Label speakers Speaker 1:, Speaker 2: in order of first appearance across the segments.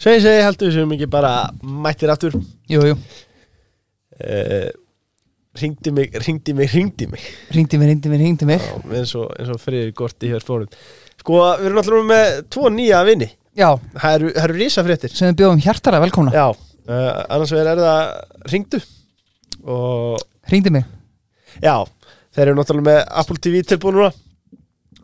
Speaker 1: Sveins eða ég heldur sem ekki bara mættir aftur
Speaker 2: Jú, jú,
Speaker 1: uh, Ringdi mig, ringdi mig, ringdi mig
Speaker 2: ringdi mig, ringdi mig, ringdi mig
Speaker 1: Já, eins og, eins og fyrir gorti hér spórum Sko, við erum náttúrulega með tvo nýja vini
Speaker 2: Já,
Speaker 1: Það eru, það eru risafréttir
Speaker 2: sem við bjóðum hjartara velkomna
Speaker 1: Já, uh, annars vegar er það ringdu og
Speaker 2: Ringdi mig
Speaker 1: já, þeir eru náttúrulega með Apple TV tilbúin núna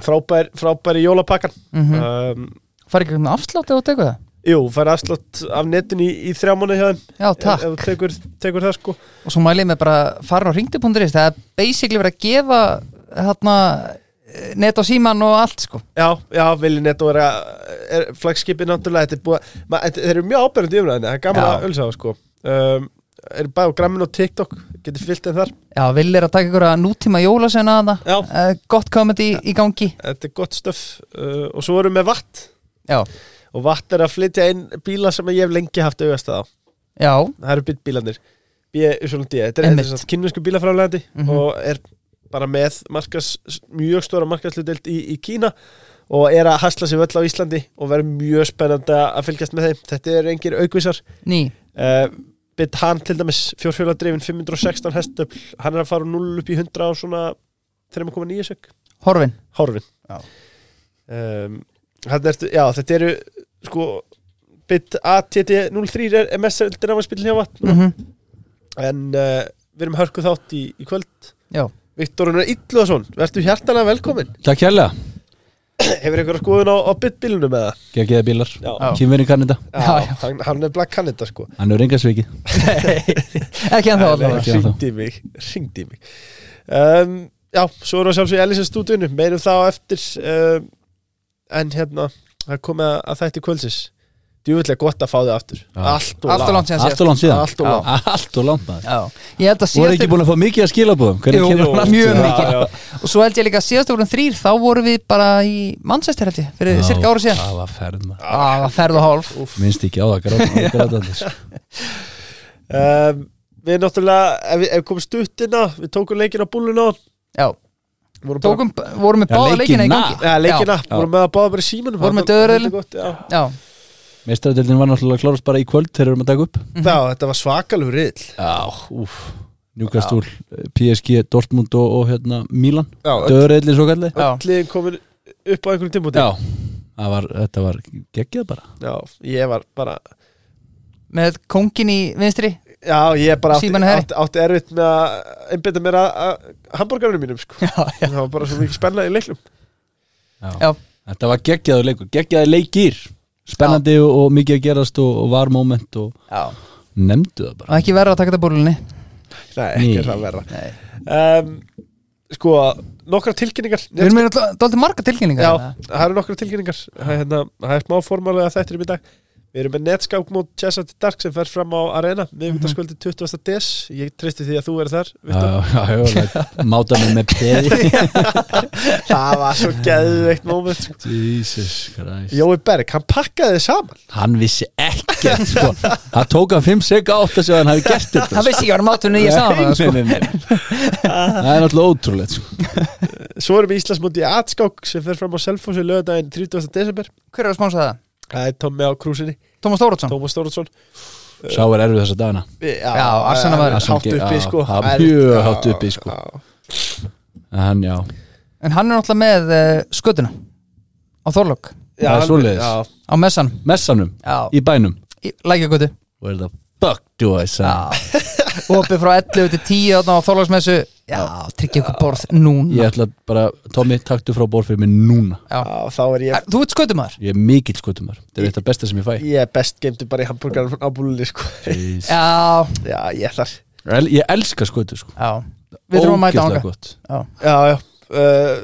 Speaker 1: frábær, frábær í jólapakkan
Speaker 2: mm -hmm.
Speaker 1: um,
Speaker 2: Farið ekki með afslátt eða þú tekur það
Speaker 1: Jú, fær afslátt af netinu í, í þrjá mánu hjá þeim
Speaker 2: Já, takk
Speaker 1: ef þú tekur, tekur það sko
Speaker 2: Og svo mælið mig bara farin á ringdi.is Það er basically verið að gefa þarna eh, net og síman og allt sko
Speaker 1: Já, já, Vili Netto er, að- er flagskipið náttúrulega, þetta er búið að- ma- þetta- þeir eru mjög ábyrjandi umræðinni, það er gaman
Speaker 2: Já.
Speaker 1: að ölsa það sko um, er bæði á grammin og TikTok getur fyllt þeim þar,
Speaker 2: Já, vill er að taka ykkur að nútíma jólasena að
Speaker 1: Já.
Speaker 2: það Gott comedy í gangi
Speaker 1: þetta er gott stöf uh, og svo erum við með vatt
Speaker 2: Já,
Speaker 1: og vatt er að flytja inn bíla sem ég hef lengi haft auðvast á,
Speaker 2: já,
Speaker 1: það eru bytt bílanir B.U.D. þetta er
Speaker 2: Einmitt.
Speaker 1: þess að kynnesku bílafræðanlegandi
Speaker 2: Mhm.
Speaker 1: og er bara með markas, mjög stóra markaslutdelt í, í Kína og er að hasla sér völl á Íslandi og verður mjög spennandi að fylgjast með þeim, þetta er engir aukvisar
Speaker 2: ný
Speaker 1: uh, Bitt hann til dæmis fjórfjóladrifin 516 hestöfl hann er að fara úr 0 upp í 100 á svona 3,9 sök
Speaker 2: Horfin
Speaker 1: horfin
Speaker 2: Já.
Speaker 1: um, þarna ertu, já þetta eru sko Bitt ATT03 er MS-eldir afhanspillin hjá vatn
Speaker 2: mm
Speaker 1: en uh, við erum hörkuð þátt í, í kvöld
Speaker 2: Já.
Speaker 1: Viktor Unnar Illuðarsson, verður hjartalega velkomin
Speaker 3: Takk hérlega,
Speaker 1: Hefur einhverja skoðun á, á Bitt-bílunum með það?
Speaker 3: geggiða bílar
Speaker 1: Já.
Speaker 3: Kínverinn kannida,
Speaker 2: Já, já.
Speaker 1: Hann, hann er black kannita sko
Speaker 3: hann er reyngasviki
Speaker 2: Ekki en þá
Speaker 1: Nei,
Speaker 2: allavega
Speaker 3: ekki ennþá.
Speaker 1: Hringdi í mig, hringdi í mig um, Já, svo erum við sjálfsög Elisa stúdíunum, meirum það á eftir um, En hérna Það er komið að- að þætti kvöldsins Djúvillega gott að fá þig aftur
Speaker 3: Já.
Speaker 1: Allt og
Speaker 2: Allt og langt síðan
Speaker 3: Allt og langt síðan
Speaker 1: Allt og langt.
Speaker 3: Allt og langt maður
Speaker 2: Já, ég held að
Speaker 3: Voru ekki
Speaker 2: síðast
Speaker 3: búin að fá mikið að skilabóðum Hvernig
Speaker 2: Jú,
Speaker 3: kemur
Speaker 2: jú.
Speaker 3: hann aftur?
Speaker 2: Mjög
Speaker 1: Já,
Speaker 2: mikið.
Speaker 1: já.
Speaker 2: Og svo held ég líka að síðast vorum þrýr Þá vorum við bara í Manchester held ég Fyrir
Speaker 3: Já,
Speaker 2: eh, cirka ára síðan
Speaker 3: Það var ferð maður
Speaker 2: Ah, Það var ferð og hálf
Speaker 3: Minnst ekki á það gráta- grátandi sko.
Speaker 1: um, Við náttúrulega, ef við, ef við komum stuttina Við tókum leikin á búluna
Speaker 2: Já,
Speaker 1: vorum bara-
Speaker 2: tókum, vorum með
Speaker 3: Já,
Speaker 2: báða leikina
Speaker 3: leikina.
Speaker 2: í gangi
Speaker 1: Já, leikina,
Speaker 3: Já.
Speaker 1: vorum með að báða bara í símanum
Speaker 2: Vorum með
Speaker 1: Það var-
Speaker 2: döðröðlin.
Speaker 1: þetta gott, Já,
Speaker 2: Já,
Speaker 3: Meistaradeildin var náttúrulega að klárast bara í kvöld Þegar við erum að taka upp
Speaker 2: Mhm.
Speaker 1: Já, þetta var svakalur rill
Speaker 3: Já, úf Newcastle, PSG, Dortmund og, og hérna Milan
Speaker 1: Já, öll,
Speaker 3: Döðreillin svo kallið
Speaker 2: já,
Speaker 1: öll liðin komin upp á einhverjum tímpúti
Speaker 3: Já, það var, þetta var geggjað bara
Speaker 1: Já, ég var bara
Speaker 2: með kóngin í vinstri
Speaker 1: Já, ég bara átti,
Speaker 2: Símanu Herri.
Speaker 1: átti, átti erfitt með að einbytta mér að, að hambúrgarunum mínum sko.
Speaker 2: Já, já,
Speaker 1: það var bara svo mikið spennað í leiklum
Speaker 2: Já.
Speaker 3: Þetta var geggjaður leikur, geggjaður leikir Spennandi og, og mikið að gerast og, og var moment og
Speaker 2: já.
Speaker 3: nefndu það bara
Speaker 2: Og ekki verið að taka þetta bólunni
Speaker 1: Nei, ekki
Speaker 3: Ný.
Speaker 1: er það verra
Speaker 2: Nei.
Speaker 1: um, Sko, nokkra tilkynningar
Speaker 2: Við erum með dóldi marga tilkynningar
Speaker 1: Já,
Speaker 2: hérna.
Speaker 1: það eru nokkra tilkynningar Það er hérna, það er smá formálega þættir í dag Við erum með netskátt mót Chessat Dark sem fer fram á Arena
Speaker 2: Mhm.
Speaker 1: miðvitaðskvöldi 20. des Ég treysti því að þú er þar Viktor.
Speaker 3: Já, já, já, máta mig með peði
Speaker 1: Það var svo geðveikt moment sko.
Speaker 3: Jesus Christ
Speaker 1: Jói Berg, hann pakkaði þið saman
Speaker 3: Hann vissi ekkert, sko Það tók hann 5 sek átt að sjá að hann hafi gert þetta
Speaker 2: Hann vissi ekki að vera mátunni í að
Speaker 3: Nei,
Speaker 2: sama sko.
Speaker 3: nei, nei, nei. Það er náttúrulega ótrúlegt sko.
Speaker 1: Svo erum við Íslandsmóti í Atskák sem fer fram á Selfossi lögadaginn 30. desember
Speaker 2: Hver er að sponsa það?
Speaker 1: Það er Tommi á krúsinni,
Speaker 2: Tómas Þórótsson
Speaker 1: Tómas Stóruðsson
Speaker 3: Sá er erfið þessa dagana
Speaker 2: Já, Arsenal maður.
Speaker 1: Hátt uppi
Speaker 3: Já,
Speaker 1: sko
Speaker 3: já,
Speaker 1: Það er-
Speaker 3: mjög
Speaker 1: já,
Speaker 3: hátt uppi, sko.
Speaker 1: já.
Speaker 3: Hann, já,
Speaker 2: En hann er náttúrulega með uh, skötuna Á Þorlók,
Speaker 1: Já,
Speaker 3: Það er
Speaker 1: hann-
Speaker 3: svoleiðis.
Speaker 1: já.
Speaker 2: á messan
Speaker 3: messanum
Speaker 2: Já,
Speaker 3: í bænum
Speaker 2: í lækjagötu
Speaker 3: Where the fuck do I say
Speaker 2: Opið frá 11 til 10 þarna á Þorlóksmessu Já, tryggja ykkur borð núna
Speaker 3: Ég ætla bara, Tommy, taktu frá borð fyrir mig núna
Speaker 1: Já, Þá er ég
Speaker 2: Er- Þú ert skötumar
Speaker 3: Ég er mikill skotumar, þetta er eitt af besta sem ég fæ
Speaker 1: Ég er best geimdu bara í hambúrgarum á búlunni sko
Speaker 3: Jesus.
Speaker 2: Já,
Speaker 1: Já, ég er þar
Speaker 3: El- Ég elska skotu sko
Speaker 2: já Við þurfum að mæta
Speaker 3: Ógeðslega
Speaker 2: ánga
Speaker 3: gott.
Speaker 1: Já, já Uh,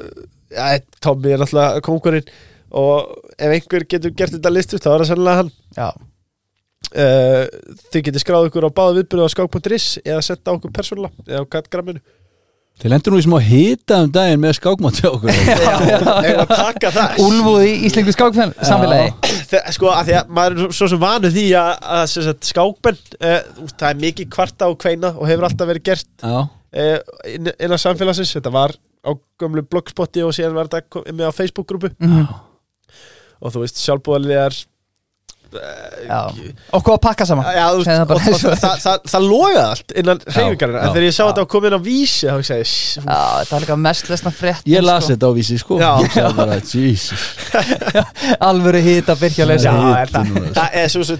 Speaker 1: já, Tommi er náttúrulega kongurinn og ef einhver getur gert þetta listu þá er það sannlega hann
Speaker 2: Já,
Speaker 1: uh, Þið getur skráð ykkur á báða viðbyrðu á skák.ris eða senda okkur persónulega eða á kattgramminu
Speaker 3: Þið lendur nú í smá hita um daginn með skákmátt hjá okkur
Speaker 1: Eða taka það
Speaker 2: Úlfúð í Íslingu skákfenn samfélagi
Speaker 1: Þe- sko að því að maður er svo- svo sem vanu því að, að sem sagt, skákmenn uh, það er mikið kvarta og kveina og hefur alltaf verið gert
Speaker 3: Já,
Speaker 1: uh, inn, innan samfélagsins þetta var á gömlu blogspotti og síðan var þetta kom- með á Facebook-grúpu
Speaker 2: Mhm.
Speaker 1: og þú veist sjálfbúðarlegar
Speaker 2: já. okkur að pakka saman
Speaker 1: Já, þú veist,
Speaker 2: Ah, Segðu það
Speaker 1: og,
Speaker 2: bara
Speaker 1: og,
Speaker 2: eins og
Speaker 1: það,
Speaker 2: það er.
Speaker 1: það, það, logaði allt innan hreyfingarina
Speaker 3: já,
Speaker 1: en þegar ég sá
Speaker 2: já. Ah,
Speaker 1: þetta á komin á vísi þá hugsaði ég "Shh,
Speaker 2: já, þetta var líka mest lesna frétt
Speaker 3: Ég las þetta á vísi sko
Speaker 1: Já.
Speaker 3: Ég sagði bara, Jesus
Speaker 2: alvöru hýta byrkjulegs
Speaker 1: Já,
Speaker 2: já.
Speaker 3: Nei,
Speaker 1: er það,
Speaker 3: núna.
Speaker 1: það er svo sem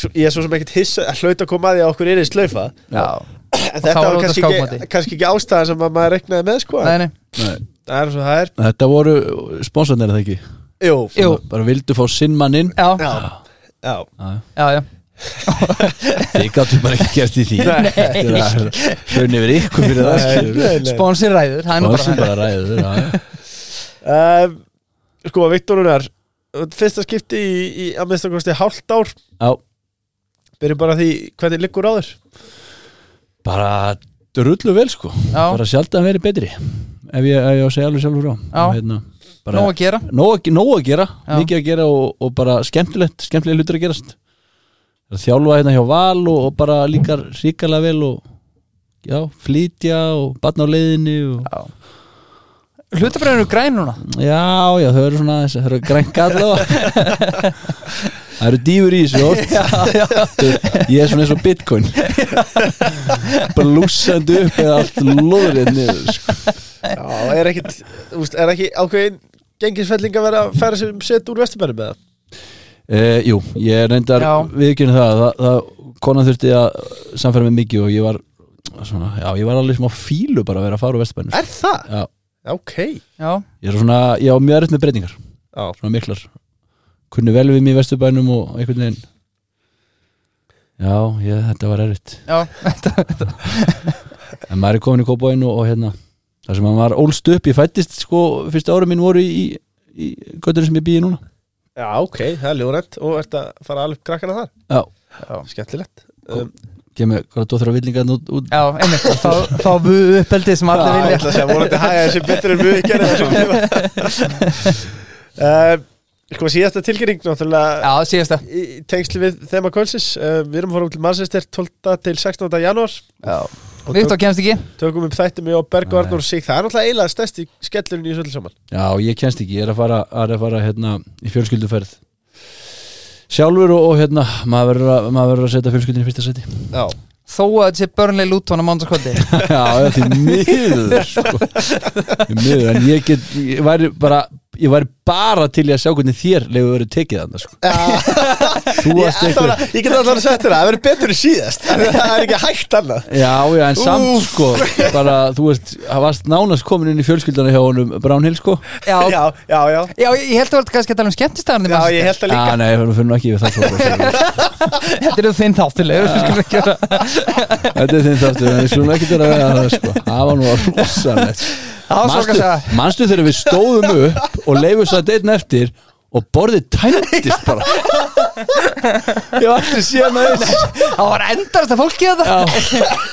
Speaker 1: svo- Ég er svo sem ekkert hissa að hlauta að koma að því að okkur er í slaufa
Speaker 2: Já.
Speaker 1: En
Speaker 2: Og
Speaker 1: þetta
Speaker 2: þá var
Speaker 1: var
Speaker 2: út að
Speaker 1: kannski
Speaker 2: skákmati.
Speaker 1: ekki, kannski ekki ástæðan sem að maður reknaði með sko
Speaker 2: Nei, nei.
Speaker 3: Nei,
Speaker 1: Það er svo það er
Speaker 3: Þetta voru sponsornir þetta ekki
Speaker 1: Jú,
Speaker 2: Jú,
Speaker 3: Bara vildu fá sinn manninn
Speaker 2: já,
Speaker 1: já, já
Speaker 2: já, já.
Speaker 3: Þið gáttu bara ekki gert í því
Speaker 1: Nei.
Speaker 3: Hraun yfir ykkur fyrir það skilur.
Speaker 2: Sponsor ræður, það er nú
Speaker 3: Og
Speaker 2: bara
Speaker 3: þessi
Speaker 2: þannig.
Speaker 3: bara ræður já, já.
Speaker 1: um, Sko, Viktor Rúnar Fyrsta skipti í, í að minnsta kosti hálft ár
Speaker 3: Já,
Speaker 1: Byrjum bara á því hvernig liggur á þér
Speaker 3: bara drullu vel sko
Speaker 2: Já,
Speaker 3: Bara sjaldan verið betri Ef ég, ef ég á að segja alveg sjálfur á
Speaker 2: Já.
Speaker 3: Og hérna, bara,
Speaker 2: nóg að gera
Speaker 3: nóg, að- nóg að gera,
Speaker 2: Já.
Speaker 3: mikið að gera og, og bara skemmtilegt, skemmtilega hlutur að gerast að þjálfa hérna hjá Val og, og bara líka ríkalega vel og já, flytja og batna á leiðinni og,
Speaker 2: Hlutabræður eru græn núna
Speaker 3: já, já, þau eru svona þessi, þau eru grænka allavega það eru dýfur í þessu oft Þau- ég er svona eins og bitcoin bara lúsandi upp eða allt lóðrið niður sko.
Speaker 1: Já, er ekkit, úst, er ekki ákveðin Gengisfelling að vera að færa sér um set úr vestumennum með það
Speaker 3: Eh, jú, ég reyndar
Speaker 2: Já.
Speaker 3: viðkynna það, það, það konan þurfti að samfæra með mikið og ég var svona, já, ég var alveg smá fílu bara að vera að fara á vestbænum
Speaker 1: Er það?
Speaker 3: Já,
Speaker 1: Ok Já,
Speaker 2: Já,
Speaker 3: ég er svona, ég á mjög erfitt með breytingar svona miklar, kunni vel við mig í vesturbænum og einhvern veginn Já, ég, þetta var erfitt
Speaker 2: já,
Speaker 3: en maður er komin í kópaðinn og, og hérna það sem maður ólst upp, ég fættist sko, fyrstu ára mín voru í, í, í götturinn sem ég býi núna
Speaker 1: Já, ok, það er ljóðrænt og ert að fara alveg krakkana þar
Speaker 3: Já,
Speaker 2: já
Speaker 1: Skemmtilegt
Speaker 3: Cool. kemur, hvað þú þurfa villingar út, út
Speaker 2: Já, einmitt, þá, þá við uppeldið sem allir
Speaker 1: Já, ég
Speaker 2: vilja
Speaker 1: ætla að segja, vonandi hægja þessi betur en mjög gerði þessum tíma uh, Sko, síðasta tilkynning náttúrulega
Speaker 2: Já, síðasta
Speaker 1: í í tengslu við þema kvölsins uh, Við erum að fara út til Manchester 12. til 16. janúar
Speaker 2: Já.
Speaker 1: og tök,
Speaker 2: Viktor kemst ekki
Speaker 1: tökum upp þætti með og Berg
Speaker 3: Já,
Speaker 1: og Arnur Sig Það er náttúrulega eiginlega stærsti skellurinn í þessu öllu saman
Speaker 3: Já, ég kennst ekki, ég er að fara, er að fara hérna, í fjölskylduferð sjálfur og, og hérna maður verður að, maður verður að setja fjölskyldin í fyrsta seti
Speaker 1: Já,
Speaker 2: Þó að þetta sé börnlega lútón á mándagskvöldi
Speaker 3: Já, já, því miður sko. Því miður, en ég get ég væri bara, ég væri bara til í að sjá hvernig þér leiðu verið tekið þannig sko. Þú
Speaker 1: ég,
Speaker 3: varst
Speaker 1: ætla
Speaker 3: eitthvað
Speaker 1: að- ég get alltaf að setja það, það verður betur en síðast en Það er ekki hægt annað
Speaker 3: Já, já, en samt
Speaker 1: Úff.
Speaker 3: sko bara, þú veist, það varst nánast komin inn í fjölskyldana hjá honum Brownhill sko
Speaker 2: Já, já,
Speaker 1: Já, já, já
Speaker 2: ég, ég held að verða kannski að tala um skemmtistæðan
Speaker 1: Já, ég held að líka
Speaker 3: Já, Ah, nei, við finnum ekki við það sko.
Speaker 2: Þetta eru þinn þáttilegur við skulum ekki vera-
Speaker 3: Þetta er þinn þáttur, en við skulum ekki vera að vega það sko. Það var nú rosalegt sko.
Speaker 2: Það var svo
Speaker 3: Manstu,
Speaker 2: kannski að
Speaker 3: manstu þegar við stóðum upp og leifum satt einn eftir og borðið tæmdist bara ég var alltaf síðan að þess
Speaker 2: Það var endast að fólki að það
Speaker 3: Já.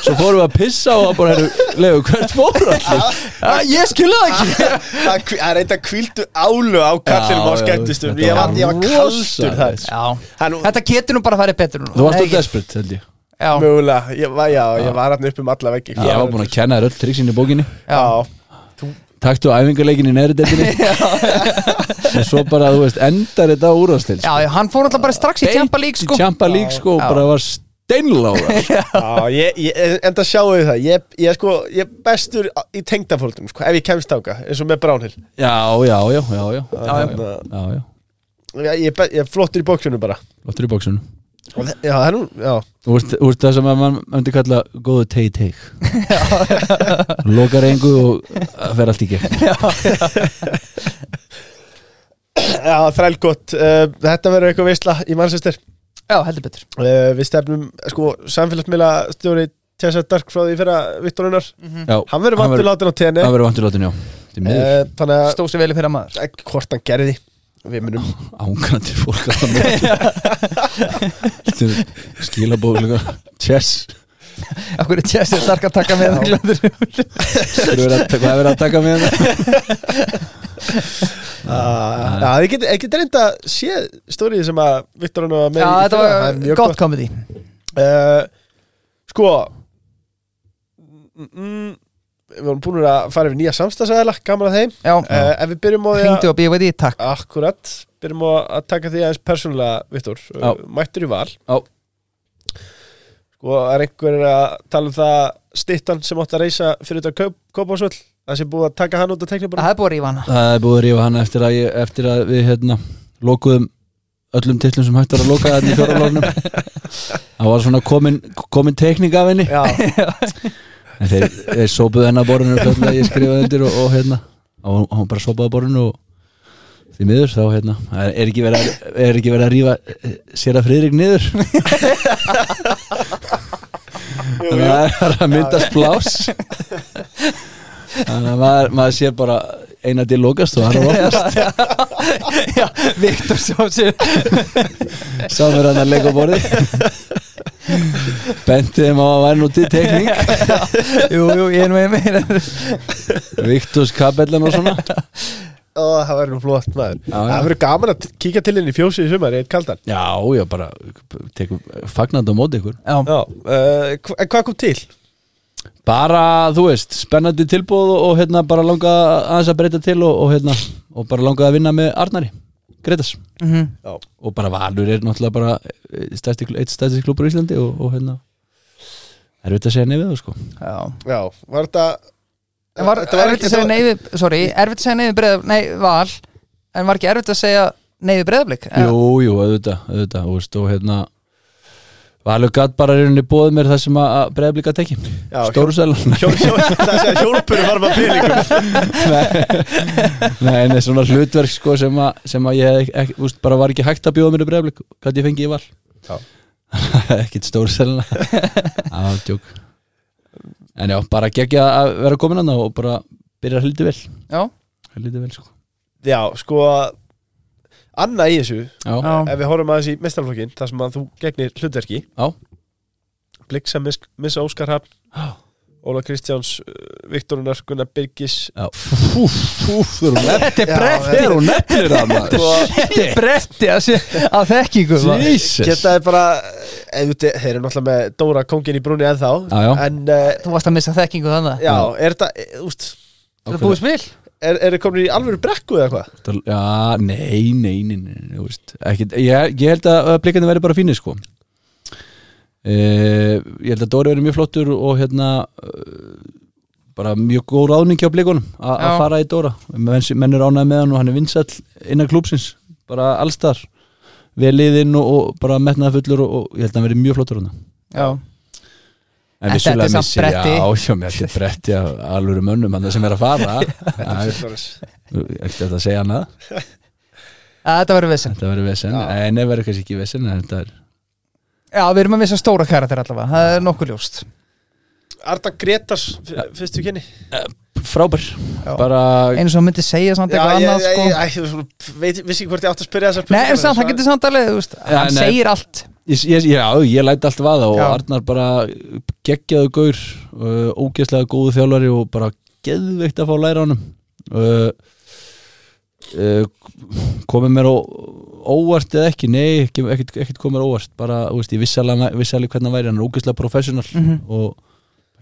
Speaker 3: svo fórum við að pissa og bara leifu hvert fóru allir
Speaker 2: Ég skilja það ekki
Speaker 1: Það kví- það er eitthvað kvíldu álu á kallinum
Speaker 3: Já,
Speaker 1: á
Speaker 3: já,
Speaker 1: skemmtistum
Speaker 3: þetta
Speaker 1: Ég var,
Speaker 3: var
Speaker 1: ég var kaldur
Speaker 3: rosalegt.
Speaker 1: þar
Speaker 2: Já,
Speaker 1: Hann,
Speaker 2: þetta getur nú bara að fara betur núna.
Speaker 3: þú varst
Speaker 2: Nei,
Speaker 3: alltaf desperate held ég
Speaker 2: Já,
Speaker 1: Mögulega, ég var, já, ég var hann upp um alla veggi
Speaker 3: ég var búin að kenna þér öll triksin í bókinni
Speaker 1: Já,
Speaker 3: taktu æfingarleikin í neðri deltinni og svo bara þú veist endar þetta á úrvastil
Speaker 2: já, já, hann fór alltaf bara strax í Champa League sko
Speaker 3: tjampa lík sko og
Speaker 2: Já.
Speaker 3: bara var steinláða sko.
Speaker 1: já ég, ég, enda sjáu þið það Ég, ég, er sko, ég er bestur á- í tengdafóldum sko, Ef ég kemst áka, eins og með Bránhill
Speaker 3: já, já, já, já, já,
Speaker 1: Já, já.
Speaker 3: já, já.
Speaker 1: Ég, ég, be- ég er flottur í bóksunum bara
Speaker 3: Lottur í bóksunum
Speaker 1: Og þe- Já, það er nú, já
Speaker 3: Þú veist, þú veist það sem að mann myndi kalla góðu tegi teig Lokar engu og það fer allt í gegn
Speaker 1: Já, þræl gott uh, Þetta verður eitthvað veistla í mannsestir
Speaker 2: Já, heldur betur
Speaker 1: uh, Við stefnum, sko, samfélagsmiðla stjóri Tessa Dark frá því fyrir að Vittorunar
Speaker 3: Já,
Speaker 1: Hann verður
Speaker 3: Hann
Speaker 1: vantur
Speaker 3: verður-
Speaker 1: látin á tenni
Speaker 3: það verður vantur látin, já Þetta er miður,
Speaker 1: uh, Þannig að
Speaker 2: Stóð sér vel í fyrra maður
Speaker 1: eh, hvort hann gerði Við munum
Speaker 3: ángrandi fólk að það með Skilabók líka Chess,
Speaker 2: Akkur er Jesse stark að taka með
Speaker 3: hvað er verið að taka með hérna? það?
Speaker 1: Ah, Já, það getur get reynda að sé stórið sem að Viktor hann var með
Speaker 2: Já,
Speaker 1: í
Speaker 2: þetta
Speaker 1: fyrra. Það er
Speaker 2: var
Speaker 1: mjög
Speaker 2: gott komedi
Speaker 1: Eh, Uh, sko mm, mm, við vorum búin að fara yfir nýja samstagsæðila gaman að þeim,
Speaker 2: já,
Speaker 1: uh, en við byrjum á því að
Speaker 2: hringdu og bíu veit ég, takk
Speaker 1: akkurat, byrjum á að taka því aðeins persónulega, Viktor, Eh,
Speaker 3: Já.
Speaker 1: mættur í val
Speaker 3: Já.
Speaker 1: sko, er einhver að tala um það stittan sem átti að reysa fyrir þetta kaup, kaupásvöll, það sé búið að taka hann út af teknibur
Speaker 2: það er búið að rífa hana
Speaker 3: Það er búið að rífa hann eftir að, ég, eftir að við hérna, lokuðum öllum titlum sem hægt var að loka þarna í fjóralóknum Það var svona komin, komin teikning af henni
Speaker 1: já,
Speaker 3: en þeir, þeir sópuðu hennar borðinu fljóðlega ég skrifaði undir og, og hérna og hún- hún bara sópaði borðinu og því miður þá hérna það er ekki verið að, er ekki verið að rífa eh, sér að friðrik niður þannig að það er bara að myndast blás þannig að maður, maður sé bara eina til lokast og hann er ofnast
Speaker 2: já, Viktor svo sér
Speaker 3: samur hann að leika á borðið benti þeim á að væri nú til tekning
Speaker 2: jú, jú, ég er nú með mér
Speaker 3: Viktus Kabellan og svona
Speaker 1: Ó, það verður nú flott maður
Speaker 3: Já, já.
Speaker 1: Það verður gaman að kíkja til henni í fjósið í sumar, eitt kaldan
Speaker 3: Já, já, bara tekum fagnandi á móti ykkur
Speaker 2: já,
Speaker 1: Já, uh, hva- en hvað kom til?
Speaker 3: Bara, þú veist, spennandi tilbúð og, og hérna bara langa aðeins að breyta til og, og hérna, og bara langa að vinna með Arnari, Gretas
Speaker 2: mhm
Speaker 1: Já,
Speaker 3: og bara Valur er náttúrulega bara eh, stærsti, eitt stærsti klubur í Íslandi og, og hérna erfitt að segja nefið það sko
Speaker 2: já
Speaker 1: já var þetta
Speaker 2: En var,
Speaker 1: þetta var
Speaker 2: erfitt
Speaker 1: ekki-
Speaker 2: að segja neyfi, sorry, erfitt að segja neyfi breyðablík, nei, val en var ekki erfitt að segja neyfi breyðablík
Speaker 3: Jú, jú, auðvitað, auðvitað, þú veist, og hérna Valur gatt bara í rauninni bóð mér það sem að breyða blika teki
Speaker 1: Já,
Speaker 3: Stóru selan
Speaker 1: hjól, hjól, Það sé að hjólpur var maður peningum
Speaker 3: Nei, en svona hlutverk sko sem að, sem að ég hef ekki, ekki, úst, bara var ekki hægt að bjóða mér í breyðblik hvað ég fengi í val
Speaker 1: Já.
Speaker 3: Ekkit stór selina Það var djók En já, bara geggja að vera komin hann og bara byrja að hlýta vel
Speaker 2: Já,
Speaker 3: Hlýta vel sko
Speaker 1: Já, sko Anna í þessu,
Speaker 3: Já,
Speaker 2: já,
Speaker 1: ef við horfum aðeins í mestarflokkin þar sem að þú gegnir hlutverki
Speaker 3: Já.
Speaker 1: Blik sem mis, missa Óskar Hafn Óla Kristjáns, uh, Viktor Unnar, Gunnar Birgis
Speaker 3: já Úf, úf, þú erum nefnir
Speaker 2: þetta er
Speaker 1: Já,
Speaker 2: bretti
Speaker 3: Þeir eru nefnir það maður Sko,
Speaker 2: Þetta er bretti að, se- að þekkingu maður.
Speaker 3: Jesus
Speaker 1: Geta þið bara, eða þeir eru náttúrulega með Dóra kongin í brúni ennþá
Speaker 3: Já, já.
Speaker 1: En, uh,
Speaker 2: Þú varst að missa þekkingu þannig
Speaker 1: já, er þetta, eh, úst
Speaker 2: Það er búið spil
Speaker 1: Er, er það komin í alvöru brekku eða hvað?
Speaker 3: Já, nei, nei, nei, nei, nei þú veist, ekki, ég, ég held að blikandi verði bara fínir sko eh, Ég held að Dóri verði mjög flottur og hérna eh, bara mjög góð ráðning hjá blikunum a-
Speaker 2: Já.
Speaker 3: að fara í Dóra menn, menn er ánægð með hann og hann er vinsall innan klúpsins, bara allstar vel liðinn og, og bara metnaða fullur og, og ég held að hann verði mjög flottur hann
Speaker 2: Já, En þetta er
Speaker 3: En vissulega
Speaker 2: samt
Speaker 3: missir,
Speaker 2: bretti.
Speaker 3: já, já, mér þetta er bretti af alvöru mönnum, hann sem er að fara Það er ekki þetta að segja hann að
Speaker 2: að þetta verður vissinn
Speaker 3: Þetta verður vesen,
Speaker 1: Já.
Speaker 3: en ef verður kannski ekki vesen en þetta er,
Speaker 2: Já, við erum að missa stóra karakter allavega, það er nokkuð ljóst
Speaker 1: Arda Gretars f- fyrstu kynni
Speaker 3: frábær
Speaker 2: Já.
Speaker 3: bara,
Speaker 2: Eins og hann myndi segja samt eitthvað
Speaker 1: ég, ég,
Speaker 2: annað sko
Speaker 1: ég, ég, ég svona, veit, vissi ekki hvort ég átt að spyrja þessar
Speaker 2: Nei, en samt, hann getur samt alveg, þú veist, hann
Speaker 3: nei.
Speaker 2: segir allt
Speaker 3: ég, ég, já, ég læti allt vaða og
Speaker 2: Já.
Speaker 3: Arnar bara geggjaðu gaur uh, ógeðslega góðu þjálfari og bara geðveikt að fá að læra á honum uh, uh, komið mér á óvart eða ekki, nei, ekki- ekkert, ekkert komið mér á óvart bara, þú veist, ég vissi alveg, vissi alveg hvernig hann væri hann er ógeðslega professional
Speaker 2: Mhm.
Speaker 3: og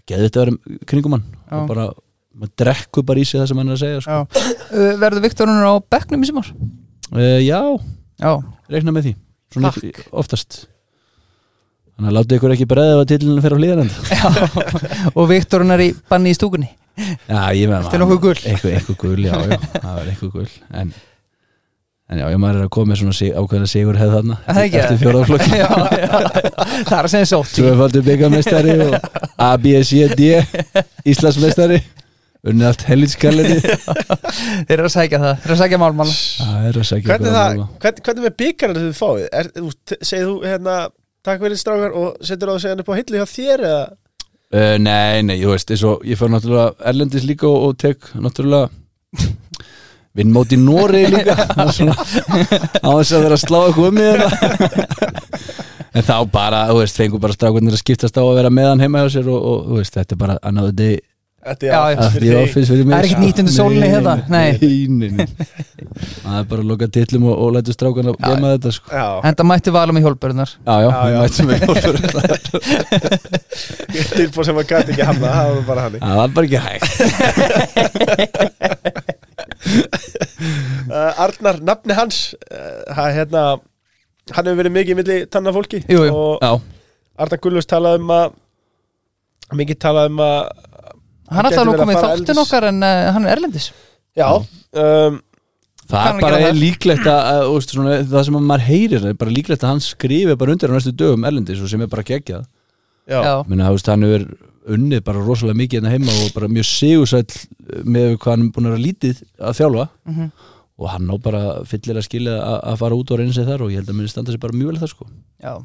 Speaker 3: geðveikt að vera kringum hann
Speaker 2: Já.
Speaker 3: og bara, maður drekkur bara í sig það sem hann er að segja sko.
Speaker 2: Já. Uh, Verður Viktorunur á bekknum í sem ár?
Speaker 3: uh, já
Speaker 2: Já,
Speaker 3: reikna með því svona
Speaker 2: Takk.
Speaker 3: oftast þannig að láta ykkur ekki breða að tilinu fer á hlýðarenda
Speaker 2: og Viktorunur í banni í stúkunni
Speaker 3: já ég með
Speaker 2: Þetta er nokkuð gul.
Speaker 3: eitthvað, eitthvað gul, já já það var eitthvað gul en, en já ég maður er að koma með svona sig, ákveðna sigur hefð þarna
Speaker 2: Er það ekki?
Speaker 3: eftir fjóraðflokki
Speaker 2: já, já, það er að segja sótt
Speaker 3: tvöfaldur byggamestari og A, B, C, D Íslandsmestari unnið allt helitskallinu
Speaker 2: þeir eru að sækja það, þeir eru að sækja málmann
Speaker 3: það er að segja
Speaker 1: Hvernig, það, hvernig, hvernig með byggarinn þið fáið? Er, þú, t- segir þú hérna Takk fyrir strákar og setur á að segja hann upp á hillu hjá þér eða?
Speaker 3: Uh, nei, nei, ég veist, eins og ég fór náttúrulega Erlendis líka og, og tek náttúrulega vinn móti Nóri líka svona, á þess að vera að slá eitthvað um mig þarna. en þá bara, þú veist, fengur bara strákunnir að skiptast á að vera meðan heima hjá sér og, og þú veist, þetta er bara another day
Speaker 1: Þetta
Speaker 2: Já, já.
Speaker 1: er
Speaker 3: Það
Speaker 1: fyrir
Speaker 3: er
Speaker 1: þig.
Speaker 3: office fyrir mig
Speaker 2: Það er ekkert nýtt undir sólinni hérna, nei.
Speaker 3: nei, nei. Það er bara að loka tillum og, og lætu strákan
Speaker 2: Já,
Speaker 3: að gema þetta sko
Speaker 1: Já,
Speaker 2: Enda mætti valum í hjólbörðunar
Speaker 3: Já, já,
Speaker 1: Já,
Speaker 3: við
Speaker 1: já.
Speaker 3: mættum við ofur Það
Speaker 1: tilbúið sem að gæti ekki hamna Það var bara hann
Speaker 3: var bara ekki hægt
Speaker 1: uh, Arnar, nafni hans uh, ha- hérna, Hann hefur verið mikið í milli tanna fólki
Speaker 2: Jú, jú.
Speaker 1: Og
Speaker 3: Já,
Speaker 1: Arnar Gullus talaði um að Mikið talaði um að
Speaker 2: Hann
Speaker 1: Hann
Speaker 2: alltaf
Speaker 1: gæti
Speaker 2: nú
Speaker 1: verið að
Speaker 2: komið í
Speaker 1: fara
Speaker 2: þáttin
Speaker 1: eldis.
Speaker 2: okkar en uh, hann er erlendis
Speaker 1: Já um,
Speaker 3: það
Speaker 2: Kann
Speaker 3: er
Speaker 2: ekki að
Speaker 3: bara er
Speaker 2: það.
Speaker 3: líklegt að, að úst, svona, það sem að maður heyrir, það er bara líklegt að hann skrifi bara undir á næstu dögum erlendis og sem er bara geggjað
Speaker 1: Já,
Speaker 2: Já,
Speaker 3: Menna, veist, hann hefur unnið bara rosalega mikið hérna heima og bara mjög sigursæll eh, með hvað hann er búin að vera lítið að þjálfa
Speaker 2: Mhm.
Speaker 3: og hann á bara fyllir að skilja að að fara út og reyna sig þar og ég held að muni standa sig bara mjög vel það sko
Speaker 2: já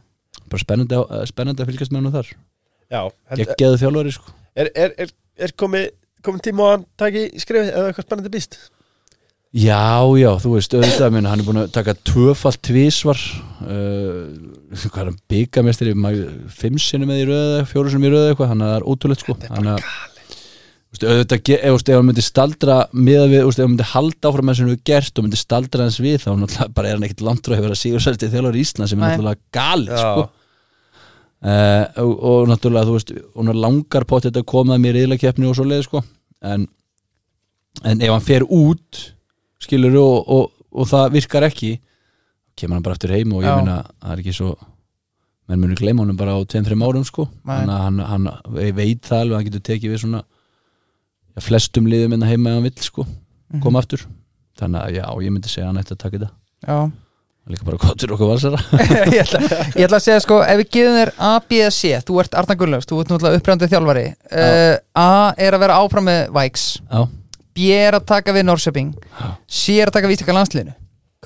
Speaker 3: bara spennandi, á- eh, spennandi að fylgjast með hann þar
Speaker 1: já held,
Speaker 3: geggjaðu þjálfari sko
Speaker 1: er, er, er, er komið komið tíma og hann taki skrifið eða eitthvað spennandi býst
Speaker 3: Já, já, þú veist, auðvitað minn, hann er búin að taka tvöfalt tvísvar uh, hvað er hann, byggamestri fimm sinni með í röðu, fjóru sinni með í röðu eitthvað, hann er ótrúlegt sko hann er Þú veist, auðvitað, ge- ef, þú veist, ef hann myndi staldra miða við, þú veist, ef hann myndi halda áfram með sem hann hefur gert og myndi staldra hans við þá náttúrulega bara er hann ekkit landur að hefur að sigur sælti þjálfur í Ísland sem er
Speaker 2: Nei.
Speaker 3: náttúrulega galið
Speaker 1: Já.
Speaker 3: sko. uh, og, og náttúrulega, þú veist, hún er langar pott þetta að koma mér í riðlakeppni og svo leið sko. en, en ef hann fer út skilur og, og, og það virkar ekki kemur hann bara aftur heim og ég
Speaker 2: Já.
Speaker 3: meina það er ekki svo menn munu gleyma honum bara á 2-3 árum sko
Speaker 2: Nei.
Speaker 3: hann, hann, hann ég veit það alveg að hann getur tekið við svona já, flestum liðum en heima ef hann vill sko
Speaker 2: Mhm.
Speaker 3: koma aftur þannig að já, ég myndi segja að hann ætti að taka þetta
Speaker 2: Já
Speaker 3: Hann er líka bara gott fyrir okkur valsara
Speaker 2: ég, ætla, ég ætla að segja sko ef við gefum þér A, B, C, þú ert Arna Gunnlaus þú ert náttúrulega upprændið þjálfari uh, A er að vera áfram með Vikes
Speaker 3: já,
Speaker 2: B er að taka við Norsjöping
Speaker 3: Já.
Speaker 2: C er að taka við Ísleika landsliðinu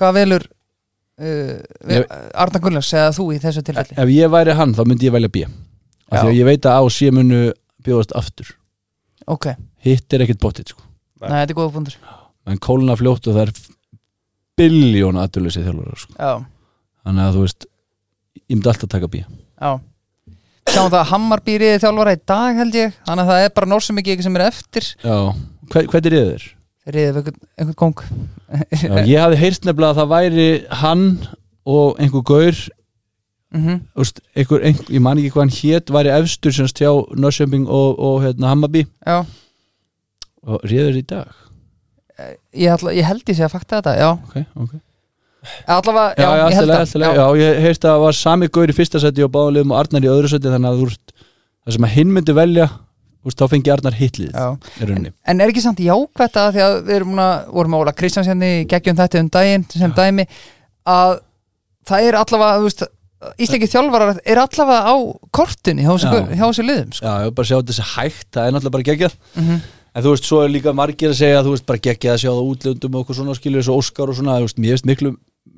Speaker 2: hvað velur uh,
Speaker 3: Ég-
Speaker 2: Arna Gunnlaus eða þú í þessu tilfelli
Speaker 3: ef ég væri hann þá myndi ég velja B af því
Speaker 2: Já.
Speaker 3: að ég veit að á sé munu bjóðast aftur
Speaker 2: ok,
Speaker 3: hitt er ekkert bóttið sko
Speaker 1: Nei.
Speaker 2: næ, þetta er góða punktur
Speaker 3: en kóluna fljótt og það er biljón aðdurleysið þjálfur sko.
Speaker 2: já,
Speaker 3: þannig að þú veist ég myndi alltaf taka B
Speaker 2: já sjáum það að Hammar býr í þjálfara í dag held ég þannig að það er bara Norsjöping sem er eftir
Speaker 3: Já, Hver, hvernig er þér?
Speaker 2: reyðið einhvern, einhvern gong
Speaker 3: Já, ég hafði heyrst nefnilega að það væri hann og einhver gaur
Speaker 2: mm
Speaker 3: úst, einhver, einhver, ég man ekki hvað hann hét væri efstur sem stjá Nörsjömbing og, og hérna, Hammarby
Speaker 2: já
Speaker 3: og réður í dag
Speaker 2: Ég, ætla, ég held ég sé að fakta þetta, já
Speaker 3: okay, okay.
Speaker 2: Allavega,
Speaker 3: Já,
Speaker 2: já,
Speaker 3: já,
Speaker 2: ég held það
Speaker 3: alltilega, já, ég heyrst að það var sami gaur í fyrsta seti og báðum liðum og Arnar í öðru seti þannig að þú veist það sem að hinn myndi velja úst, þá fengi Arnar hitlið
Speaker 2: já.
Speaker 3: í rauninni
Speaker 2: En er ekki samt jákvætt að því að við erum múna, vorum að Óla Kristjáns hérna í geggjum þetta um daginn sem dæmi að það er allavega, þú veist Íslengi þjálfarar er allavega á kortunni hjá þessu
Speaker 3: Já.
Speaker 2: hjá þessu liðum sko.
Speaker 3: Já, ég vil bara sjá þessi hægt, það er náttúrulega bara geggjað
Speaker 2: Mhm.
Speaker 3: En þú veist, svo er líka margir að segja að þú veist bara geggjað að sjá það útlöndum og okkur svona skilur þessu Óskar og svona, þú veist, mér veist miklu,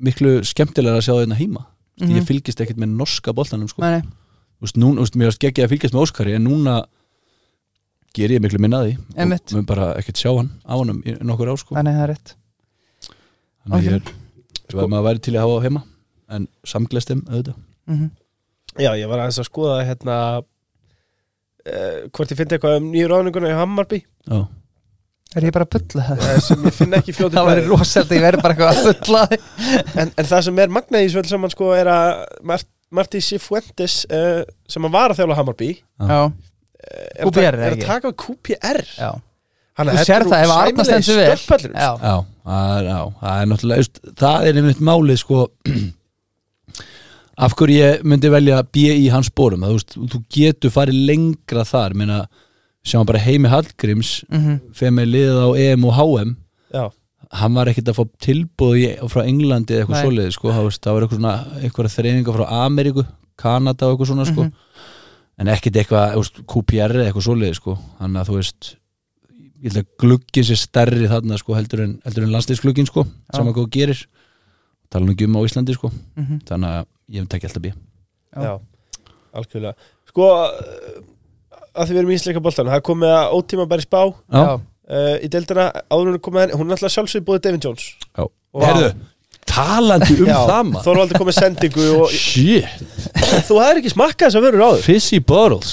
Speaker 3: miklu skemmtilega að sjá það hérna heima mm
Speaker 2: Mhm.
Speaker 3: Ég fylgist ekkert með norska boltanum sko.
Speaker 2: Meni,
Speaker 3: Þú veist, núna, þú veist, mér veist geggjað að fylgjast með Óskari en núna ger ég miklu minna að því
Speaker 2: Einmitt.
Speaker 3: og mér bara ekkert sjá hann á honum í nokkur ár sko.
Speaker 2: meni, það er rétt
Speaker 3: Þannig að ég er, sko, maður væri til í að hafa á heima en samglestum auðvitað
Speaker 2: mm
Speaker 1: Já, ég var aðeins að skoða hérna uh, hvort ég fyndi eitthvað um nýju ráðninguna í Hammarby
Speaker 3: Já,
Speaker 2: Er ég bara að bulla það?
Speaker 1: eh, sem ég finn ekki fljóti
Speaker 2: Það væri rosalega, ég verið bara eitthvað að bulla það
Speaker 1: en, en það sem er magnaði í svöld saman sko er að Mart, Martí Sifuentes uh, sem að var að þjála Hammarby
Speaker 2: Já,
Speaker 1: eh, er, að
Speaker 2: QPR,
Speaker 1: taka- er að
Speaker 2: ekki?
Speaker 1: taka við QPR
Speaker 2: já,
Speaker 1: Hanna,
Speaker 2: Þú sér það ef Arnar stendur vel. já,
Speaker 3: Já, það er, já, það er náttúrulega just, það er einmitt málið sko af hverju ég myndi velja B í hans spórum að, þú, veist, þú getur farið lengra þar minna, sjáum bara heimi Hallgríms
Speaker 2: mhm,
Speaker 3: fyrir með liðið á EM og HM
Speaker 1: Já,
Speaker 3: hann var ekkert að fá tilbúð í, frá Englandi eða eitthvað
Speaker 2: Nei.
Speaker 3: svoleiði sko, það, veist, það var eitthvað svona, eitthvað þreifinga frá Ameríku Kanada og eitthvað svona sko. en ekkert eitthvað þú veist, QPR eða eitthvað svoleiði sko. þannig að þú veist ég held að gluggin sé stærri þarna sko, heldur en, heldur en landsleisgluggin sko,
Speaker 2: Já.
Speaker 3: sem að hvað þú gerir tala nú ekki um á Íslandi sko.
Speaker 2: mhm
Speaker 3: þannig að ég hef tekið alltaf bí
Speaker 2: Já.
Speaker 1: já, algjörlega Sko, eh, að því við erum í ísleika boltan það er komið að ótíma bæri spá uh,
Speaker 3: Já.
Speaker 1: í deildina áður en hún er komið henni, hún er alltaf sjálfsög búið David Jones
Speaker 3: Já.
Speaker 1: Og-
Speaker 3: Herðu, talandi um það maður
Speaker 1: Þorvaldur kom með sendingu og
Speaker 3: Shit,
Speaker 1: þú hefur ekki smakkað þess að vera ráður
Speaker 3: fizzy bottles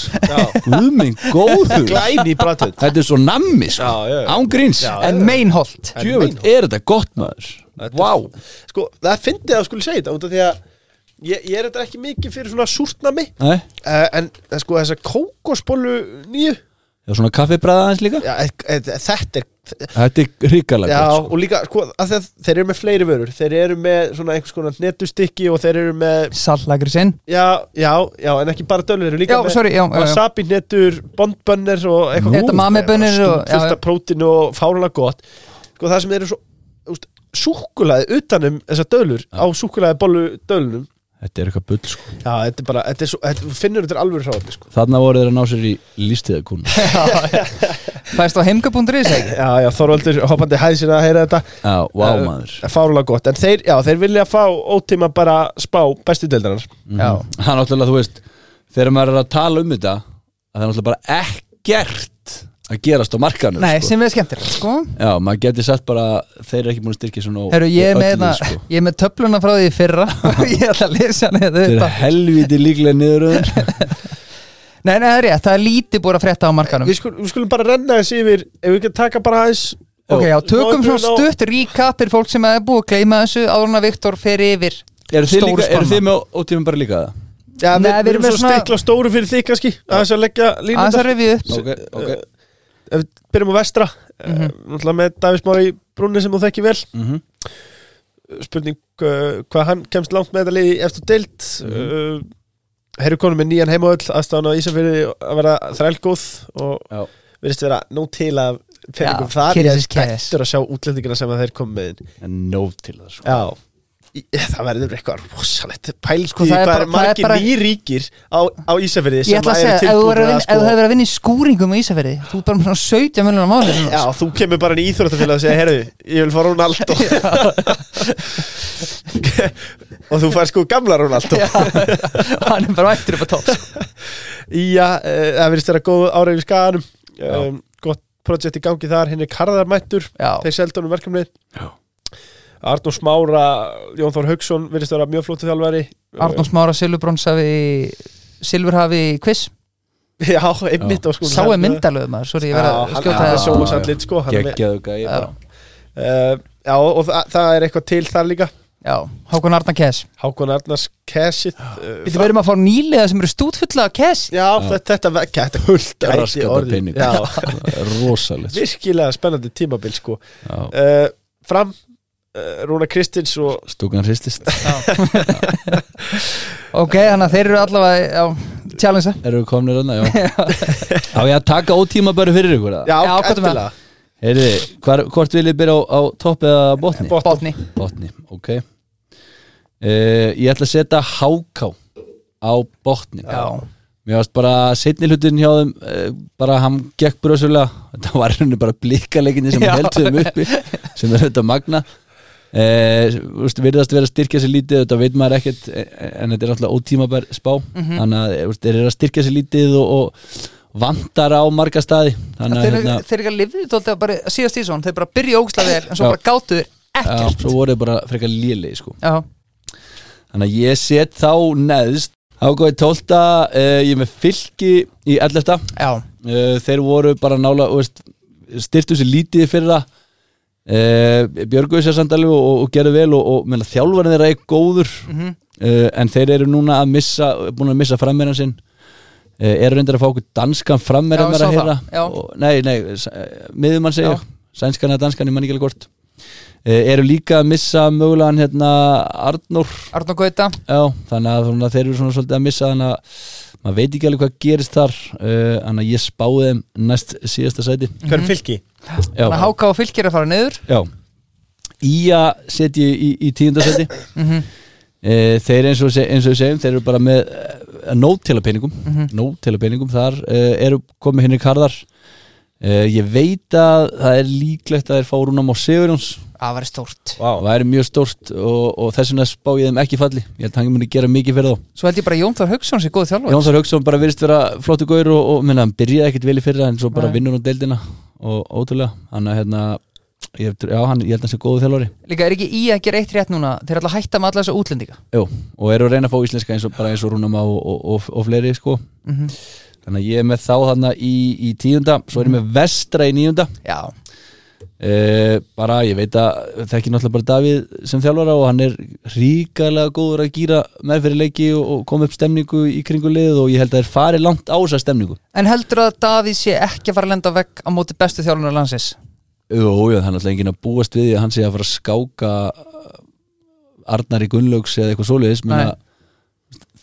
Speaker 3: Guð minn góður
Speaker 1: Glæni brættöð
Speaker 3: Þetta er svo nammi sko.
Speaker 1: Já, já, já.
Speaker 3: Án gríns
Speaker 1: Já,
Speaker 2: En meinholt
Speaker 1: En
Speaker 3: Djöfull,
Speaker 1: meinholt.
Speaker 3: er þetta gott maður
Speaker 1: Þetta er-
Speaker 3: Vá
Speaker 1: Sko, það fyndi að skuli segja þetta út af því að ég, ég er þetta ekki mikið fyrir svona súrtnami
Speaker 3: Nei,
Speaker 1: uh, en eh, sko þessa kókosbollu nýju
Speaker 3: það er svona kaffibræða aðeins líka
Speaker 1: já, e, e, þetta er
Speaker 3: Þetta er ríkalega
Speaker 1: já,
Speaker 3: gott sko.
Speaker 1: og líka sko, að þeir, þeir eru með fleiri vörur þeir eru með svona einhvers konar netustykki og þeir eru með
Speaker 2: Sallagri sinn
Speaker 1: já, já, já, en ekki bara dölur þeir eru líka
Speaker 2: Já,
Speaker 1: með
Speaker 2: sorry, já, já, já.
Speaker 1: wasabi netur, bondbönnir og eitthvað
Speaker 2: Þetta mamibönnir og- já, já.
Speaker 1: fyrsta prótin og fárulega gott sko það sem eru svo úst, súkulaði utanum þessar dölur á súkulaði bollu dölunum
Speaker 3: Þetta er eitthvað bull sko.
Speaker 1: já, þetta er bara, þetta er svo, þetta, finnur þetta er alvöru hráðni sko.
Speaker 3: Þarna voru þeir að ná sér í lístiðakún
Speaker 2: Fæst á heimgöp.is ekki
Speaker 1: já, já, Þorvaldur hoppandi hæð sinna að heyra þetta
Speaker 3: Já, vá maður
Speaker 1: fárulega gott, en þeir, já, þeir vilja fá ótíma bara spá bestu deildarinnar
Speaker 3: Mhm.
Speaker 2: Já.
Speaker 3: Það er náttúrulega, þú veist Þegar maður er að tala um þetta að Það er náttúrulega bara ekkert að gerast á markanum
Speaker 2: Nei,
Speaker 3: sko.
Speaker 2: sem við skemmtir sko.
Speaker 3: Já, maður geti sagt bara Þeir eru ekki búin að styrkja svona
Speaker 2: Heru, ég, er með,
Speaker 3: það
Speaker 2: sko. ég er með töfluna frá því í fyrra og ég ætla að lesa hann þetta
Speaker 3: Þeir
Speaker 2: upp
Speaker 3: eru
Speaker 2: af-
Speaker 3: helviti líklega niður öðun
Speaker 2: Nei, nei, það er rétt, það er lítið búið að frétta á markanum
Speaker 1: við, skul, við skulum bara renna þessi yfir ef við ekki taka bara aðeins
Speaker 2: Ok, já, tökum
Speaker 1: Ná-
Speaker 2: svo
Speaker 1: ná-
Speaker 2: stutt recap fyrir fólk sem er búið að gleyma þessu áður en að Viktor fer yfir
Speaker 3: Eru þið,
Speaker 2: stóru
Speaker 3: líka, eru
Speaker 2: spanna.
Speaker 3: þið með ótímum bara líka það?
Speaker 1: já, við,
Speaker 2: Nei,
Speaker 1: við erum svo svona... stikla stóru fyrir þig kannski aðeins að leggja
Speaker 2: Aðeins að
Speaker 1: línundar
Speaker 2: revið upp
Speaker 3: Ok, ok
Speaker 1: ef við byrjum á vestra mm
Speaker 2: Mhm.
Speaker 1: náttúrulega með Davís Már í brúnni sem þú þekki vel
Speaker 3: mm -hmm.
Speaker 1: spurning uh, hvað hann kemst langt með þetta liði eftir deilt mm.
Speaker 2: Mhm.
Speaker 1: uh, herru konum með nýjan heimavöll aðstæðan á Ísafyrði að vera þrælgóð og
Speaker 3: Já.
Speaker 1: virðist vera nóg til að peningum
Speaker 2: Já,
Speaker 1: þar
Speaker 2: kyrrðis
Speaker 1: ég er
Speaker 2: is kyrrðis.
Speaker 1: spettur að sjá útlendingina sem að þeir kom með inn.
Speaker 3: En nóg til það sko
Speaker 1: já Í- eh, það verður eitthvað rosalegt pæl sko,
Speaker 2: það
Speaker 1: því hvað
Speaker 2: er bara-
Speaker 1: er
Speaker 2: það er
Speaker 1: margir
Speaker 2: bara-
Speaker 1: nýríkir á, á Ísafyrði
Speaker 2: Ég
Speaker 1: sem
Speaker 2: ætla að
Speaker 1: eru
Speaker 2: segja, ef þú hefur
Speaker 1: tilbúin
Speaker 2: verið
Speaker 1: að sko
Speaker 2: að vinna í skúringum á Ísafirði Þú er bara með svona 17 miljonar máli
Speaker 1: já, þú kemur bara inn í íþróttafélag og segja herru, ég vil fá Ronaldo og þú fær sko gamla Ronaldo
Speaker 2: Hann er bara vættur upp á topp sko.
Speaker 1: Já, eh, það verðist vera góð árið í skaganum um, Gott projekt í gangi þar Henrik Harðar mættur,
Speaker 2: Já.
Speaker 1: þeir seldunum verkefnið
Speaker 3: Já.
Speaker 1: Arnór Smára Jón Þór Hauksson verðist vera mjög flóttu þjálfari
Speaker 2: Arnór Smára Silvurbronsafi Silvurhafi quiz
Speaker 1: Já, einmitt á sko
Speaker 2: Sá er myndalögum maður, sorry, ég
Speaker 1: Já,
Speaker 2: verið að
Speaker 1: hann
Speaker 2: skjóta
Speaker 1: hann er
Speaker 3: Já,
Speaker 2: það
Speaker 3: svo-
Speaker 1: sjóma
Speaker 3: já.
Speaker 1: sannleitt sko hann er með-
Speaker 3: Geggjaðu gæði bara
Speaker 1: Eh, Já, og það, það er eitthvað til þar líka
Speaker 2: Já, Hákon Arna Kess
Speaker 1: Hákon Arnars eh, Kessið
Speaker 2: Við verðum að fá nýlega sem eru stútfulla af Kess
Speaker 1: Já, þetta, þetta, ve- þetta hult gæti
Speaker 3: Raskata
Speaker 1: orðið.
Speaker 3: pening
Speaker 1: Já,
Speaker 3: Rosalegt sko.
Speaker 1: virkilega spennandi tímabil sko
Speaker 3: Já.
Speaker 1: uh, Fram uh, Rúna Kristins og
Speaker 3: Stúkan hristist
Speaker 2: Ok, þannig að þeir eru allavega já, challenge
Speaker 3: Erum við komnir annað, já Á ég að taka ótíma bara fyrir ykkur það
Speaker 1: Já,
Speaker 2: Já, hvað er með
Speaker 1: endilega.
Speaker 3: Heyriði, hvar, hvort vil ég byrja á, á topp eða botni?
Speaker 1: Botn.
Speaker 2: Botni
Speaker 3: Botni, ok uh, Ég ætla að setja háká á botni
Speaker 2: Já,
Speaker 3: Mér varst bara setni hlutin hjá þeim uh, bara hann gekk bröðsölega þetta var henni bara blíkaleginni sem
Speaker 2: Já.
Speaker 3: helduðum uppi sem er þetta magna uh, úst, virðast vera að styrkja sér lítið þetta veit maður ekkert eh, en þetta er alltaf ótímabær spá
Speaker 2: Mhm.
Speaker 3: þannig að eh, úst, þeir eru að styrkja sér lítið og, og vantar á marga staði þannig að
Speaker 2: þeir
Speaker 3: hérna,
Speaker 2: þeir ekki að lifið Þóldi að bara síðast í svona Þeir bara byrja ógslag vel En svo
Speaker 3: Já.
Speaker 2: bara gátu þeir
Speaker 3: já,
Speaker 2: ekkert
Speaker 3: svo voru þeir bara frekar lélegi sko
Speaker 2: Já,
Speaker 3: Þannig að ég set þá neðst Ágóði 12. Uh, ég er með fylki í 11.
Speaker 2: já,
Speaker 3: Uh, þeir voru bara nála veist, styrtu sér lítið fyrir það uh, Björguðu sér samt alveg og, og gerðu vel og, og meðla, þjálfarinn þeirra er góður
Speaker 2: mhm.
Speaker 3: uh, en þeir eru núna að missa búin að missa frammeran sinn uh, eru reyndar að fá okkur danskan
Speaker 2: Já,
Speaker 3: frammeran
Speaker 2: ég
Speaker 3: mér
Speaker 2: sá
Speaker 3: að heyra
Speaker 2: það, já.
Speaker 3: og, nei, nei, s- eh, miðjumann segja
Speaker 2: Já.
Speaker 3: sænskan eða danskan, ég man ekki alveg hvort uh, eru líka að missa mögulegan hérna, Arnór
Speaker 2: Arnór Gauta
Speaker 3: Já, þannig að svona, þeir eru svona svolítið að missa þannig að maður veit ekki alveg hvað gerist þar uh, þannig að ég spáði þeim næst síðasta sæti
Speaker 1: Hver
Speaker 2: Mhm.
Speaker 1: er fylki?
Speaker 3: Já,
Speaker 2: Þannig að Háka og Fylkir er að fara niður
Speaker 3: já. Ía set ég í, í tíunda sæti
Speaker 2: Mhm.
Speaker 3: uh, Þeir eins og, se- eins og við segjum þeir eru bara með uh, nóg til að peningum nóg til að peningum þar uh, eru komið henni karðar uh, Ég veit að það er líklegt að þeir fá rúnum á Sigurjóns
Speaker 2: Það var stórt
Speaker 1: Vá
Speaker 3: það er mjög stórt og, og þess vegna spá ég þeim ekki falli ég held að hann muni gera mikið fyrir þá
Speaker 2: Svo held ég bara að Jón Þór Hauksson sé góð þjálfur
Speaker 3: Jón Þór Hauksson bara virðist vera flottu gaur og, og minna, hann byrjaði ekkit vel í fyrra en svo bara
Speaker 2: Nei.
Speaker 3: vinnur á deildina og ótrúlega hann að hérna ég, já, hann, ég held að hann sé góðu þjálfari
Speaker 2: Líka er ekki í að gera eitt rétt núna Þeir er alltaf að hætta með alla þessu útlendinga
Speaker 3: Jú, og eru að reyna að fá íslenska eins og bara eins og Rúnamá og, og, og, og fleiri sko.
Speaker 2: mm
Speaker 3: þannig að ég er með þá þarna í, í tíunda svo er ég með vestra í níunda
Speaker 2: Já,
Speaker 3: e, bara ég veit að þekki náttúrulega bara Davíð sem þjálfara og hann er ríkalega góður að gýra með fyrir leiki og, og koma upp stemningu í kringu liðið og ég held að þeir fari langt á þessa stemningu
Speaker 2: en heldur að Davíð sé ekki að fara að lenda á vegg á móti bestu þjálfunar landsins
Speaker 3: Jú, jú, það er náttúrulega enginn að búast við því að hann sé að fara að skáka Arnari Gunnlaugs eða eitthvað svoleiðis menna,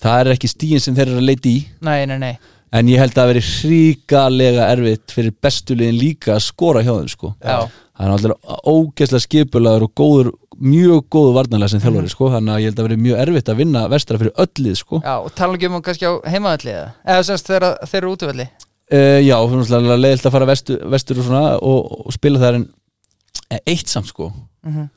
Speaker 3: það er ekki stíin sem þeir eru að leita í
Speaker 2: Nei, nei, nei
Speaker 3: en ég held að það veri hríkalega erfitt fyrir bestu liðin líka að skora hjá þeim sko.
Speaker 2: Já.
Speaker 3: það er náttúrulega ógeðslega skipulaður og góður, mjög góður varnarlega sem þjálfari sko. þannig að ég held að það veri mjög erfitt að vinna vestra fyrir öllið sko.
Speaker 2: Já, og tala ekki um hann kannski á heimaðalli eða Eða semst þeirra, þeirra útvöldi
Speaker 3: Uh, já, það er náttúrulega leiðilt að fara vestur, vestur og, svona, og, og spila þar en en eitt samt sko
Speaker 2: Mhm.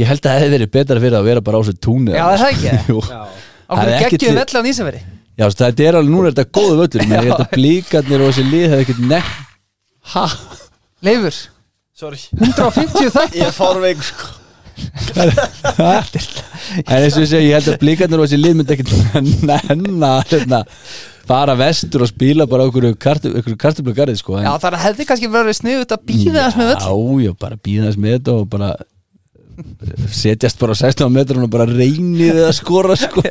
Speaker 3: Ég held að það hefði verið betra fyrir að vera bara á sér túnið
Speaker 2: Já, er það ekki?
Speaker 3: sko. Jú.
Speaker 2: Á
Speaker 3: Það er
Speaker 2: hverju
Speaker 3: ekki
Speaker 2: geggjum
Speaker 3: til-
Speaker 2: velli á nýsaferi
Speaker 3: Já, þessi, þetta er alveg, núna er þetta góðu völlur menn ég held að blíkarnir og þessi lið hefði ekkert nefn Ha?
Speaker 2: Leifur,
Speaker 1: Sorry
Speaker 2: 150 þætt
Speaker 1: Ég er fárveik sko
Speaker 3: En eins og ég segi, ég held að blíkarnir og þessi lið myndi ekkert nenn að hérna, fara vestur og spila bara okkur kartublugarið sko en,
Speaker 2: Já, þannig að hefði kannski verið sniðut að býða þess með völl
Speaker 3: Já, já, bara býða þess með þetta og bara eh, setjast bara á 16 metrun og bara reynið að skora sko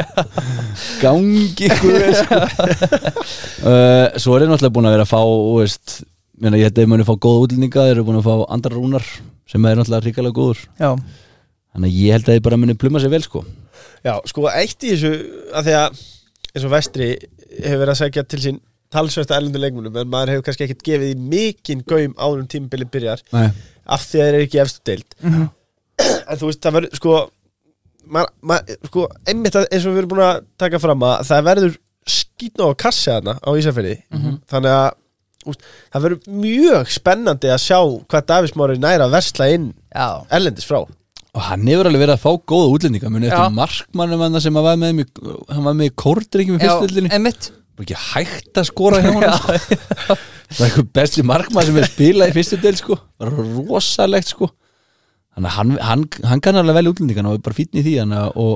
Speaker 3: gangi ykkur við, sko. uh, Svo er ég náttúrulega búin að vera að fá þú veist, meina, ég hefði muni að fá góða útlendinga þeir eru búin að fá andra rúnar sem er náttúrulega ríkalega góður
Speaker 2: Já,
Speaker 3: þannig að ég held að þeir bara muni pluma sér vel sko
Speaker 1: Já, sko, eitt í þessu að því að eins og vestri hefur verið að segja til sín talsvæsta erlendu leikmunum en maður hefur kannski ekkert gefið í mikinn gaum árum tímabilið byrjar
Speaker 3: Nei.
Speaker 1: af því að þeir eru ekki í efstu deild en þú veist, það verður sko maður, maður, sko, einmitt að, eins og við erum búin að taka fram að það verður skýtna á kassi þarna á Ísafirði þannig að úst, það verður mjög spennandi að sjá hvað Davís Mári næra að versla inn
Speaker 2: já
Speaker 1: erlendis frá
Speaker 3: og hann hefur alveg verið að fá góða útlendinga muni
Speaker 2: Já.
Speaker 3: eftir markmannum hann sem að var með, mig, hann var með í kórdryggjum í
Speaker 2: Já,
Speaker 3: fyrstöldinni
Speaker 2: einmitt
Speaker 3: bara ekki hægt að skora hjá hann sko. það er eitthvað besti markmann sem er spilað í fyrstu del sko bara rosalegt sko þannig að hann, hann, hann kann alveg vel útlendingan og er bara fínn í því þannig að og,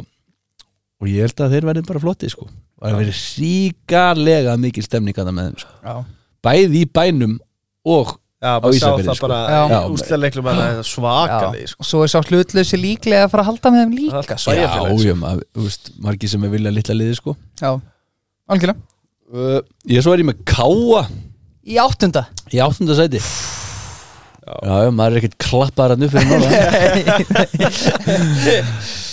Speaker 3: og ég held að þeir verði bara flotti sko og það verið síkarlega mikil stemning að það með þeim sko
Speaker 2: Já,
Speaker 3: bæði í bænum og
Speaker 1: Já,
Speaker 3: Á
Speaker 1: maður sá
Speaker 3: Ísafirði,
Speaker 1: það
Speaker 3: sko.
Speaker 1: bara
Speaker 2: Já.
Speaker 1: úslega leiklum að það er svakalegi sko.
Speaker 2: og svo er sá hlutleysi líklega að fara að halda með þeim líka
Speaker 1: Það er
Speaker 3: já,
Speaker 1: bæjarfélag, sko.
Speaker 3: já, maður, þú veist, margir sem er vilja litla liði sko
Speaker 2: Já, algjörlega
Speaker 3: uh, ég svo er ég með káa
Speaker 2: Í áttunda
Speaker 3: í áttunda sæti já, já, maður er ekkert klappar hann upp fyrir norðan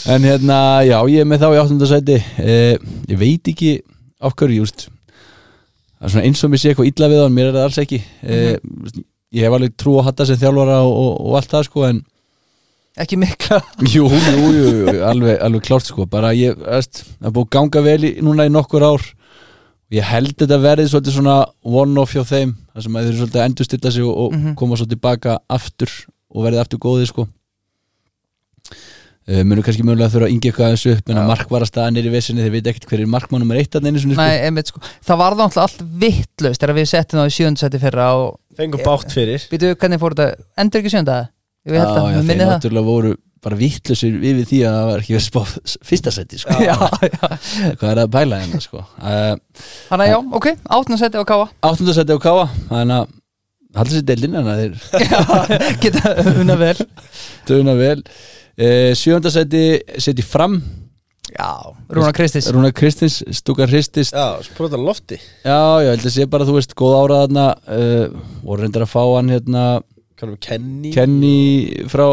Speaker 3: En hérna, já, ég er með þá í áttunda sæti eh, Ég veit ekki af hverju, just Það er svona eins og mér sé eitthvað illa við hann, mér er það alls ekki eh, Ég hef alveg trú að hatta sem þjálfara og, og, og allt það, sko, en
Speaker 2: Ekki mikla
Speaker 3: Jú, jú, jú, jú alveg, alveg klárt, sko Bara ég, veist, það er búið að ganga vel í, núna í nokkur ár Ég held þetta verið svolítið svona one-off hjá þeim Það sem að þeir eru svolítið að endurstilla sig og, og
Speaker 2: Mhm.
Speaker 3: koma svo tilbaka aftur og verðið aftur góðið, sko Uh, munu kannski mögulega þurfa að yngja eitthvað aðeins upp en að
Speaker 2: Já.
Speaker 3: markvarastaðan er í vesinni, þeir veit ekkert hver er markmann nummer eitt að neini sinni sko.
Speaker 2: Nei, einmitt sko Það var það alltaf allt vittlaust þegar við settum það í sjöndasæti fyrra og
Speaker 1: Fengum bátt fyrir
Speaker 2: býtu hvernig fór þetta endur ekki sjönda Ég held
Speaker 3: Já,
Speaker 2: að
Speaker 3: já,
Speaker 2: við
Speaker 3: þeir
Speaker 2: minni það
Speaker 3: náttúrulega voru bara vittlusir yfir því að það var ekki verið spáð s- fyrsta seti sko.
Speaker 2: Já, já
Speaker 3: hvað er að pæla hérna sko. uh,
Speaker 2: Þannig að já, ok, áttunda sæti og káa
Speaker 3: áttunda seti á Káa þannig að haldið sér deildin þannig að þeir
Speaker 2: Já, geta unna vel
Speaker 3: dögna vel uh, sjönda seti seti fram
Speaker 2: Já, Rúna Kristins
Speaker 3: Rúna Kristins, Stúkan Hristist
Speaker 1: Já, sprota lofti
Speaker 3: já, já, held að sé bara, þú veist, góð ára þarna uh, og reyndar að fá hann hérna
Speaker 1: Kallum við Kenny
Speaker 3: Kenny frá,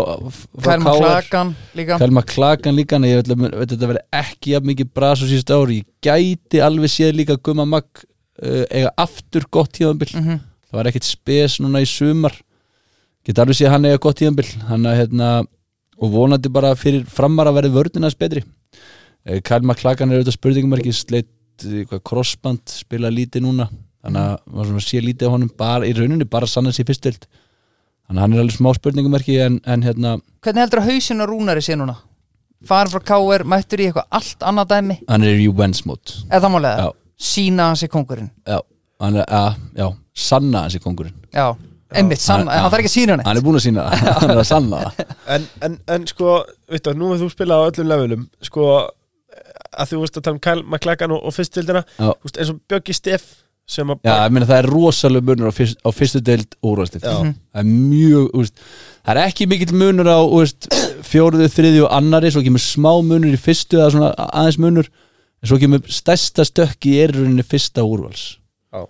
Speaker 3: frá
Speaker 2: Kælma
Speaker 3: KR.
Speaker 2: Klakan líka
Speaker 3: Kalma Klakan líka en ég veit að veit að þetta verði ekki jafn mikið bras á síðust ári, ég gæti alveg séð líka Gumma Magg uh, eiga aftur gott tíðanbill,
Speaker 2: Mhm.
Speaker 3: það var ekkit spes núna í sumar geta alveg séð hann eiga gott tíðanbill hann að hérna, og vonandi bara fyrir framar að verði vörðinans betri uh, Kalma Klakan er auðvitað spurningumarki sleitt eh, hvað crossband spila lítið núna þannig að maður svona sé lítið á honum bara, í rauninni bara sannan sér fyrstild þannig að hann er alveg smá spurningumarki en, en hérna
Speaker 2: Hvernig heldur að hausin og Rúnari sé núna? Farin frá káir, mættur í eitthvað allt annað dæmi
Speaker 3: hann er í Wens mót
Speaker 2: Eða það málega
Speaker 3: Já.
Speaker 2: Sína hans í kongurinn
Speaker 3: já, hann er, að, já, sanna hans í kongurinn
Speaker 2: Já, einmitt, sanna,
Speaker 3: Já.
Speaker 2: hann þarf ekki að sína hann
Speaker 3: hann er búin að sína það, hann er að sanna það
Speaker 1: en, en, en sko, Vittu, nú hefur þú spilað á öllum levelum sko, að þú veist að tala um Kyle McLagan og, og fyrstildina
Speaker 3: Já.
Speaker 1: Þú veist, eins og Bjöggi Steff sem að
Speaker 3: Já, ég meina það er rosalega munur á, fyrst, á fyrstu deild og úrvalstild
Speaker 1: Já.
Speaker 2: Mhm.
Speaker 3: Það er mjög, úrst, það er ekki mikill munur á úrst, fjóruðu, þriðju og annari svo kemur smá munur í fyrstu eða svona a- aðeins munur en svo kemur stærsta stökki í erurinni fyrsta og úrvals
Speaker 1: Já.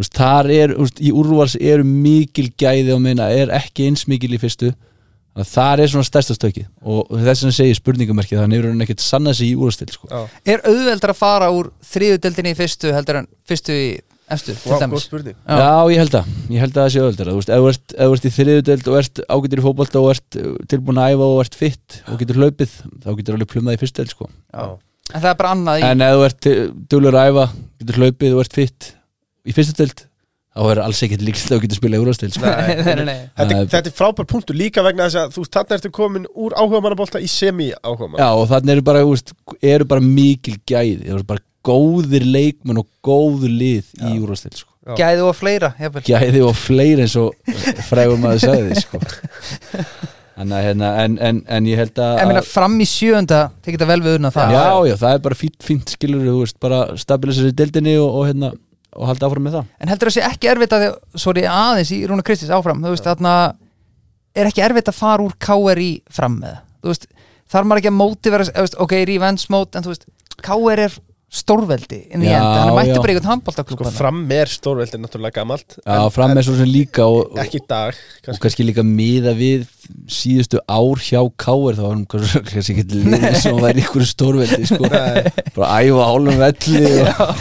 Speaker 3: úrst, Þar er, úrst, í úrvals eru mikil gæði á minna, er ekki eins mikil í fyrstu Þannig að þar er svona stærsta stökki og þess að segja spurningamerki þannig er hann ekkert sannað sig í úrvalstild sko.
Speaker 1: Já,
Speaker 2: er auðveldar að fara úr þriðudeldinni í fyrstu heldur en fyrstu í efstu til
Speaker 1: Vá, góð
Speaker 2: dæmis
Speaker 1: spurning
Speaker 2: Já.
Speaker 3: Já. ég held að, ég held að það sé öðvöldara Þú veist, ef þú ert, ef þú ert í þriðudeld og ert ágættur í fótbolta og ert uh, tilbúin að æfa og ert fitt og getur hlaupið þá getur alveg plumað í fyrstu deild sko
Speaker 2: Já. en það er bara annað í
Speaker 3: En ef þú ert dölur að æfa, getur hlaupið og ert fitt í fyrstu deild þá er alls ekkert líkst að þú getur spilað í úrvastil sko.
Speaker 1: Nei,
Speaker 2: nei, nei, nei.
Speaker 1: Þetta,
Speaker 3: Nei.
Speaker 1: þetta er frábær punktur líka vegna þess að þú veist, þarna ertu komin úr áhugamannabólta í semi-áhugamann
Speaker 3: Já, og þannig eru bara, þú veist, eru bara mikil gæði það eru bara góðir leikmenn og góð lið í úrvastil sko.
Speaker 1: Já.
Speaker 2: gæði og fleira jafnvel.
Speaker 3: gæði og fleiri eins og frægur maður sagði sko. Þannig að, hérna, en, en, en ég held að
Speaker 2: en minna fram í sjönda tekið þetta vel við unna það
Speaker 3: já, já, það er bara fínt, fínt skilur þú veist, bara stabilisa sér í deildinni og, og, hérna, og halda áfram með það
Speaker 2: en heldur það sé ekki erfitt að þið, sorry, aðeins í Rúna Kristins áfram, þú veist, þarna er ekki erfitt að fara úr KRI fram með það, þú veist, þarf maður ekki að móti vera, veist, ok, revenge mode, en þú veist KR er stórveldi inn í
Speaker 3: Já,
Speaker 2: enda, hann mætti
Speaker 3: já.
Speaker 2: bara í einhvern handbóltaklúb
Speaker 1: Sko, fram er stórveldi náttúrulega gamalt
Speaker 3: Já, fram með svo sem líka og, og,
Speaker 1: ekki í dag
Speaker 3: og
Speaker 1: kannski.
Speaker 3: kannski líka miða við síðustu ár hjá Káir þá var hann kannski kannski ekki liðið sem hann væri ykkur stórveldi sko. bara æfa hálfum velli og,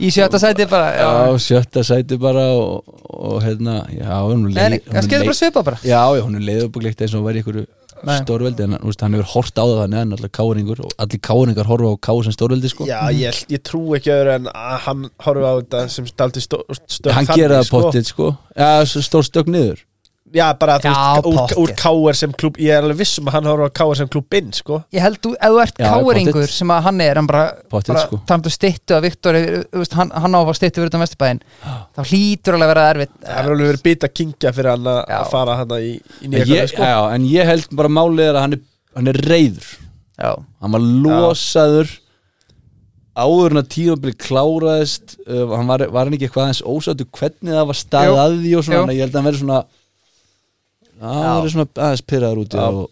Speaker 2: í sjötta sæti bara,
Speaker 3: já,
Speaker 2: já,
Speaker 3: sjötta sæti bara og, og hérna, já, hún
Speaker 2: nei, nei,
Speaker 3: leið hún
Speaker 2: kannski er
Speaker 3: leið-
Speaker 2: það bara svipa bara
Speaker 3: Já, já, hún er leiðubuglegt eins og hún væri ykkur
Speaker 2: Nei.
Speaker 3: stórveldi en hann, þú veist, hann hefur hort á það þannig að hann er alltaf káringur og allir káringar horfa á káur sem stórveldi sko.
Speaker 1: Já, ég, ég trú ekki öðru en að hann horfa á þetta sem daldi stöð
Speaker 3: hann gera það pottitt sko ja, stór stökk niður
Speaker 1: Já, bara þú
Speaker 2: Já,
Speaker 1: veist,
Speaker 2: pottþétt.
Speaker 1: úr, úr káar sem klub Ég er alveg viss um að hann horfa á káar sem klub inn, sko
Speaker 2: ég held þú, ef þú ert
Speaker 3: Já,
Speaker 2: káringur
Speaker 3: pottet.
Speaker 2: sem að hann er, hann bara,
Speaker 3: Pottet,
Speaker 2: bara
Speaker 3: sko.
Speaker 2: tamt og stittu að Viktor, hann, hann á að fá stittu fyrir utan Vesturbæinn, þá hlýtur alveg að vera erfitt
Speaker 1: Það verður alveg verið bita kingja fyrir hann að
Speaker 2: Já.
Speaker 1: að fara hann í, í
Speaker 3: en
Speaker 1: nýja
Speaker 3: ég,
Speaker 1: hverfi, sko
Speaker 3: já, en ég held bara málið er að hann er, hann er reyður
Speaker 2: já,
Speaker 3: hann var losaður áður en að tímabili kláraðist uh, hann var, var hann ekki eitthvað aðeins ósáttu hvernig það var
Speaker 2: Jú.
Speaker 3: staðið að því og
Speaker 2: Jú.
Speaker 3: svona þannig að ég held að hann verið svona að hann
Speaker 2: Já.
Speaker 3: verið svona aðeins pyrraður úti
Speaker 1: Já.
Speaker 3: og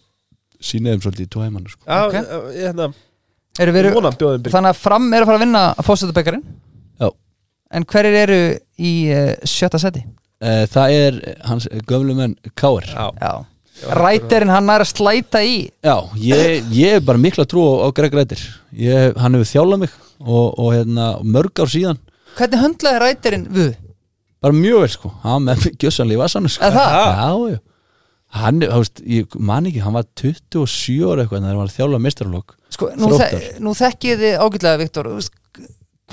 Speaker 3: sínaði um svolítið í tvæmann sko.
Speaker 1: Já,
Speaker 2: Ok.
Speaker 1: okay. ég hérna,
Speaker 2: eru
Speaker 1: ég
Speaker 2: verið
Speaker 1: vona hann bjóðum byrja
Speaker 2: Þannig að fram er að fara að vinna fósöldabekkarinn
Speaker 3: Já.
Speaker 2: En hverjir eru í uh, sjötta seti?
Speaker 3: uh, það er hans eh, gömlu menn Káir
Speaker 1: Já,
Speaker 2: Já Ræterinn hann er að slæta í
Speaker 3: Já, ég, ég er bara mikla trú á, á Greg Rættir ég, Hann hefur þjálað mig og, og hérna, mörg ár síðan
Speaker 2: Hvernig höndlaði ræterinn við?
Speaker 3: bara mjög vel sko, hann með gjössanlega í vassanu sko.
Speaker 2: Er það?
Speaker 3: Já, já Hann, þú veist, ég man ekki, hann var 27 ára eitthvað en það var að þjála mestarlokk
Speaker 2: Sko, nú, þe
Speaker 3: Þróttar.
Speaker 2: nú þekkið þið ágætlega, Viktor Þú veist,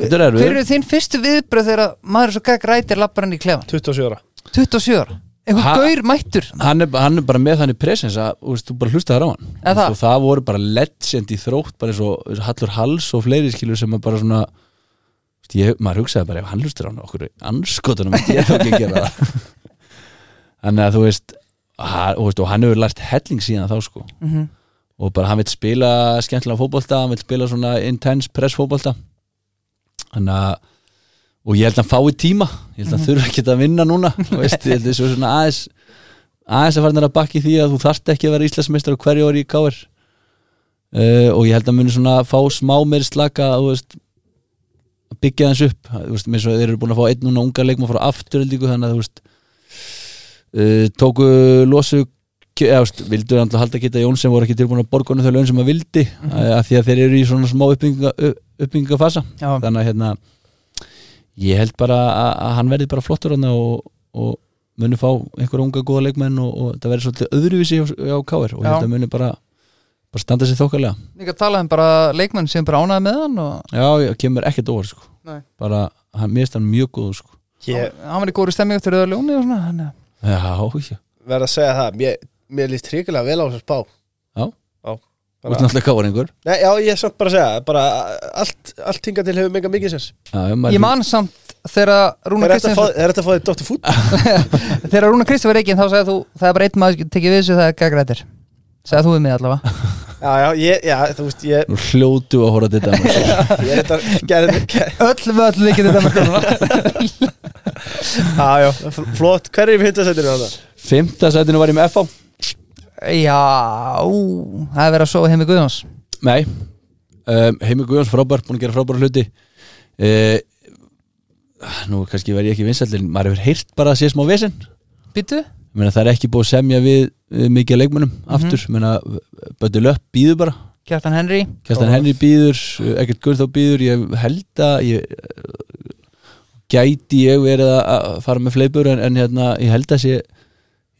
Speaker 3: Þetta er
Speaker 2: Hver eru
Speaker 3: erfið
Speaker 2: þín fyrstu viðbröð þegar maður er svo gæk rætir lappar hann í klefan?
Speaker 1: 27 ára
Speaker 2: 27 ára
Speaker 3: Ha-
Speaker 2: Einhver gaur mættur
Speaker 3: hann er, hann er bara með þannig presens að þú veist, þú bara hlustaðar á hann
Speaker 2: Er það?
Speaker 3: og það voru bara legend í þrótt bara eins og eins og Hallur Hals og fleiri skilur sem að bara svona þú veist, ég, maður hugsaði bara ef hann hlustar á hann okkur anskotunum að ég þá ekki að gera það þannig að þú veist, hann, þú veist og hann hefur lært helling síðan þá sko
Speaker 2: Mhm.
Speaker 3: og bara hann vil spila skemmtilega fótbolta hann vil spila svona intense press fótbolta þannig að og ég held að hann fái tíma
Speaker 2: Mhm.
Speaker 3: ég held að hann þurfa ekki að vinna núna þú veist, ég held að þessu svona aðeins aðeins að fara þarna að bakki því að þú þarft ekki að vera Íslandsmeistar og hverju ári í káir uh, og ég held að muni svona fá smá meiri slaka þú veist, að byggja þess upp þú veist, minnst og þeir eru búin að fá einn núna unga leikma frá afturöldingu þannig að þú veist uh, tóku losu eða, þú veist, vildu alltaf halda geta Jón sem voru ekki tilbúin að borgunum þau laun sem að vildi mm að því að þeir eru í svona smá uppbygginga, uppbyggingafasa
Speaker 2: Já.
Speaker 3: þannig að hérna ég held bara að, að hann verði bara flottur hann og, og muni fá einhverja unga góða leikmenn og, og það verði svolítið öðruvísi á, á KR og ég held
Speaker 2: Já.
Speaker 3: að muni bara, bara standa sér þókalega
Speaker 2: Líka talaði um bara leikmann sem bara ánaði með hann og
Speaker 3: já, ég kemur ekkert óvart sko.
Speaker 2: Nei.
Speaker 3: bara, hann, mér finnst hann mjög góð sko.
Speaker 1: Ég
Speaker 2: hann var í góru stemmingu til Rauða Ljóni og svona eh, hann,
Speaker 3: já, já
Speaker 1: verð að segja það Mér, mér líst hrikilega vel á þess að spá
Speaker 3: Já.
Speaker 1: Já.
Speaker 3: Þú ert náttúrulega káringur
Speaker 1: Nei, já, ég er samt bara að segja bara, allt, allt hinga til hefur mega mikið sens
Speaker 2: Ég man samt þegar Rúna
Speaker 1: Er þetta
Speaker 2: Kristins
Speaker 1: að fá- er þetta að fá þig Dr. Food?
Speaker 2: Þegar Rúna Kristins var reikinn þá sagði þú Það er bara einn maður sem tekið við þessu það er gagrættir Segði þú við mig allavega
Speaker 1: Já, já, ég, já, þú veist, ég,
Speaker 3: Nú hljótu að horfa til þetta maður.
Speaker 1: ég er þetta gerði, gerði,
Speaker 2: Öll völl líkið þetta með krónuna
Speaker 1: já, já, fl- flott, hver er í hundasettinu hann?
Speaker 3: Fimmta sætinu var ég með FH
Speaker 2: Já, ú, það er verið að sofa heim í Guðjóns
Speaker 3: Nei um, Heimi Guðjóns frábær, búin að gera frábæra hluti uh, Nú kannski verð ég ekki vinsællin Maður hefur heyrt bara að sé smá vesinn
Speaker 2: Býtu?
Speaker 3: Meina, Það er ekki búið að semja við, við mikið af leikmönnum aftur Meina, Böndi Löpp býður bara
Speaker 2: Kjartan Henry
Speaker 3: Kjartan Henry býður, ekkert Guðn þá býður Ég held að ég, eh, Gæti ég verið að- að fara með fleipur En, en hérna, ég held að sé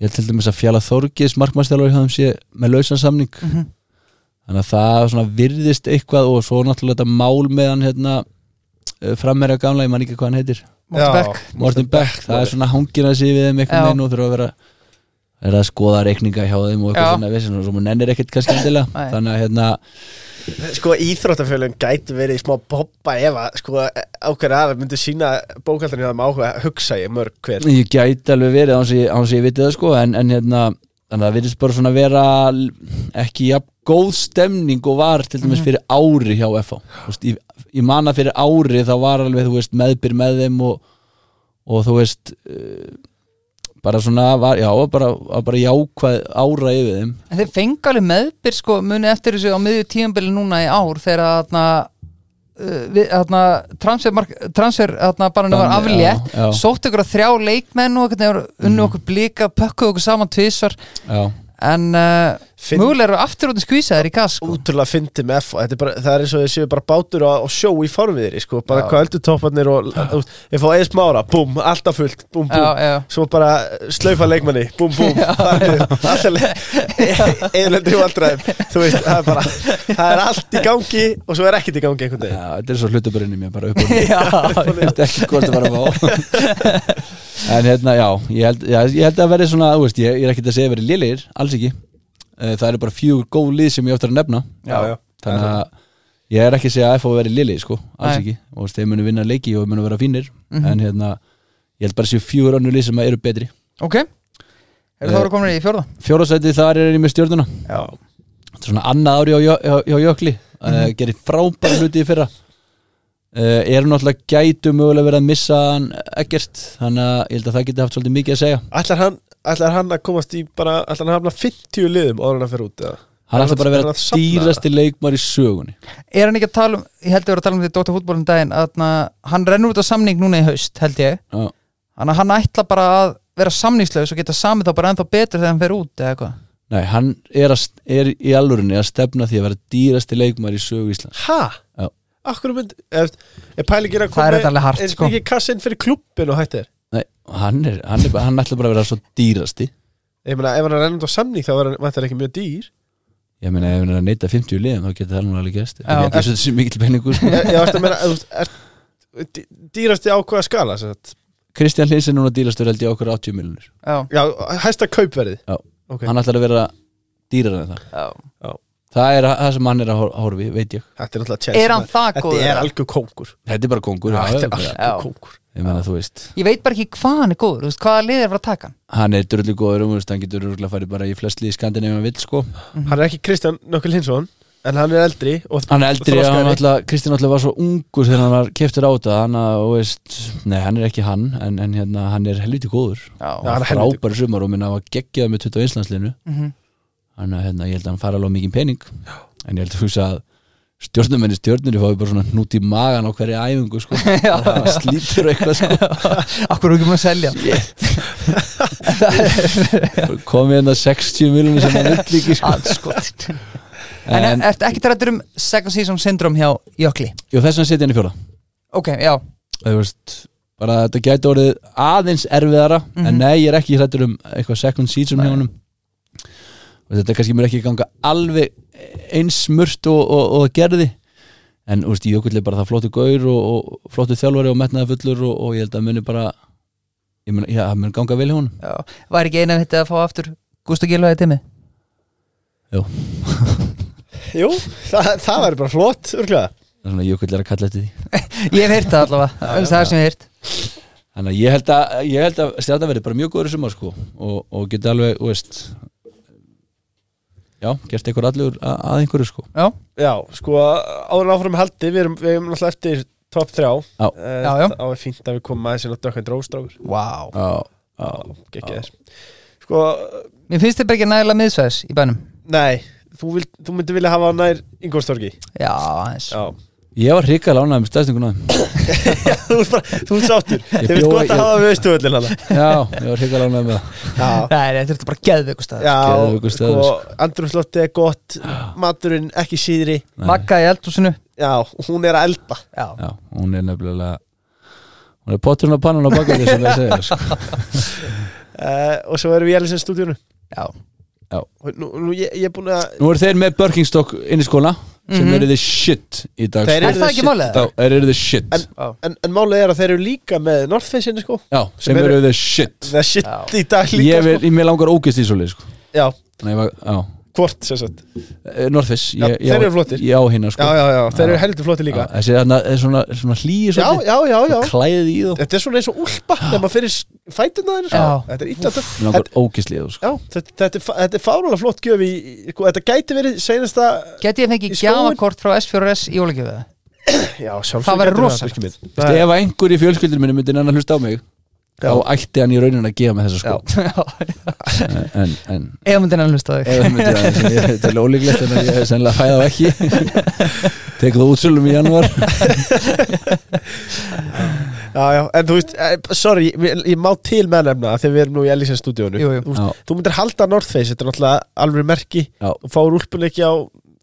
Speaker 3: Ég held til dæmis að Fjala Þorgis markmannstjálfari hafðum sé með lausan samning
Speaker 2: Mhm.
Speaker 3: þannig að það svona virðist eitthvað og svo náttúrulega þetta mál með hann hérna framherja gamla, ég man ekki hvað hann heitir
Speaker 2: Morten
Speaker 1: Já.
Speaker 2: Beck
Speaker 3: Morten Beck, það er svona hangin að sé við þeim
Speaker 2: Já.
Speaker 3: eitthvað neinn og þurfa að vera er að skoða reikninga hjá þeim og
Speaker 2: Já.
Speaker 3: eitthvað svona vissin og svo maður nennir ekkert kannski endilega
Speaker 2: Nei.
Speaker 3: þannig að hérna,
Speaker 1: Sko, íþróttafjölum gæti verið í smá poppa ef að, sko, ákveður aðra myndu sína bókaldarinn hjá þeim áhuga, hugsa ég mörg hver
Speaker 3: ég gæti alveg verið án sem ég, án sem ég viti það sko en, en hérna, þannig að það virðist bara svona vera l- ekki jafn góð stemning og var til dæmis fyrir ári hjá FH Þú veist, ég, ég man að fyrir ári þá var alveg, þú veist, meðbyr með þeim og, og þú veist eh, bara svona, var, já, bara, var bara jákvæð ára yfir þeim
Speaker 2: En þeir fengi alveg meðbyr sko muni eftir þessu á miðju tíðanbili núna í ár þegar þarna uh, við- þarna transfer, mark- transfer þarna bara var
Speaker 3: Bann, já,
Speaker 2: aflétt
Speaker 3: já.
Speaker 2: sótt ykkur að þrjá leikmenn og hvernig voru unnu okkur blika pökkuð okkur saman tvisvar
Speaker 3: já,
Speaker 2: en uh,
Speaker 1: Finn-
Speaker 2: mögulega eru aftur út að skvísa þér í gas sko.
Speaker 1: Útrúlega fyndi með F þetta er bara, það er eins og þið séu bara bátur á, á sjó í formviðri, sko, bara
Speaker 2: Já.
Speaker 1: hvað öldu topparnir og, þú veist, ég fá eða smára, búm, alltaf fullt, búm, búm
Speaker 2: já, já.
Speaker 1: Svo bara slaufa leikmanni, búm, búm, eðlendur í vandræðum, þú veist, það er bara, það er allt í gangi og svo er ekkert í gangi einhvern veginn.
Speaker 3: já, þetta er svo hlutaburinn í mér bara upp og niður.
Speaker 2: já,
Speaker 3: ég veist ekki hvort það var að fá en hérna, já ég held, já, ég held að verði svona, þú veist, ég, ég er ekkert að segja að verði lélir, alls ekki Eh, það eru bara fjögur góð lið sem ég áttur að nefna
Speaker 1: Já, já.
Speaker 3: þannig að ég er ekki að segja að FH verði lélir, sko, alls
Speaker 2: Nei.
Speaker 3: ekki og þú veist, þeir munu vinna leiki og munu vera fínir en hérna, ég held bara að séu fjögur önnu lið sem eru betri
Speaker 2: ok eru það voru komin í fjórða
Speaker 3: fjórasæti þar er ég með stjórnuna
Speaker 1: Já,
Speaker 3: Þetta er svona annað ári á, Jö- hjá, hjá Jökli mm gerir frábæra hluti í fyrra uh, er náttúrulega gætu mögulega verið að missa hann ekkert þannig að ég held að það geti haft svolítið mikið að segja
Speaker 1: Ætlar hann, ætlar hann að komast í bara, ætlar hann að hafna 50 liðum áður en hann fyrir út eða?
Speaker 3: hann ætla bara að
Speaker 1: er
Speaker 3: vera
Speaker 1: að safna
Speaker 3: dýrasti leikmar í sögunni
Speaker 2: er hann ekki að tala um, ég held að vera að tala um því Dóttar fútbólum daginn að hann rennur út á samning núna í haust held ég
Speaker 3: Já.
Speaker 2: Þannig að hann ætla bara að vera samningslaus og geta samið þá bara ennþá betur þegar hann fer út eða eitthvað.
Speaker 3: Nei, hann er, að, er í alvörinni að stefna því að vera dýrasti leikmar í sögu Íslands
Speaker 1: Ha?
Speaker 3: Já.
Speaker 1: Akkur mynd, er, er pælingin að
Speaker 2: Það
Speaker 1: koma
Speaker 2: er þetta alveg hart,
Speaker 1: eins
Speaker 2: sko.
Speaker 1: mikið kassinn fyrir klubbin og hættir?
Speaker 3: Nei, hann, er, hann, er, bara- hann ætla bara að vera svo dýrasti
Speaker 1: Ég meina, ef hann er ennum á samning þá var hann, var ekki mjög dýr
Speaker 3: ég meina ef hann er að neyta 50 liðum þá getur það nú alveg gerst
Speaker 2: Já.
Speaker 3: það er ekki svo þessi mikil penningur sko.
Speaker 1: Ég, ég varst að meina, þú veist, er, dý- dýrasti ákvæða skala sem sagt.
Speaker 3: Kristján Lins er núna dýrastur held ég okkur 80 miljonur
Speaker 2: Já,
Speaker 1: Já, hæsta kaupverðið
Speaker 3: Já.
Speaker 1: Ok.
Speaker 3: hann ætlar að vera dýrar en það
Speaker 2: já.
Speaker 3: það er það sem hann er að hor- horfa í, veit ég
Speaker 1: Þetta er náttúrulega Chelsea
Speaker 2: Er hann
Speaker 1: maður.
Speaker 2: það góður?
Speaker 1: Þetta er algjör kóngur
Speaker 3: þetta er bara kongur já,
Speaker 1: Þetta er
Speaker 3: bara,
Speaker 2: Já.
Speaker 1: algjör kóngur
Speaker 3: ég meina þú veist
Speaker 2: Ég veit bara ekki hvað hann er góður, þú veist, hvaða lið er frá að taka hann.
Speaker 3: hann er drullu góður um, þú veist, hann getur rúglega farið bara í flest lið í Skandinavíu ef hann vill sko
Speaker 2: Mhm.
Speaker 1: Hann er ekki Kristján Nökkel Hinsson En hann er eldri og,
Speaker 3: hann er
Speaker 1: og
Speaker 3: eldri, hann
Speaker 1: þroskaðri.
Speaker 3: alltaf, Kristján alltaf var svo ungur þegar hann var keftur á þetta hann, að, þú veist, nei, hann er ekki hann en, en hérna, hann er helviti góður
Speaker 1: Já,
Speaker 2: Já.
Speaker 1: hann
Speaker 3: hann
Speaker 1: er
Speaker 3: er
Speaker 1: helviti
Speaker 3: frábær sumar og minna hann var geggjað með 20 einslandsliðinu
Speaker 2: Mhm.
Speaker 3: hann að hérna, ég held að hann fara alveg mikið pening en ég held að hugsa að stjórnumenni stjórnir fái bara svona hnút í magan á hverju æfingu sko Bara slítur og eitthvað sko
Speaker 2: Akkur er ekki búin að selja hann?
Speaker 3: komið hérna 60 miljonir sem hann vill líki sko.
Speaker 2: Andskot. En,
Speaker 3: en,
Speaker 2: en ertu ekki trættur um second season syndrom hjá Jökli?
Speaker 3: jú, þess vegna setja hann í fjóra
Speaker 2: Ok, já.
Speaker 3: þú veist, bara þetta gæti orðið aðeins erfiðara, en nei, ég er ekki hrættur um eitthvað second season hjá honum og þetta kannski mér ekki ganga alveg eins smurt og, og, og það gerði en þú veist, Jökull er bara það flottu gaur og, og flottu þjálfari og metnaði fullur og, og ég held að muni bara ég mun, já, það mun ganga vel hjá honum
Speaker 2: já. Var ekki eina hitt að fá aftur Gústa Gilvæði Timmi?
Speaker 3: Jú.
Speaker 1: Jú, það, það væri bara flott, örgulega
Speaker 3: Það er svona jökull er að kalla eftir því
Speaker 2: Ég hef heyrt það allavega, það er það sem ég hef heyrt
Speaker 3: Þannig að ég held að, ég held að stjarnan verði bara mjög góður í sumar sko og, og geti alveg, þú veist Já, gerst einhver allur að, að einhverju sko
Speaker 2: Já,
Speaker 1: Já, sko, áður en áfram með haldi Við erum, við erum alltaf eftir top 3
Speaker 3: Já.
Speaker 1: Eh,
Speaker 2: Já, já.
Speaker 1: Það var fínt að við komum aðeins inn á dökkan dróstrákur
Speaker 2: wow
Speaker 3: Já, já,
Speaker 1: Gekkið þess Sko,
Speaker 2: Mér finnst þið bara ekki nægilega miðsvæðis í bænum
Speaker 1: nei, þú, vil, þú myndi vilja hafa hann nær Ingolstorgi
Speaker 2: Já, aðeins
Speaker 1: Já,
Speaker 3: Ég var hrikka lánaði með stæðsninguna
Speaker 1: þú ert bara, þú ert sáttur Þið finnst
Speaker 3: bjó-
Speaker 1: gott að
Speaker 3: ég-
Speaker 1: hafa við veistuvöllin hana
Speaker 3: Já, ég var hrikka lánaði með það
Speaker 1: Já,
Speaker 2: Nei, þetta er þetta bara geðveikur staður
Speaker 1: já
Speaker 3: Geðveikur
Speaker 1: sko,
Speaker 3: staður,
Speaker 1: andrumslottið er gott Maturinn ekki síðri
Speaker 3: Nei.
Speaker 2: Magga í eldhúsinu
Speaker 1: Já, hún er að elda
Speaker 2: Já,
Speaker 3: Já, hún er nefnilega Hún er potturinn á pannan á baka því sem ég segja sko.
Speaker 1: uh, Og svo erum við í Ellisins stúdíunu
Speaker 2: já,
Speaker 1: Nú, nú ég, ég er búin að
Speaker 3: Nú eru þeir með Birkingstock inn í skóla sem
Speaker 2: Mhm.
Speaker 3: eru the shit í dag
Speaker 1: Þeir
Speaker 3: sko.
Speaker 2: Er
Speaker 1: eru
Speaker 2: það
Speaker 1: the
Speaker 2: ekki
Speaker 1: shit
Speaker 2: málið?
Speaker 1: í
Speaker 3: Já,
Speaker 1: dag.
Speaker 3: þeir eru the shit
Speaker 1: En-
Speaker 2: já,
Speaker 1: En, en málið er að þeir eru líka með North Face inni sko
Speaker 3: Já, sem
Speaker 1: sem eru-
Speaker 3: eru the shit
Speaker 1: Það er shit
Speaker 2: Já.
Speaker 1: í dag líka
Speaker 3: Ég vil, mér langar ógist í svoleið sko
Speaker 1: sko Já,
Speaker 3: Nei, ég var, já
Speaker 1: hvort sem sagt
Speaker 3: Norðfiss
Speaker 1: Já, þeir eru flottir.
Speaker 3: Já, hérna sko
Speaker 1: Já, já, já, þeir
Speaker 3: Já.
Speaker 1: eru heldur flotti líka
Speaker 3: Já, Þessi þarna er svona, svona hlýi
Speaker 1: Já, já, já, já
Speaker 3: Klæðið í þú
Speaker 1: Þetta er svona eins og úlpa þegar maður fyrir fætina þeirnir sko.
Speaker 2: Já.
Speaker 1: Þetta er illa töff.
Speaker 3: Mér langar ógislega þú sko
Speaker 1: Já, þetta, þetta, er fa- þetta er fárulega flott gjöf í, í- sko, þetta gæti verið seinasta
Speaker 2: Geti ég fengið
Speaker 1: Í skóinn?
Speaker 2: gjafakort frá S4S í ólíkjöfu
Speaker 1: Já, sjálfsög
Speaker 2: Það væri rosalegt.
Speaker 3: Veistu, Ef einhver í fjölskyldur minni myndi nann að hlusta á mig
Speaker 1: Já.
Speaker 3: þá ætti hann í raunin að gefa mig þessa sko
Speaker 2: Já,
Speaker 3: En, en, en
Speaker 2: ef myndin að hlusta á þig
Speaker 3: ef það myndi það sem ég er til ólíklegt en ég hef sennilega fæða á ekki Tek þú útsölum í janúar
Speaker 1: Já, já, en þú veist, eh, sorry, ég, ég má til meðnefna þegar við erum nú í Ellísen stúdíónu
Speaker 2: Jú, jú.
Speaker 1: Þú, veist,
Speaker 3: Já,
Speaker 1: þú myndir halda North Face, þetta er náttúrulega alveg merki
Speaker 3: Já.
Speaker 1: og fáur úlpun ekki á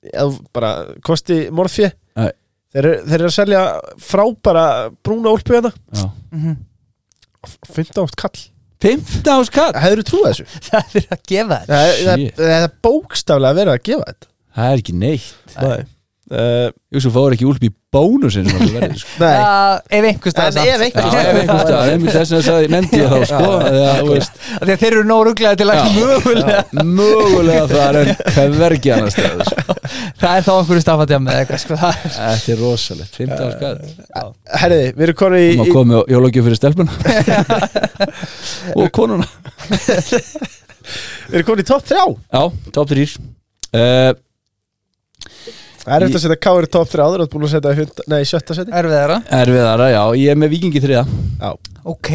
Speaker 1: eða bara kosti morfið
Speaker 3: Nei.
Speaker 1: þeir, eru- þeir eru að selja frábæra brúna úlpu hérna
Speaker 3: já
Speaker 2: Mhm.
Speaker 1: 15 átt kall,
Speaker 3: 15 ás katt
Speaker 1: hefur þú trúið þessu?
Speaker 2: Það er að gefa þér
Speaker 1: Það það-
Speaker 3: Shit.
Speaker 1: það er bókstaflega verið að gefa þetta
Speaker 3: Það er ekki neitt
Speaker 1: Nei, uh,
Speaker 3: Jú, svo fáur ekki úlp í bónusin sem það verður sko
Speaker 1: nei.
Speaker 2: Já, Ef einhver
Speaker 1: En
Speaker 2: staðar
Speaker 1: ef einhver
Speaker 3: Já, ef einhvern stað, einmitt þess að það nefndi ég þá sko, eða, þú veist,
Speaker 2: Þegar þeir eru nóg ruglega til að
Speaker 3: Já.
Speaker 2: mögulega
Speaker 3: mögulega það er hvergi annar stað sko.
Speaker 2: Það er þá einhverju stafatjá með eitthvað sko, það er-
Speaker 3: Þetta er rosalegt, 15 ára skatt
Speaker 1: Herriði, við erum konið í,
Speaker 3: Má
Speaker 1: í
Speaker 3: komið á jólagjöf fyrir stelpuna og konuna
Speaker 1: Við erum komin í topp 3
Speaker 3: Já, top 3 uh,
Speaker 1: Það er eftir að setja K.R. í topp 3 áður Þú ert búin að setja í hund, nei, í sjötta seti
Speaker 2: erfiðara
Speaker 3: Erfiðara, já, ég er með vikingi þriða
Speaker 2: Ok,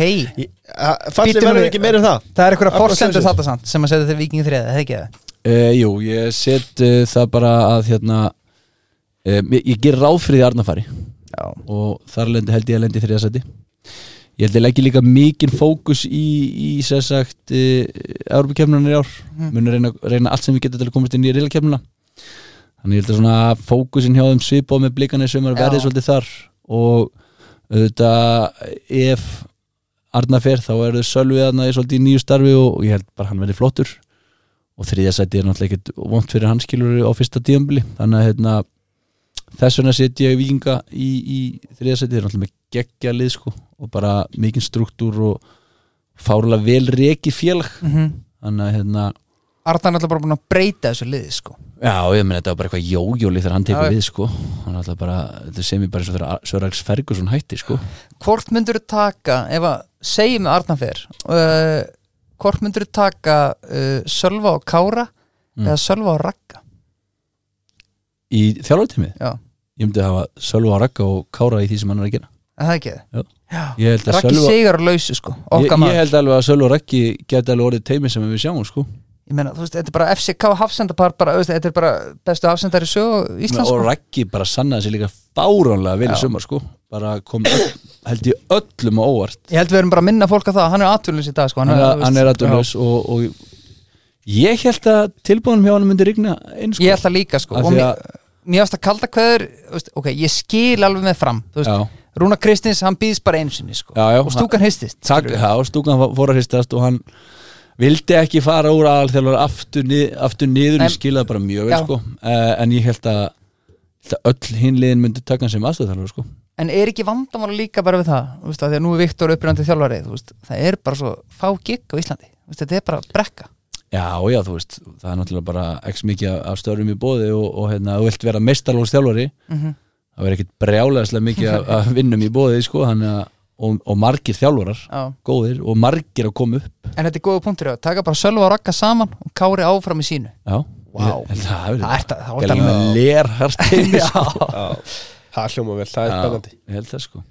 Speaker 1: Fallið
Speaker 2: Bíddu nú
Speaker 1: verður
Speaker 2: við-
Speaker 1: ekki meira en það
Speaker 2: það er einhverja
Speaker 1: Arnar
Speaker 2: forsendur
Speaker 1: Sveinsson.
Speaker 2: þetta samt sem að setja til vikingi þriða, það er ekki það
Speaker 3: uh, Jú, ég set uh, það bara að hérna uh, ég, ég ger ráð fyrir því að Arna fari
Speaker 2: Já,
Speaker 3: og þar lendi held ég að lendi í þriða seti Ég held ég leggi líka mikinn fókus í, í sér sagt uh, Európa-kefnunni í ár
Speaker 2: Mhm.
Speaker 3: munum reyna, reyna allt sem við getum til að komast inn í reylakefnuna þannig ég held að svona fókusin hjá þeim svipað með blikana í sömur
Speaker 2: Já.
Speaker 3: verðið svolítið þar og auðvitað ef Arna fer þá eru Sölvið Arna í svolítið í nýju starfi og, og ég held bara hann verði flottur og þriðja sæti er náttúrulega ekkert vont fyrir hans skilur á fyrsta tíðanbili þannig að hérna, þess vegna setja ég vikinga í, í þriðja sæti þeir eru náttúrulega með geggja lið sko og bara mikinn struktúr og fárlega vel reiki félag
Speaker 2: mm
Speaker 3: þannig að hérna
Speaker 2: Arnar er alltaf bara búin að breyta þessu liði sko
Speaker 3: Já, ég meni þetta var bara eitthvað jójóli þegar hann
Speaker 2: Já,
Speaker 3: tekur
Speaker 2: já.
Speaker 3: við sko hann alltaf bara, þetta sem ég bara eins og þegar Sörags Ferguson hætti sko
Speaker 2: Hvort myndur þú taka, ef að segjum að Arnar fer uh, Hvort myndur þú taka uh, Sölva og Kára
Speaker 3: Mm.
Speaker 2: eða Sölva og Ragga
Speaker 3: í þjálfartímið,
Speaker 2: Já,
Speaker 3: ég myndi hafa Sölva og Ragga og Kára í því sem hann er að gera
Speaker 2: er það ekki það
Speaker 3: Jú.
Speaker 2: Já,
Speaker 3: Ég held að
Speaker 2: Raggi
Speaker 3: Sölva-
Speaker 2: Sigur á lausu sko,
Speaker 3: ég,
Speaker 2: okkar
Speaker 3: ég
Speaker 2: maður ég,
Speaker 3: held alveg að Sölva og Raggi geta alveg orðið teimi sem við sjáum sko
Speaker 2: meina, þú veist, þetta er bara FCK hafsendapar bara, þú veist, þetta er bara bestu hafsendari í sögu Íslands
Speaker 3: og
Speaker 2: sko.
Speaker 3: Raggi bara sannaði sér líka fáránlega vel í
Speaker 2: Já.
Speaker 3: sumar sko bara kom, öll- held ég öllum á óvart
Speaker 2: Ég held við erum bara að minna fólk að það, hann er atvölins í dag sko,
Speaker 3: hann er, hann er
Speaker 2: þú veist,
Speaker 3: aðdurlaus og, og ég held að tilbúinum hjá hann myndi rigna
Speaker 2: já.
Speaker 3: inn sko.
Speaker 2: Ég held það líka sko
Speaker 3: Af
Speaker 2: og
Speaker 3: því
Speaker 2: mér-
Speaker 3: að-
Speaker 2: Mér varst að kalda kveður þú veist, Ok, ég skil alveg með fram þú veist,
Speaker 3: Já.
Speaker 2: Rúna Kristins, hann býðist bara einu sinni sko,
Speaker 3: Já, já,
Speaker 2: og stúkan hristist
Speaker 3: Takk,
Speaker 2: skilurðu.
Speaker 3: já, stúkan var- fór að hristast og hann vildi ekki fara úr aðal þegar hann var aftur, nið, aftur niður
Speaker 2: En-
Speaker 3: ég skilaði bara mjög vel
Speaker 2: Já.
Speaker 3: sko. uh, en ég held að, held að öll hinliðin myndi taka hann sem aðstöðþjálfur sko.
Speaker 2: En er ekki vandamála líka bara við það þú veist, að Því að nú er Viktor upprænandi þjálfari þú veist, Það er bara svo fá gig á Íslandi þú veist, Þetta er bara brekka
Speaker 3: Já, já, þú veist, það er náttúrulega bara x mikið af- af störum í bóði og, og hérna, þú vilt vera mestarlóðs þjálfari það verður ekkit brjálæðislega mikið af, af vinnum í bóði, sko, hann að og, og margir þjálfarar,
Speaker 2: Já.
Speaker 3: góðir og margir að koma upp
Speaker 2: En þetta er góða punktur, já. taka bara Sölva og Ragga saman og Kári áfram í sínu
Speaker 3: Já,
Speaker 2: Vá.
Speaker 3: Ég held að það hefur
Speaker 2: Það er það, það
Speaker 3: Gæli með lerhart heimi, sko
Speaker 1: Já, það hljóma vel, það er spennandi
Speaker 3: Ég held það, sko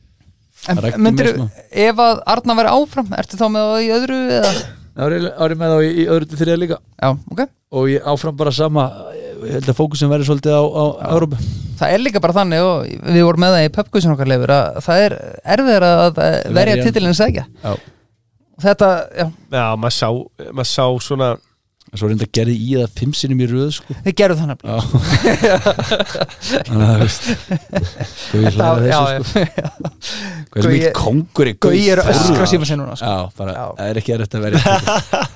Speaker 2: En
Speaker 3: Ræktu
Speaker 2: myndir,
Speaker 3: með smá.
Speaker 2: ef að Arna væri áfram, ertu þá með það í öðru eða?
Speaker 3: Árið með þá í, í öðru til þriða líka
Speaker 2: Já, ok
Speaker 3: og ég áfram bara sama ég held að fókusin verður svolítið á, á Európa
Speaker 2: Það er líka bara þannig og við vorum með það í pubquizin okkar leifur að það er erfiðar að verja, verja
Speaker 3: Verja.
Speaker 2: titilin segja
Speaker 3: Já.
Speaker 2: Þetta, já,
Speaker 1: Já, maður sá, maður sá svona
Speaker 3: Svo reynda gerði í það fimm sinnum í röð sko.
Speaker 2: þið gerðu þannig
Speaker 3: Já Þannig að þú veist Guði hlæða þessu sko. Hvað er
Speaker 2: Gaui-
Speaker 3: mikið kongur í
Speaker 2: Gauji er að öskra
Speaker 3: Já,
Speaker 2: síma sér núna sko.
Speaker 3: Já, bara,
Speaker 2: Já.
Speaker 3: það er ekki erfitt að verja titil.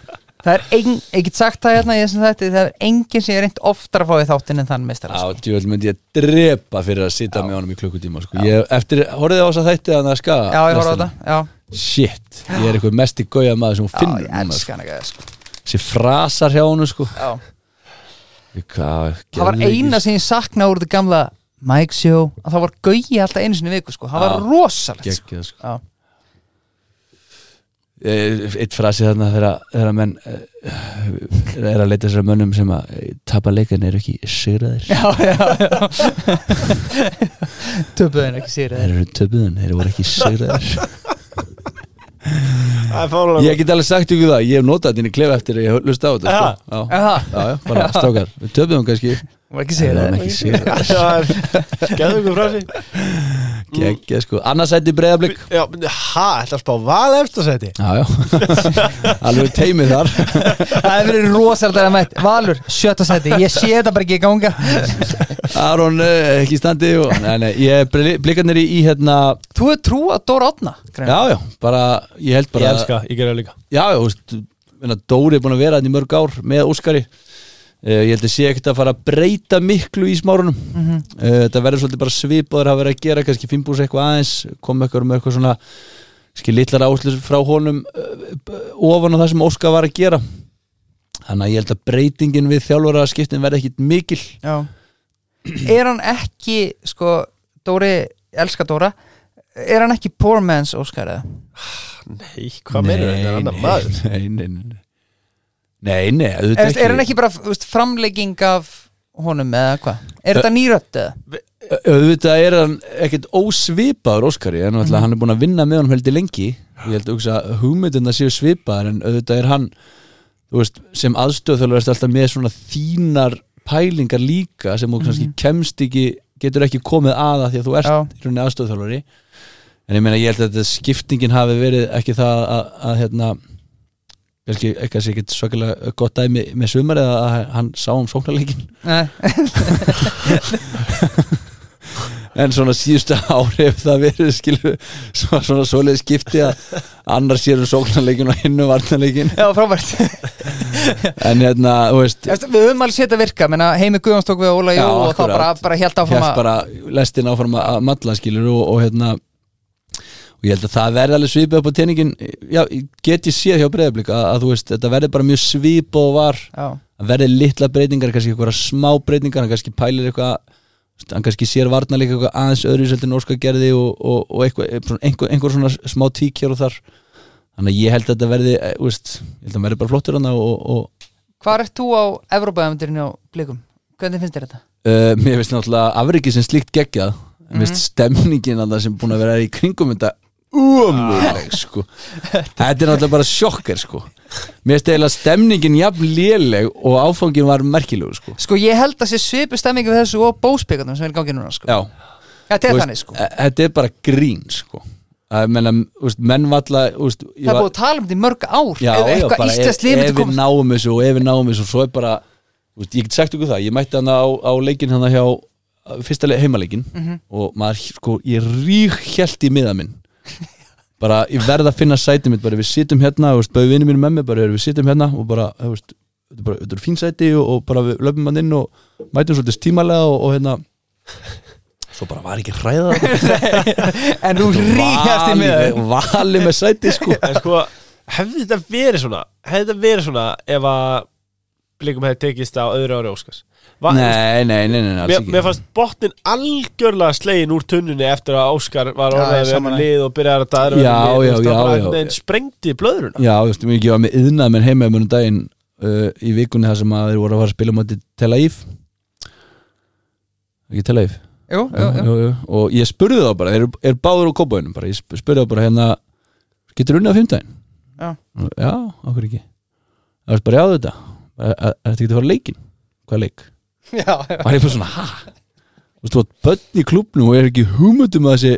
Speaker 2: Það er ein, ég get sagt það hérna í þessum þætti það er enginn sem ég er reynd oftar að fá í þáttin en þann sko. meistar
Speaker 3: Já, djúvel myndi ég drepa fyrir að sita með honum í klukkutíma sko. ég, Eftir, horfðið á þess að þætti þannig að skaga
Speaker 2: já ég horfði á þetta Já,
Speaker 3: Shit, ég er eitthvað mest í gauja maður sem hún
Speaker 2: já
Speaker 3: finnur
Speaker 2: ég
Speaker 3: núna,
Speaker 2: elska hann ekki sko.
Speaker 3: sko. Sér frasar hjá honum sko.
Speaker 2: Já
Speaker 3: Hvað,
Speaker 2: það var
Speaker 3: geðveikis.
Speaker 2: eina sem ég sakna úr þetta gamla Mike Show að það var gauja alltaf einu sinni í viku sko. það var
Speaker 3: Já.
Speaker 2: rosalegt sko.
Speaker 3: Geggjað, sko.
Speaker 2: Já.
Speaker 3: Eh, eitt frasi þarna þegar þegar menn eh, er að leita sér að mönnum sem að eh, tapa leikin eru ekki sigraðir
Speaker 2: já, já, já töpuðin ekki sér
Speaker 3: þeir eru töpuðin, þeir voru ekki sigraðir
Speaker 1: Það er fálega
Speaker 3: ég get alveg sagt ykkur það, ég hef notað þínu klef eftir að ég hlusta á þetta
Speaker 1: Aha.
Speaker 3: sko. já,
Speaker 2: það
Speaker 3: já, já, bara strákar, við töpuðum kannski
Speaker 2: var ekki
Speaker 3: þeir
Speaker 2: sér
Speaker 3: voru ekki sigraðir
Speaker 1: Gæðu ykkur frá sig
Speaker 3: Gekk, sko. annars ætti breyðablík
Speaker 1: Já, men, ha, ætla að spá val eftir sæti
Speaker 3: já, já, alveg teimið þar
Speaker 2: það hefur verið rosalegt að mætt Valur, sjötta seti, ég sé þetta bara ekki í ganga
Speaker 3: Aron eh, ekki í standi og, nei, nei, ég, blikarnir í, í hérna
Speaker 2: þú er trú að Dóra Átna
Speaker 3: já, já, bara, ég held
Speaker 1: Ég
Speaker 3: bara
Speaker 1: elska, ég gerði líka
Speaker 3: já, já, þú veist meina, Dóri er búin að vera hann í mörg ár með Óskari uh, ég held að sé ekkert að fara að breyta miklu í smárunum mm
Speaker 2: Mhm.
Speaker 3: þetta verður svolítið bara svipaður að vera að gera kannski fimmbús eitthvað aðeins, koma eitthvað með eitthvað svona skil litlar áslur frá honum uh, ofan á það sem Óskar var að gera þannig að ég held að breytingin við þjálfara skiptin verði ekkit mikil
Speaker 2: já. er hann ekki sko, Dóri, ég elska Dóra er hann ekki poor man's Óskar eða?
Speaker 1: Nei, hvað meður þetta er annar maður
Speaker 3: nei, nei, nei, nei. Nei, nei, auðvitað
Speaker 2: er, er hann ekki bara þú veist, framlegging af honum eða hvað? Er þetta nýrött eða?
Speaker 3: Ö- auðvitað er hann ekkert ósvipaður Óskari en mm. hann er búin að vinna með honum heldur lengi ég held að hugsa að hugmyndina séu svipaðar en auðvitað er hann þú veist, sem aðstöðþjóðlega er alltaf með svona þínar pælingar líka sem þú kannski kemst ekki getur ekki komið aða því að þú ert
Speaker 2: Já.
Speaker 3: í rauninni aðstöðþjálfari en ég meina ég held að þetta skiptingin hafi verið ekki það að, að, hérna kannski ekki að sé ekkert svakalega gott dæmi með sumar eða að hann sá um sóknarleikin
Speaker 2: Nei,
Speaker 3: en svona síðustu ári ef það verið skilu svona, svona svoleið skipti að annar sér um sóknarleikin og hinnu varnarleikin
Speaker 2: já frábært
Speaker 3: en hérna, þú veist
Speaker 2: Eftir, Við höfum alveg sétt að virka, menna Heimi Guðjóns tók við Óla Jó
Speaker 3: Já,
Speaker 2: og það
Speaker 3: akkurat.
Speaker 2: bara, bara helt áfram
Speaker 3: hérst
Speaker 2: að
Speaker 3: bara lestin áfram að að matla skilur og, og hérna og ég held að það verði alveg svipið upp á teiningin já, get ég séð hjá breyðablík að, að þú veist, þetta verði bara mjög svip og var
Speaker 2: Já,
Speaker 3: að verði litla breytingar, kannski eitthvað smá breytingar, hann kannski pælir eitthvað þú veist, hann kannski sér varnarleika eitthvað aðeins öðru seltin Óskar gerði og, og, og eitthvað, eh, svona einhver, einhver svona smá tík hér og þar þannig að ég held að þetta verði eh, þú veist, ég held að hann verði bara flottur hann og, og
Speaker 2: Hvar ert þú á Evrópaðamundurinn á blikum? Hvernig finnst þér þetta?
Speaker 3: uh, mér finnst náttúrulega afriki sem slíkt geggjað mér finnst stemningin að sem búin að vera í kringum þetta umurleg sko þetta er náttúrulega bara sjokkar sko mér finnst eiginlega stemningin jafn léleg og áfangin var merkilegur sko
Speaker 2: Sko ég held að sé svipu stemmingi við þessu og bósbyggarnum sem er í gangi núna sko.
Speaker 3: já
Speaker 2: Þetta
Speaker 3: Þú
Speaker 2: er
Speaker 3: veist,
Speaker 2: þannig sko
Speaker 3: e- Þetta er bara grín sko að menna, úst, menn valla úst,
Speaker 2: Það er búið að tala um þetta í mörg ár
Speaker 3: já,
Speaker 2: Ef
Speaker 3: já,
Speaker 2: eitthvað
Speaker 3: bara e- ef,
Speaker 2: íslenskt lið
Speaker 3: ef
Speaker 2: myndi
Speaker 3: við
Speaker 2: komast
Speaker 3: náum þessu og ef við náum þessu svo er bara, úst, ég get sagt ykkur það ég mætti hann á, á leikin hann hjá uh, fyrsta leik, heimaleikin
Speaker 2: Mhm.
Speaker 3: og maður, sko, ég rík hjælt í miða minn bara, ég verð að finna sæti mitt, bara við sittum hérna úst, bara vinni mínu með mig, bara við sittum hérna og bara, þú veist, þetta er bara, þetta er fín sæti og, og bara við löpum hann inn og mætum svolítið tímalega og, og hérna svo bara var ekki að hræða það
Speaker 2: En þú ríkjast í miða
Speaker 3: Valið- valið með sæti sko
Speaker 1: En sko, hefði þetta verið svona Hefði þetta verið svona ef að blikum hefði tekist á öðru ári Óskars Va-
Speaker 3: Nei, nei, nei, nei, nei alls
Speaker 1: Mér,
Speaker 3: ekki.
Speaker 1: mér fannst botnin algjörlega slegin úr tunnunni eftir að Óskar var
Speaker 2: Já,
Speaker 1: orðað
Speaker 2: ég
Speaker 1: við hann
Speaker 2: sammála.
Speaker 1: lið og byrjaði að daðra
Speaker 3: Já, já, já, já.
Speaker 1: En sprengdi blöðruna
Speaker 3: Já, þú veist, mér ekki var með yðnað menn heima um daginn uh, í vikunni þar sem að þeir voru að fara að spila móti Tel Aviv ekki Tel Aviv
Speaker 2: Jú, jú, jú.
Speaker 3: jú. og ég spurði þá bara, þeir eru er báður á kópaunum bara, ég sp- spurði þá bara hérna getur unnið á fimmtæðin?
Speaker 2: Já.
Speaker 3: Já, okkur ekki Það var bara jáðu þetta, þetta getur að fara leikin Hvað leik?
Speaker 2: Já, já.
Speaker 3: Var ég bara svona, ha? Þú veist, þú var bönn í klubnum og er ekki hugmyndum að þessi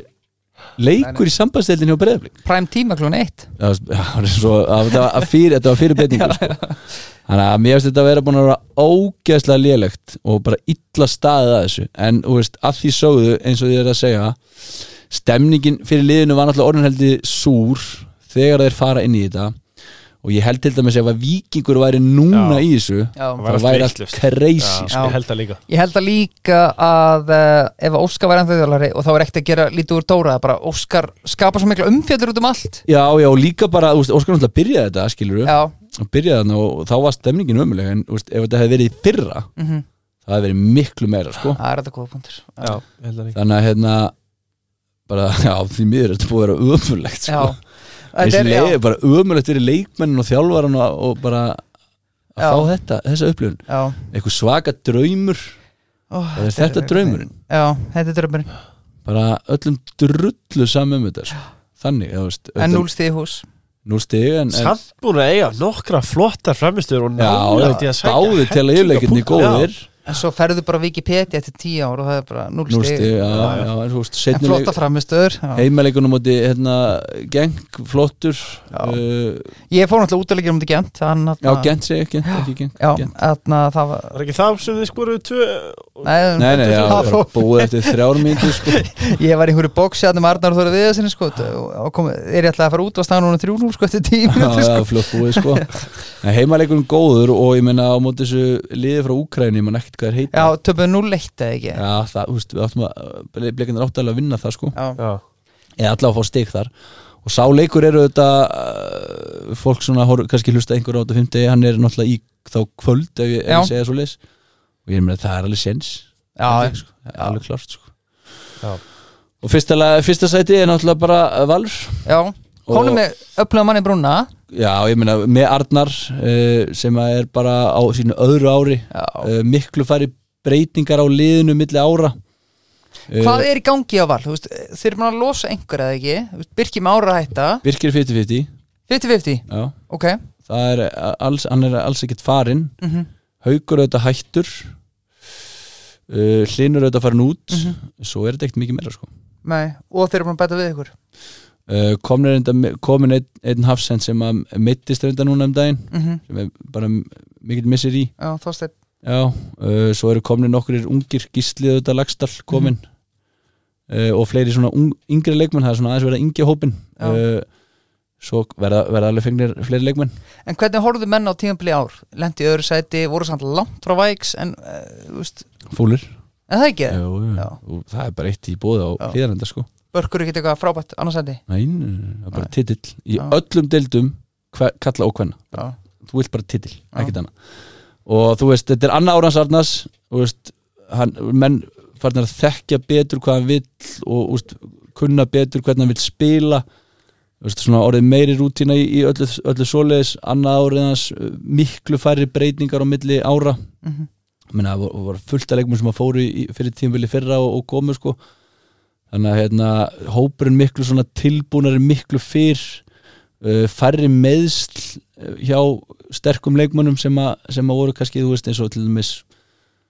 Speaker 3: leikur í sambandsdeildin hjá breyðaflik
Speaker 2: Prime tíma klón 1
Speaker 3: Já, veist, já, það var svo, að, þetta, var fyrir, þetta var fyrir betningu sko. þannig að mér finnst þetta að vera búin að vera ógeðslega lélegt og bara illa staðið að þessu en þú veist, að því sögðu eins og þið er að segja stemningin fyrir liðinu var náttúrulega orðinheldi súr þegar þeir fara inn í þetta og ég held til dæmis ef að vikingur væri núna
Speaker 1: Já.
Speaker 3: í þessu
Speaker 2: Já.
Speaker 1: Það var
Speaker 3: það
Speaker 1: allt
Speaker 3: væri allt
Speaker 1: vitlaust.
Speaker 3: crazy
Speaker 1: Já,
Speaker 2: sko.
Speaker 1: Ég held það líka
Speaker 2: Ég held að líka að uh, ef að Óskar væri ennþá þjálfari og þá er ekkert að gera lítið úr Dóra það er bara Óskar skapar svo mikla umfjöldur út um allt
Speaker 3: Já, já, og líka bara, þú veist, Óskar náttúrulega byrjaði þetta, skilur við,
Speaker 2: Já,
Speaker 3: byrjaði þarna og þá var stemningin ömuleg, en þú veist, ef þetta hefði verið í fyrra,
Speaker 2: mhm.
Speaker 3: það hefði verið miklu meira, sko
Speaker 2: það er þetta góða punktur
Speaker 1: Já, ég held það líka
Speaker 3: þannig að hérna bara, já, því miður þetta er búið að vera ömurlegt
Speaker 2: Já,
Speaker 3: sko.
Speaker 2: þetta
Speaker 3: þessi
Speaker 2: er,
Speaker 3: leið
Speaker 2: já,
Speaker 3: er bara ömurlegt fyrir leikmennin og þjálfaran og, og bara
Speaker 2: Já.
Speaker 3: að fá þetta, þessa upplifun
Speaker 2: já.
Speaker 3: eitthvað svaka draumur,
Speaker 2: Ó,
Speaker 3: það er þetta draumurinn
Speaker 2: Já, þetta er draumurinn
Speaker 3: bara öllum drullu saman um þetta sko. þannig, þú veist
Speaker 2: En núlstíði hús
Speaker 3: núl stig en, en
Speaker 1: Samt búin að eiga nokkra flottar framistur og
Speaker 3: já,
Speaker 1: nálega til að sækja
Speaker 3: báði til að yfirleikinni
Speaker 1: hellinga punkta.
Speaker 3: góðir
Speaker 2: En svo ferðu bara Wikipedia eftir tíu ár og það er bara
Speaker 3: núl
Speaker 2: núlstíði
Speaker 3: stig, já, já, en þú veist
Speaker 2: En
Speaker 3: seinni leik-
Speaker 2: flotta framistöður já.
Speaker 3: heimaleikunum átti, hérna, geng flottur,
Speaker 2: Já.
Speaker 3: uh,
Speaker 2: Ég fór náttúrulega út að leikja um þetta gent hann,
Speaker 3: já,
Speaker 2: þarna-
Speaker 3: gent segi, gent, ekki gent
Speaker 2: Já,
Speaker 3: Gent.
Speaker 2: þarna það var
Speaker 1: Var ekki það sem þið skoruðu tvö
Speaker 2: Nei,
Speaker 3: Nei, nei, já,
Speaker 2: það
Speaker 3: það var
Speaker 2: fór-
Speaker 3: búið eftir þrjár mínútur sko.
Speaker 2: Ég var í einhverju bóksi að með Arnar Þóra Viðarsinni sko, og kom, er ég ætlaði að fara út og staða núna 3-0 sko, eftir 10
Speaker 3: Já,
Speaker 2: mínútur
Speaker 3: það
Speaker 2: sko.
Speaker 3: var flott búið sko. En heimaleikurinn góður og ég meina á móti þessu liði frá Úkræni, ég man ekkert hvað þeir
Speaker 2: Já,
Speaker 3: heita
Speaker 2: töpuðu 0-1 eða ekki
Speaker 3: Já, það, þú veist, við áttum að bleikinir áttu alveg að vinna það sko
Speaker 2: Já,
Speaker 1: Já,
Speaker 3: eða allavega að fá stig þar og sáleikur eru þetta uh, fólk svona, hor, kannski hlusta einhver á þetta fimmtegi, hann er náttúrulega í þá kvöld ef ég, ef
Speaker 2: Já.
Speaker 3: ég segja svo leis og ég meina það er alveg sens
Speaker 2: já,
Speaker 3: sko. Það er alveg klart sko
Speaker 1: Já.
Speaker 3: og fyrsta, la- fyrsta sæti er náttúrulega bara uh, Valur
Speaker 2: já. Konum með öflöðum manni brúna
Speaker 3: Já, ég meina með Arnar uh, sem að er bara á sínu öðru ári
Speaker 2: já.
Speaker 3: uh, miklu fari breytingar á liðinu milli ára uh,
Speaker 2: Hvað er í gangi á val? Þú veist, þeir eru búin að losa einhver eða ekki Þú veist, Birki Mára að hætta
Speaker 3: Virkir 50-50
Speaker 2: 50-50,
Speaker 3: já,
Speaker 2: ok
Speaker 3: það er uh, alls, hann er alls ekkert farinn
Speaker 2: mm
Speaker 3: Haukur auðvitað hættur uh, Hlinur auðvitað farin út
Speaker 2: Mhm.
Speaker 3: svo er þetta ekkert mikið meira sko
Speaker 2: Nei, og þeir eru búin að bæta við ykkur
Speaker 3: uh, komin, er enda, komin einn, einn hafsend sem að meittist reynda núna um daginn
Speaker 2: mm
Speaker 3: sem er bara mikill missir í
Speaker 2: Já, Þorsteinn
Speaker 3: Já, uh, svo eru komni nokkrir ungir gíslið auðvitað lagstall komin
Speaker 2: Mhm.
Speaker 3: uh, og fleiri svona ung, yngri leikmenn, það er svona aðeins verið að yngja hópin
Speaker 2: Já.
Speaker 3: uh, svo verða, verða alveg fengnir fleiri leikmenn
Speaker 2: En hvernig horfðu menn á tímabili ár? Lendi í öðru sæti, voru samt langt frá vægs en, uh, veist,
Speaker 3: Fúlir
Speaker 2: en það ekki,
Speaker 3: Jú, jú.
Speaker 2: Já.
Speaker 3: Og það er bara eitt í bóði á
Speaker 2: Já.
Speaker 3: hlýðarenda sko
Speaker 2: börkur ekkert eitthvað frábætt annarsæti
Speaker 3: Nei, nei, nei, það er bara
Speaker 2: Nei.
Speaker 3: titill í
Speaker 2: Já.
Speaker 3: öllum deildum hver, kalla og hvenna
Speaker 2: Já,
Speaker 3: þú vilt bara titill, ekkert annað og þú veist, þetta er Anna Árans Arnars þú veist, hann, menn farnir að þekkja betur hvað hann vill og úst, kunna betur hvernig hann vill spila Þú veist, svona orðið meiri rútína í, í öllu, öllu svoleiðis annað árið hans uh, miklu færri breytingar á milli ára
Speaker 2: Mhm.
Speaker 3: menna það voru- voru fullt að leikum sem að fóru í, fyrir tímvili fyrra og, og komu sko þannig að hérna, hópurinn miklu svona tilbúnari miklu fyrr uh, færri meðsl uh, hjá sterkum leikmönnum sem, a, sem að voru kannski þú veist eins og til dæmis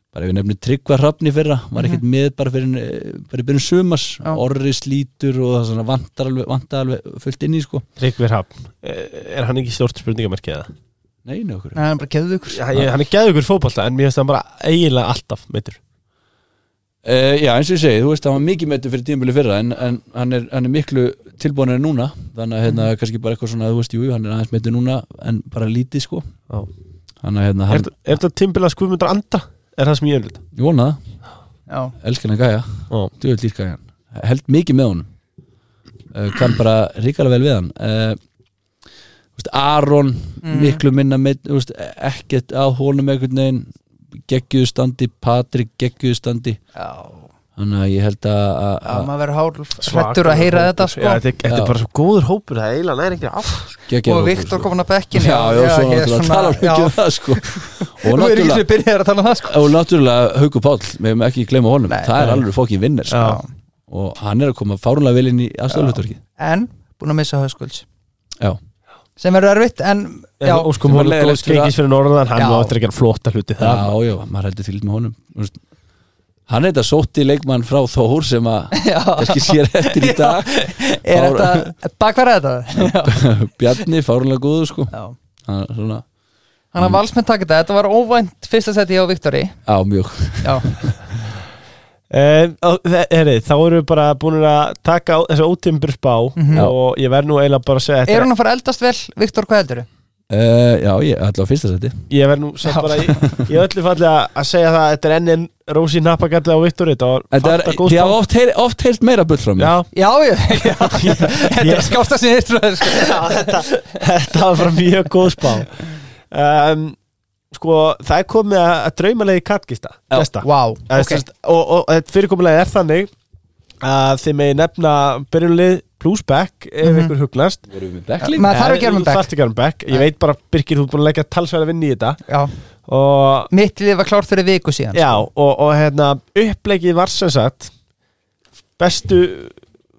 Speaker 3: bara ef við nefnir tryggva hrafni fyrra var ekkert með bara fyrir eh, bara í byrjun sumas,
Speaker 2: Já.
Speaker 3: orri slítur og það svona vantar alveg, vantar alveg fullt inn í sko,
Speaker 1: Tryggvir Hafn e, Er hann ekki stórt spurningamerki eða?
Speaker 3: nei, nei okkur
Speaker 2: Nei, hann er bara keðið ykkur
Speaker 1: Já, ég- Hann er gæðugur fótbolta en mér finnst hann bara eiginlega alltaf meitur
Speaker 3: Uh, já, eins og ég segi, þú veist, hann var mikið metu fyrir tímabili fyrra en, en hann, er, hann er miklu tilbúin en núna, þannig að hérna,
Speaker 2: Mhm.
Speaker 3: kannski bara eitthvað svona, þú veist, jú, jú, hann er aðeins metu núna en bara lítið, sko
Speaker 1: Já.
Speaker 3: Þannig að hérna,
Speaker 1: Er
Speaker 3: hann,
Speaker 1: þetta- er þetta tímbilans Guðmundur Anda? Er það sem ég vil
Speaker 3: ég vona það,
Speaker 2: Já,
Speaker 3: elskar hann gæja
Speaker 1: Já.
Speaker 3: djöðu lýrka hann, Eh, held mikið með honum uh, kann bara ríkala vel við hann uh, Eh, veist, Aron
Speaker 2: Mm.
Speaker 3: miklu minna meidd, þú veist, ekkert á honum einhvern veginn geggjúðu standi, Patrik geggjúðu standi
Speaker 2: Já,
Speaker 3: þannig að ég held að, að,
Speaker 2: já
Speaker 3: að
Speaker 2: maður verður hálf hrættur að heyra þetta sko
Speaker 1: Já, þetta er- þetta
Speaker 3: Já.
Speaker 1: er bara svo góður hópur Það er eiginlega næri ekki af
Speaker 3: geggjaður
Speaker 2: Og
Speaker 3: hópur,
Speaker 2: Viktor hérna
Speaker 3: sko.
Speaker 2: komin að bekkinu
Speaker 3: Já, já, svo
Speaker 2: ég er
Speaker 3: náttúrulega tala mikið
Speaker 2: já.
Speaker 3: um það sko Og
Speaker 2: Nú er ég
Speaker 3: náttúrulega,
Speaker 2: sem byrjaði að tala um það sko
Speaker 3: og náttúrulega Hauku Páll, við hefum ekki gleyma honum
Speaker 2: Nei,
Speaker 3: Það er
Speaker 1: nei.
Speaker 3: alveg fókin vinnir sko.
Speaker 1: Já.
Speaker 3: Og hann er að koma fárunlega vel inn í aðstofluturki
Speaker 2: En, búin að missa hauskulds
Speaker 3: Já,
Speaker 2: Sem verður erfitt, en já,
Speaker 1: Og sko,
Speaker 3: Sem var
Speaker 1: hún er góð
Speaker 3: leiðilegt fyrir að-
Speaker 1: skengis fyrir norðan Hann
Speaker 2: Já.
Speaker 1: má eftir að gera flotta hluti
Speaker 3: já,
Speaker 1: það
Speaker 3: já, maður heldur fylgd með honum Þú veist, Hann er þetta sótti leikmann frá Þór sem að
Speaker 2: já
Speaker 3: kannski sér eftir í dag
Speaker 2: Er
Speaker 3: Fár-
Speaker 2: þetta, bakverða þetta?
Speaker 3: Bjarni, fárunlega góður sko
Speaker 2: Já
Speaker 3: Hann er svona,
Speaker 2: Hann að valsmenn taka þetta, þetta var óvænt fyrsta seti hjá Viktori
Speaker 3: á mjög
Speaker 2: Já,
Speaker 1: En, á- þe- Herri, þá erum við bara búin að taka á- þessa ótimbur spá
Speaker 2: Mhm.
Speaker 1: og ég verð nú eiginlega bara að segja
Speaker 2: er
Speaker 1: þetta
Speaker 2: hún að fara að eldast vel, Viktor, hvað heldur
Speaker 3: uh, Já, ég ætla á fyrsta seti
Speaker 1: ég verð nú samt
Speaker 2: Já.
Speaker 1: bara í, í öllu falli að að segja það að þetta er ennin Rósi Nappagalli á Viktor þetta var
Speaker 3: Þetta er,
Speaker 1: fanta góð
Speaker 3: Þið hafa oft, heyr- oft heyrt meira bull frá mér
Speaker 1: já,
Speaker 2: Já, ég, já, þetta er skásta sem ég trúið sko.
Speaker 1: já þetta, þetta var bara mjög góð spá um, sko það er komið að, að draumalegi kattgista
Speaker 3: Já.
Speaker 1: gesta
Speaker 2: Vá,
Speaker 1: Eða,
Speaker 2: ok
Speaker 1: sérst, og, og, og þetta fyrirkomulegi er þannig að þið megi nefna byrjunlið plus back ef
Speaker 2: Mhm.
Speaker 1: ykkur hugnast
Speaker 3: Við erum við bekklið
Speaker 2: Maður þarf ekki að vera með
Speaker 1: Þú
Speaker 2: back
Speaker 1: þarft ekki að vera með back. Ég
Speaker 2: Nei.
Speaker 1: veit bara, Birgir, þú er búin að leggja talsverða vinni í þetta
Speaker 2: Já,
Speaker 1: og,
Speaker 2: mitt lið var klárt fyrir viku síðan
Speaker 1: já, og, og hérna, upplegið var sem sagt bestu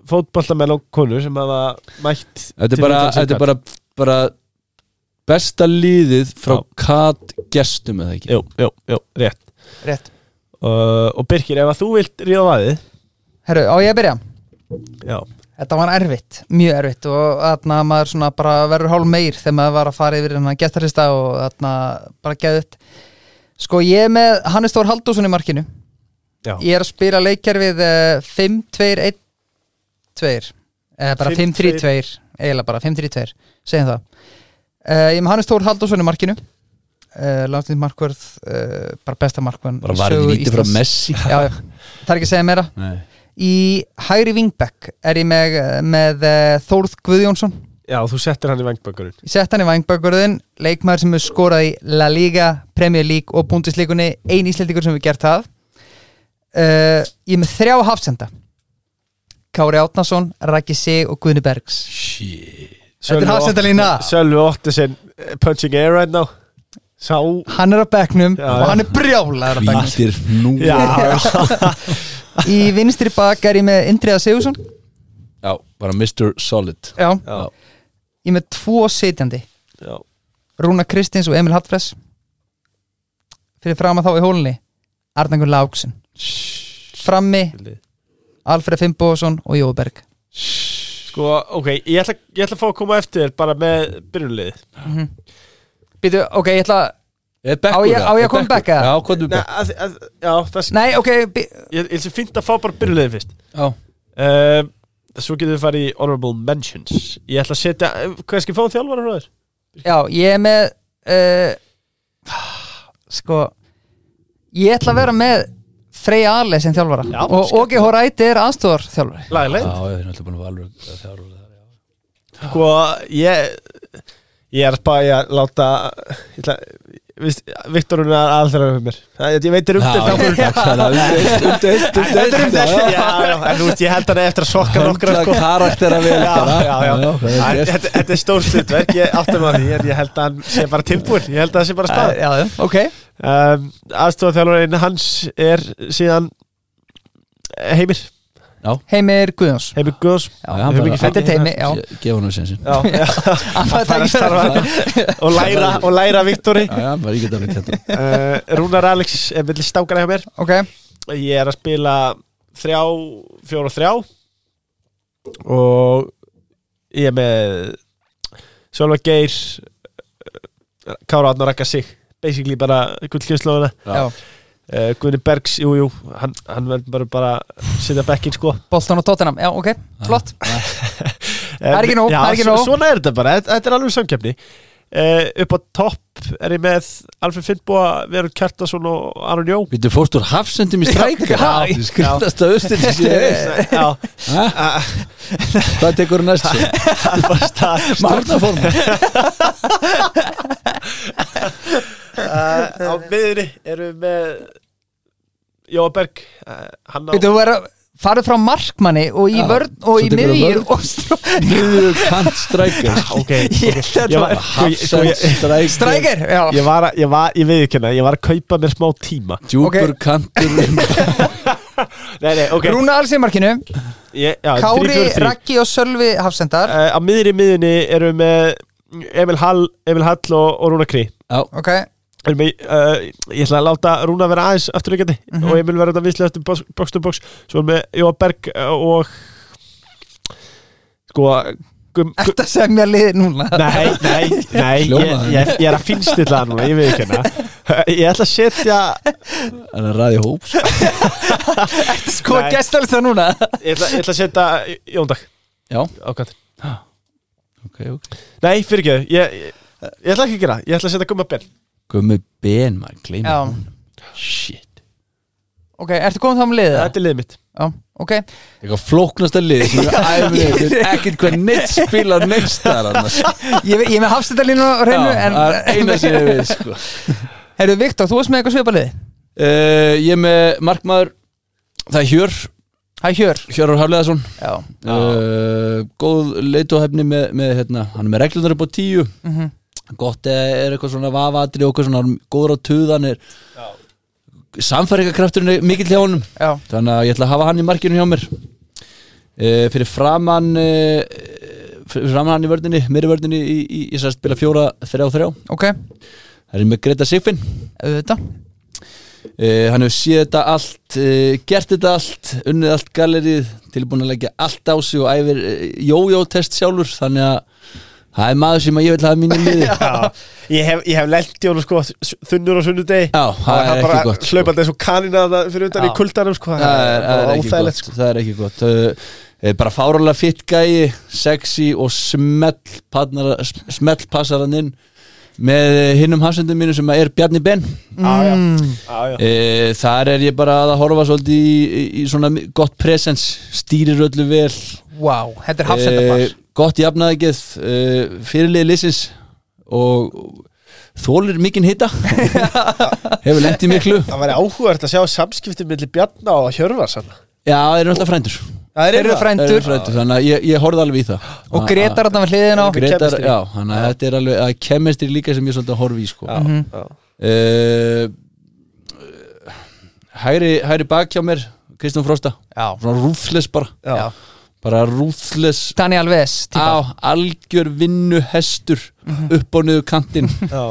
Speaker 1: fótballamenn og konur sem hafa mætt
Speaker 3: Þetta er
Speaker 1: til
Speaker 3: bara,
Speaker 1: utan sig
Speaker 3: þetta er
Speaker 1: kall.
Speaker 3: bara, bara besta liðið frá
Speaker 1: Já.
Speaker 3: kat gestum eða ekki
Speaker 1: Jú, jú, jú, rétt
Speaker 2: Rétt
Speaker 1: uh, Og Birgir, ef að þú vilt ríða vaðið
Speaker 2: Herru, á ég að byrja?
Speaker 1: Já,
Speaker 2: Þetta var erfitt, mjög erfitt og þarna maður svona bara verður hálf meir þegar maður var að fara yfir þennan gestarista og þarna bara geðut Sko ég er með Hannes Þór Halldórsson í markinu
Speaker 1: já
Speaker 2: Ég er að spila eh, leikjar við 5-2-1-2 eða Eh, bara
Speaker 1: 5-3-2.
Speaker 2: 5-3-2 eiginlega bara 5-3-2, segjum það uh, Ég er með Hannes Þór Halldórsson í markinu uh, Láttið markvörð uh, bara besta markvörð
Speaker 3: bara varðið lítið frá Messi
Speaker 2: Já, já. það er ekki að segja meira
Speaker 3: Nei.
Speaker 2: Í hægri vingbekk er ég með, með eh, Þórð Guðjónsson
Speaker 1: Já, þú settir hann í vengbökkurinn
Speaker 2: Ég sett hann í vangbakkurðin, leikmaður sem hefur skorað í La Liga, Premier League og Bundesligunni, ein íslendingur sem hefur gert það uh, Ég er með þrjá hafsenda Kári Átnason, Raki Sig og Guðni Bergs
Speaker 3: Shit.
Speaker 2: Þetta er hafsendalína
Speaker 1: Sölvi Ottesen, eh, punching air right now Sá
Speaker 2: Hann er á bekknum
Speaker 1: Já,
Speaker 2: og
Speaker 1: já.
Speaker 2: hann er brjálaður á bekknum
Speaker 3: hvítir nú
Speaker 1: Já, já,
Speaker 2: Í vinstri bak er ég með Indriða Sigursson
Speaker 3: Já, bara Mr. Solid
Speaker 2: Já.
Speaker 1: já,
Speaker 2: Ég er með tvo sitjandi
Speaker 1: já.
Speaker 2: Rúna Kristins og Emil Hallfress fyrir fram að þá í hólunni Arnangur Láksson frammi Alfred Fimboðsson og Jóberg
Speaker 1: Sko, ok, ég ætla, ég ætla að fá að koma eftir þér bara með byrjunlið
Speaker 2: Býtu, ok, ég ætla
Speaker 3: Er
Speaker 2: Á
Speaker 3: bekkur
Speaker 2: ég- á ég
Speaker 3: það?
Speaker 2: að
Speaker 3: Er
Speaker 2: koma
Speaker 3: bekkur?
Speaker 2: back, eða?
Speaker 3: Já, komdu
Speaker 1: Nei,
Speaker 3: bekk
Speaker 1: að, að, já, það sé
Speaker 2: Nei, ok, bí...
Speaker 1: Ég ég held sem fínt að fá bara byrjulegið fyrst
Speaker 3: Já,
Speaker 1: uh, Svo getum við farið í Honorable Mentions Ég ætla að setja, hvað skal ég fá þjálfara frá þér?
Speaker 2: já, ég er með uh, Sko Ég ætla að vera með Frey Ali sem þjálfara
Speaker 1: Já,
Speaker 2: og
Speaker 1: skemmtilegt.
Speaker 2: OG Horæti er aðstofar þjálfari
Speaker 1: Lægileg
Speaker 3: já, ég er náttúrulega búin að valur að þjálfur það
Speaker 1: Sko, ég Ég er bara í að láta ég ætla, víst, Viktor hún er aðalþjálfara með mér Það- Ég veit um þér umdelt
Speaker 3: Já,
Speaker 1: ákvörðun.
Speaker 3: já, umdeilt, umdeilt,
Speaker 1: Já,
Speaker 3: umdeilt
Speaker 1: já, en þú veist, ég held hann eftir að sokka nokkra
Speaker 3: Höndla
Speaker 1: sko
Speaker 3: karaktera vel
Speaker 1: Já,
Speaker 3: bara.
Speaker 1: já, já.
Speaker 3: hvað er
Speaker 1: Æ,
Speaker 3: gert?
Speaker 1: Þetta þetta er stórt hlutverk, ég áttum að því en ég held að hann sé bara tilbúin, ég held að það sé bara stað
Speaker 2: Eh, Já, já, ok
Speaker 1: um, aðstofaþjálfarinn hans er síðan Heimir,
Speaker 2: Heimir Guðjóns
Speaker 1: Heimir Guðs
Speaker 3: Já, hann
Speaker 1: Höfum
Speaker 3: bara-
Speaker 1: ekki fengið
Speaker 2: Þetta er teimi, já
Speaker 3: Ég- Gefa hann um sinnsinn
Speaker 1: já, já,
Speaker 2: Hann fær
Speaker 1: að fara að
Speaker 2: tækifæri.
Speaker 1: starfa og læra, og læra Viktori
Speaker 3: Já, já, bara ég get alveg þetta
Speaker 1: uh, Rúnar Alex er milli stákana hjá mér
Speaker 2: Ok,
Speaker 1: ég er að spila þrjá, fjóra og þrjá og ég er með Sjálfa Geir eh, Kára Arnar Akka sig basically bara gullkjöfslóðuna
Speaker 2: já,
Speaker 4: Eh,
Speaker 1: uh, Guðni Bergs, jú, jú hann, hann verður bara, bara sitja bekkinn sko
Speaker 2: Bolton og Tottenham Já, ok, flott
Speaker 1: Það
Speaker 2: er ekki nóg, það er ekki nóg.
Speaker 1: Svona er þetta bara, þetta, þetta er alveg samkjöfni
Speaker 4: Eh, upp á topp er ég með Alfred Finnbúa, Verund Kjartason og Aron Jó
Speaker 3: Við þú fórst úr hafsendum í stræka
Speaker 4: Já, já.
Speaker 3: Þú skrýtast að austin sem sé
Speaker 4: Já,
Speaker 3: Ha?
Speaker 1: Ah,
Speaker 3: Hvað tekur næst svo? Marnaform
Speaker 4: eh, á miðinni erum við með Jóa Berg eh, hann á
Speaker 2: Þú verður að fara frá markmanni og í
Speaker 3: Já,
Speaker 2: vörn og í
Speaker 3: svo tekurðu
Speaker 2: miðjur
Speaker 3: vörn.
Speaker 2: og stró-
Speaker 3: Miður kant stræka
Speaker 4: Ah, Ok,
Speaker 2: Ég
Speaker 4: ok.
Speaker 2: held að
Speaker 4: Ég var-
Speaker 2: það
Speaker 4: sko,
Speaker 3: Hafsend
Speaker 4: ég-
Speaker 3: stræka
Speaker 2: Strækir, já
Speaker 4: Ég var að, ég var, ég viðurkenna, ég var að kaupa mér smá tíma
Speaker 3: Djúpur
Speaker 2: Ok.
Speaker 3: kantur um-
Speaker 4: Nei, nei, ok
Speaker 2: Rúna alls í markinu
Speaker 4: ég, já,
Speaker 2: Kári,
Speaker 4: 3-4-3.
Speaker 2: Raggi og Sölvi Hafsendar
Speaker 4: Eh, Á miðri miðinni erum við með Emil Hall, Emil Hall og, og Rúna Krí
Speaker 2: Ok,
Speaker 4: erum við, uh, Ég ætla að láta Rúna vera aðeins afturleikandi og Emil vera þetta víslega eftir box, box to box Svo erum við Jóa Berg eh, og Sko gum, gum,
Speaker 2: þetta sem ég liði núna
Speaker 4: Nei, nei, nei ég,
Speaker 3: Hljómaði.
Speaker 4: ég, ég er að finnstilla það núna, ég veit ekki hérna Ég ætla að setja
Speaker 3: Hann er ræði hóps
Speaker 2: Sko,
Speaker 4: Nei.
Speaker 2: gestalist það núna
Speaker 4: Ég ætla, ég ætla að setja Jóndag
Speaker 3: Já.
Speaker 4: á kantinn
Speaker 3: okay, okay.
Speaker 4: Nei, fyrir ekki, ég, ég, ég ætla ekki að gera það. Ég ætla að setja gumma benn
Speaker 3: Gummi ben maður gleyma
Speaker 2: Já.
Speaker 3: honum. Shit
Speaker 2: Ok, ertu komin þá með liðið?
Speaker 4: Þetta er liðið mitt
Speaker 2: Já, ok
Speaker 3: Eitthvað flóknasta lið sem við æfum við Við veit ekkert hvað neitt spila next þar annars
Speaker 2: Ég, ég er með Hafsendarlínu á hreinu
Speaker 3: Já,
Speaker 2: en
Speaker 3: það er eina sem ég við sko.
Speaker 2: Herru, Viktor, þú varst með eitthvað svipalið
Speaker 3: uh, Ég er með markmaður Það er Hjör,
Speaker 2: Hæ, Hjör
Speaker 3: Hjörur Hafleðarsson
Speaker 2: Já,
Speaker 3: uh, Góð leituhefni með, með hérna, Hann er með reglunar upp á tíu
Speaker 2: mm -hmm.
Speaker 3: Gott eh, er eitthvað svona vafatri og eitthvað svona hann er góður á tuðan er Samfæringarkrafturinn er mikill hjá honum
Speaker 2: já.
Speaker 3: Þannig að ég ætla að hafa hann í markinu hjá mér uh, Fyrir framann uh, Fyrir framann hann í vördinni Meiri vördinni í, í, í, í að spila fjóra Þrjá þrjá
Speaker 2: ok,
Speaker 3: Það er með Greta Sigfinn
Speaker 2: auðvitað
Speaker 3: Uh, hann hefur séð þetta allt, uh, gert þetta allt, unnið allt galerið, tilbúin að leggja allt á sig og æfir uh, jójó-test sjálfur, þannig að það er maður sem að ég vil hafa mínu liði. Já,
Speaker 1: Ég hef, ég hef lent í honum sko þunnur á sunnudegi
Speaker 3: það er ekki gott. sko.
Speaker 1: hlaupandi eins og kanina þarna fyrir undan
Speaker 2: Já.
Speaker 1: í kuldanum sko
Speaker 3: Það er, það er
Speaker 1: bara
Speaker 3: ekki
Speaker 1: óþægilegt
Speaker 3: gott,
Speaker 1: sko
Speaker 3: það er ekki gott. Uh, eh, bara fárálega fitt gæi, sexy og smellpassarinn inn með eh, hinum hafsendum mínu sem að er Bjarni Ben.
Speaker 1: Já, já.
Speaker 2: mm.
Speaker 1: Já, já.
Speaker 3: E, þar er ég bara að horfa svolítið í, í, í svona gott presens, stýrir öllu vel,
Speaker 2: Wow, þetta er Hafsendarbar
Speaker 3: Eh, gott jafnaðegið uh, fyrirlið lýsins og þólir mikinn hita hefur lent í miklu já,
Speaker 1: Það væri áhugavert að sjá samskiptum millir Bjarna og Hjörvar sann
Speaker 3: það eru alltaf frændur
Speaker 1: Það
Speaker 2: Þeir eru
Speaker 3: Þeir eru
Speaker 2: frændur
Speaker 3: frændur, þannig að ég, ég horfði alveg í það
Speaker 2: og Gretar þarna við hliðina á
Speaker 1: Gre-
Speaker 3: Gretar,
Speaker 1: Chemistry.
Speaker 3: já, þannig að þetta er alveg að kemestri líka sem ég svolítið að horfa í sko.
Speaker 1: Já,
Speaker 2: Mhm.
Speaker 1: já.
Speaker 3: uh, hægri, hægri bak hjá mér Kristján Frosta,
Speaker 2: Já,
Speaker 3: svona rúðles bara
Speaker 1: Já.
Speaker 2: já
Speaker 3: bara rúðles
Speaker 2: Daniel Vess típa
Speaker 3: á algjör vinnu hestur upp og niður kantinn
Speaker 1: Já.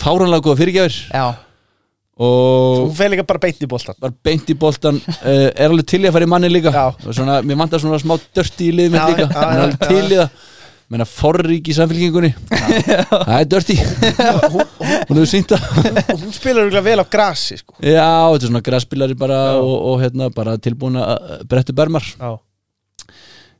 Speaker 3: fáranlega góða fyrirgjafir
Speaker 2: Já,
Speaker 1: Þú
Speaker 3: og
Speaker 1: fer líka bara beint í boltan
Speaker 3: var beint í boltan uh, er alveg til í að fara í manni líka
Speaker 1: Já.
Speaker 3: Og svona, mér vantar svona smá dörti í liðið mitt
Speaker 1: Já,
Speaker 3: líka
Speaker 1: já,
Speaker 3: hann er
Speaker 1: já,
Speaker 3: alveg
Speaker 1: já.
Speaker 3: til í það menna forrík í samfélkingunni það er dörti
Speaker 1: hún, hún,
Speaker 3: hún hefur sínt það
Speaker 1: hún spilar örugglega vel á grasi sko
Speaker 3: já, þetta er svona græspilari bara og, og hérna bara tilbúin að brettu bermar
Speaker 1: Já,
Speaker 3: uh,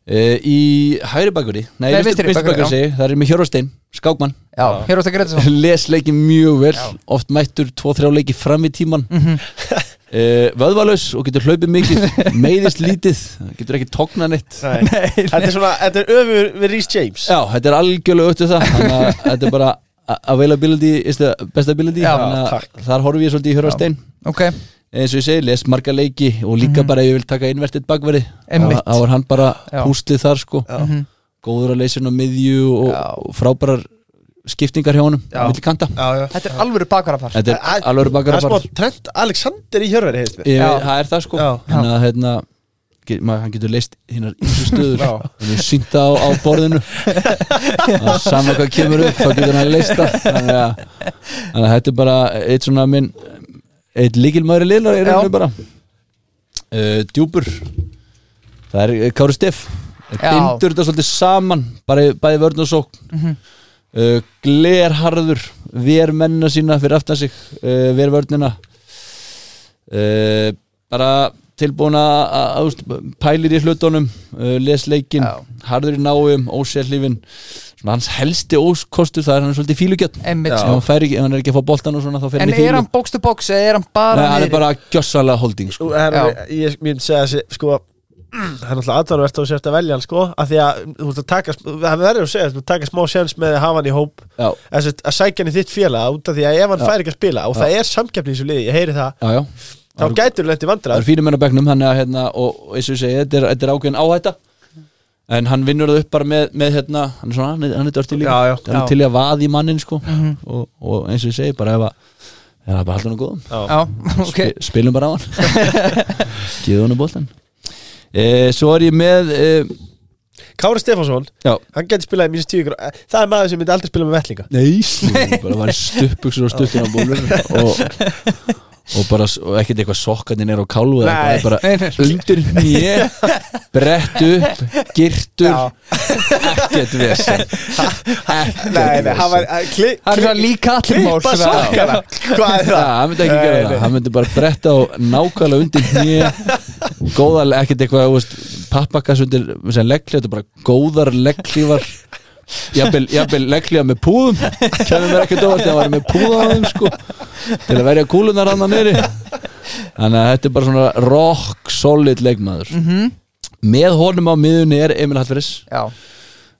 Speaker 3: í hægri bakverði nei,
Speaker 2: Nei, vinstri
Speaker 3: vinstri vinstri
Speaker 2: bakverði,
Speaker 3: bakverði segi ég, það er með Hjörvarstein, skákmann
Speaker 2: já, hér ástu Gretarsson
Speaker 3: les leiki mjög vel,
Speaker 2: Já.
Speaker 3: oft mættur 2-3 leiki fram í tíman mm
Speaker 2: Mhm.
Speaker 3: vöðvalös og getur hlaupið mikið meiðist lítið, getur ekki tognað neitt
Speaker 1: nei. Þetta er svona, þetta er öfur við Rhys James
Speaker 3: Já, þetta er algjörlega auðvitað það Þannig að þetta er bara a- availability is the best ability
Speaker 2: Já,
Speaker 3: Þannig að
Speaker 1: takk.
Speaker 3: Þar horfi ég svolítið í Hjörvarstein
Speaker 2: Ok,
Speaker 3: eins og ég segi, les marga leiki og líka bara ef ég vil taka innvertið bakverði
Speaker 2: Mhm. Einmitt.
Speaker 3: þá er hann bara
Speaker 2: Já.
Speaker 3: púslið þar sko
Speaker 2: Mhm.
Speaker 3: góður að leysin á miðju og,
Speaker 2: Já.
Speaker 3: og frábærar skiptingar hjá honum
Speaker 1: Já.
Speaker 3: á milli kanta
Speaker 1: já, já.
Speaker 2: þetta er alvöru bakarafar
Speaker 3: Þetta
Speaker 1: Það-
Speaker 3: er alveg
Speaker 1: Það
Speaker 3: bakar
Speaker 1: er
Speaker 3: að fara
Speaker 1: smá trend Alexander í Hjörvari heist mér
Speaker 2: Já.
Speaker 3: Það er það sko
Speaker 1: Já.
Speaker 3: Þannig að hérna, get, maður, hann getur leist hinnar ymsu stöður
Speaker 1: Já.
Speaker 3: hann er sýnta á, á borðinu og saman hvað kemur upp þá getur hann leist það þannig að, þannig að þetta er bara eitt svona minn eitt líkilmaður í liðlar er
Speaker 2: Já.
Speaker 3: hann bara uh, djúpur það er eh, Kári Steff
Speaker 2: Já.
Speaker 3: bindur þetta svolítið saman bara í- bæði vörn og sókn
Speaker 2: Mhm.
Speaker 3: uh, glerharður ver mennina sína fyrir aftan sig uh, ver vörnina uh, bara tilbúin að- að að, þú veist, pælir í hlutunum uh, eh, les leikin,
Speaker 2: Já.
Speaker 3: harður í náum ósérlífin svona hans helsti óskostur það er hann er svolítið fílugjörn
Speaker 2: einmitt
Speaker 1: Já.
Speaker 2: sko.
Speaker 3: ef hann, fær ekki, ef hann er ekki að fá boltan og svona þá fer
Speaker 2: En
Speaker 3: hann í fílu
Speaker 2: er hann box to box eða er hann bara
Speaker 3: Nei, hann er
Speaker 2: niðri?
Speaker 3: bara gjössalega holding sko.
Speaker 1: Sko, hann,
Speaker 2: Já.
Speaker 1: ég myndi segja þessi sko það er náttúrulega aðdánuvert að þú sért að velja hann sko af því að þú ert að taka það verður að segja þú taka smá séns með að hafa hann í hóp
Speaker 3: Já,
Speaker 1: að, að sækja hann í þitt félag út af því að ef hann
Speaker 3: Já.
Speaker 1: fær ekki að spila og
Speaker 3: Já.
Speaker 1: það er samkeppni í þessu liði ég heyri það
Speaker 3: já, já
Speaker 1: þá
Speaker 3: Það eru-
Speaker 1: gætur þú lent í
Speaker 3: Það
Speaker 1: vandrar
Speaker 3: eru fínum enn á bekknum þannig að hérna, og, og eins og ég segi, þetta er, þetta er ákveðin áhætta en hann vinnur það upp bara með, með hérna, hann er svona, hann er, hann er dörti líka
Speaker 1: Já, já.
Speaker 3: hann
Speaker 2: Já.
Speaker 3: er til í að vaði mannin sko
Speaker 2: Mhm.
Speaker 3: og, og eins og ég segi, bara ef að ef það er bara alltaf hann góðum
Speaker 1: Já.
Speaker 2: Já, ok
Speaker 3: okay. spilum bara á hann gefið hann boltan e, svo er ég með e,
Speaker 1: Kári Stefánsson,
Speaker 3: já,
Speaker 1: hann gæti spilað í mínus tíu ykkur Eh, það er maður sem myndi aldrei spila með vellinga
Speaker 3: nei bara var stuppuksur og stuttin á bólur og, og bara s- og ekkert eitthvað sokkarnir er á kálfu eða
Speaker 1: Nei.
Speaker 3: eitthvað, bara
Speaker 2: Nei, nei.
Speaker 3: undir nýje brett upp, girtur
Speaker 1: Já.
Speaker 3: ekkert vesen
Speaker 1: Nei, nei,
Speaker 3: ekkert
Speaker 1: hann var eh,
Speaker 3: vesen
Speaker 1: kli,
Speaker 2: Það er svona
Speaker 1: kli,
Speaker 2: líka allir mál
Speaker 1: klippa
Speaker 2: sem að-
Speaker 1: sokkana hvað er
Speaker 3: Já,
Speaker 1: það?
Speaker 3: hann myndi ekki
Speaker 1: Nei,
Speaker 3: gera
Speaker 1: nei.
Speaker 3: það, hann myndi bara bretta á nákvæmlega undir nýja góðar, ekkert eitthvað, þú veist, pappakas undir sem leggli, þetta er bara góðar legglífar jafnvel, jafnvel legglífar með púðum kemur mér ekkert óvart, það var með púða á þeim sko, til að verja kúlunar hann að niðri þannig að þetta er bara svona rock solid leggmaður
Speaker 2: Mhm.
Speaker 3: með honum á miðunni er Emil Hallfriðs
Speaker 2: Já,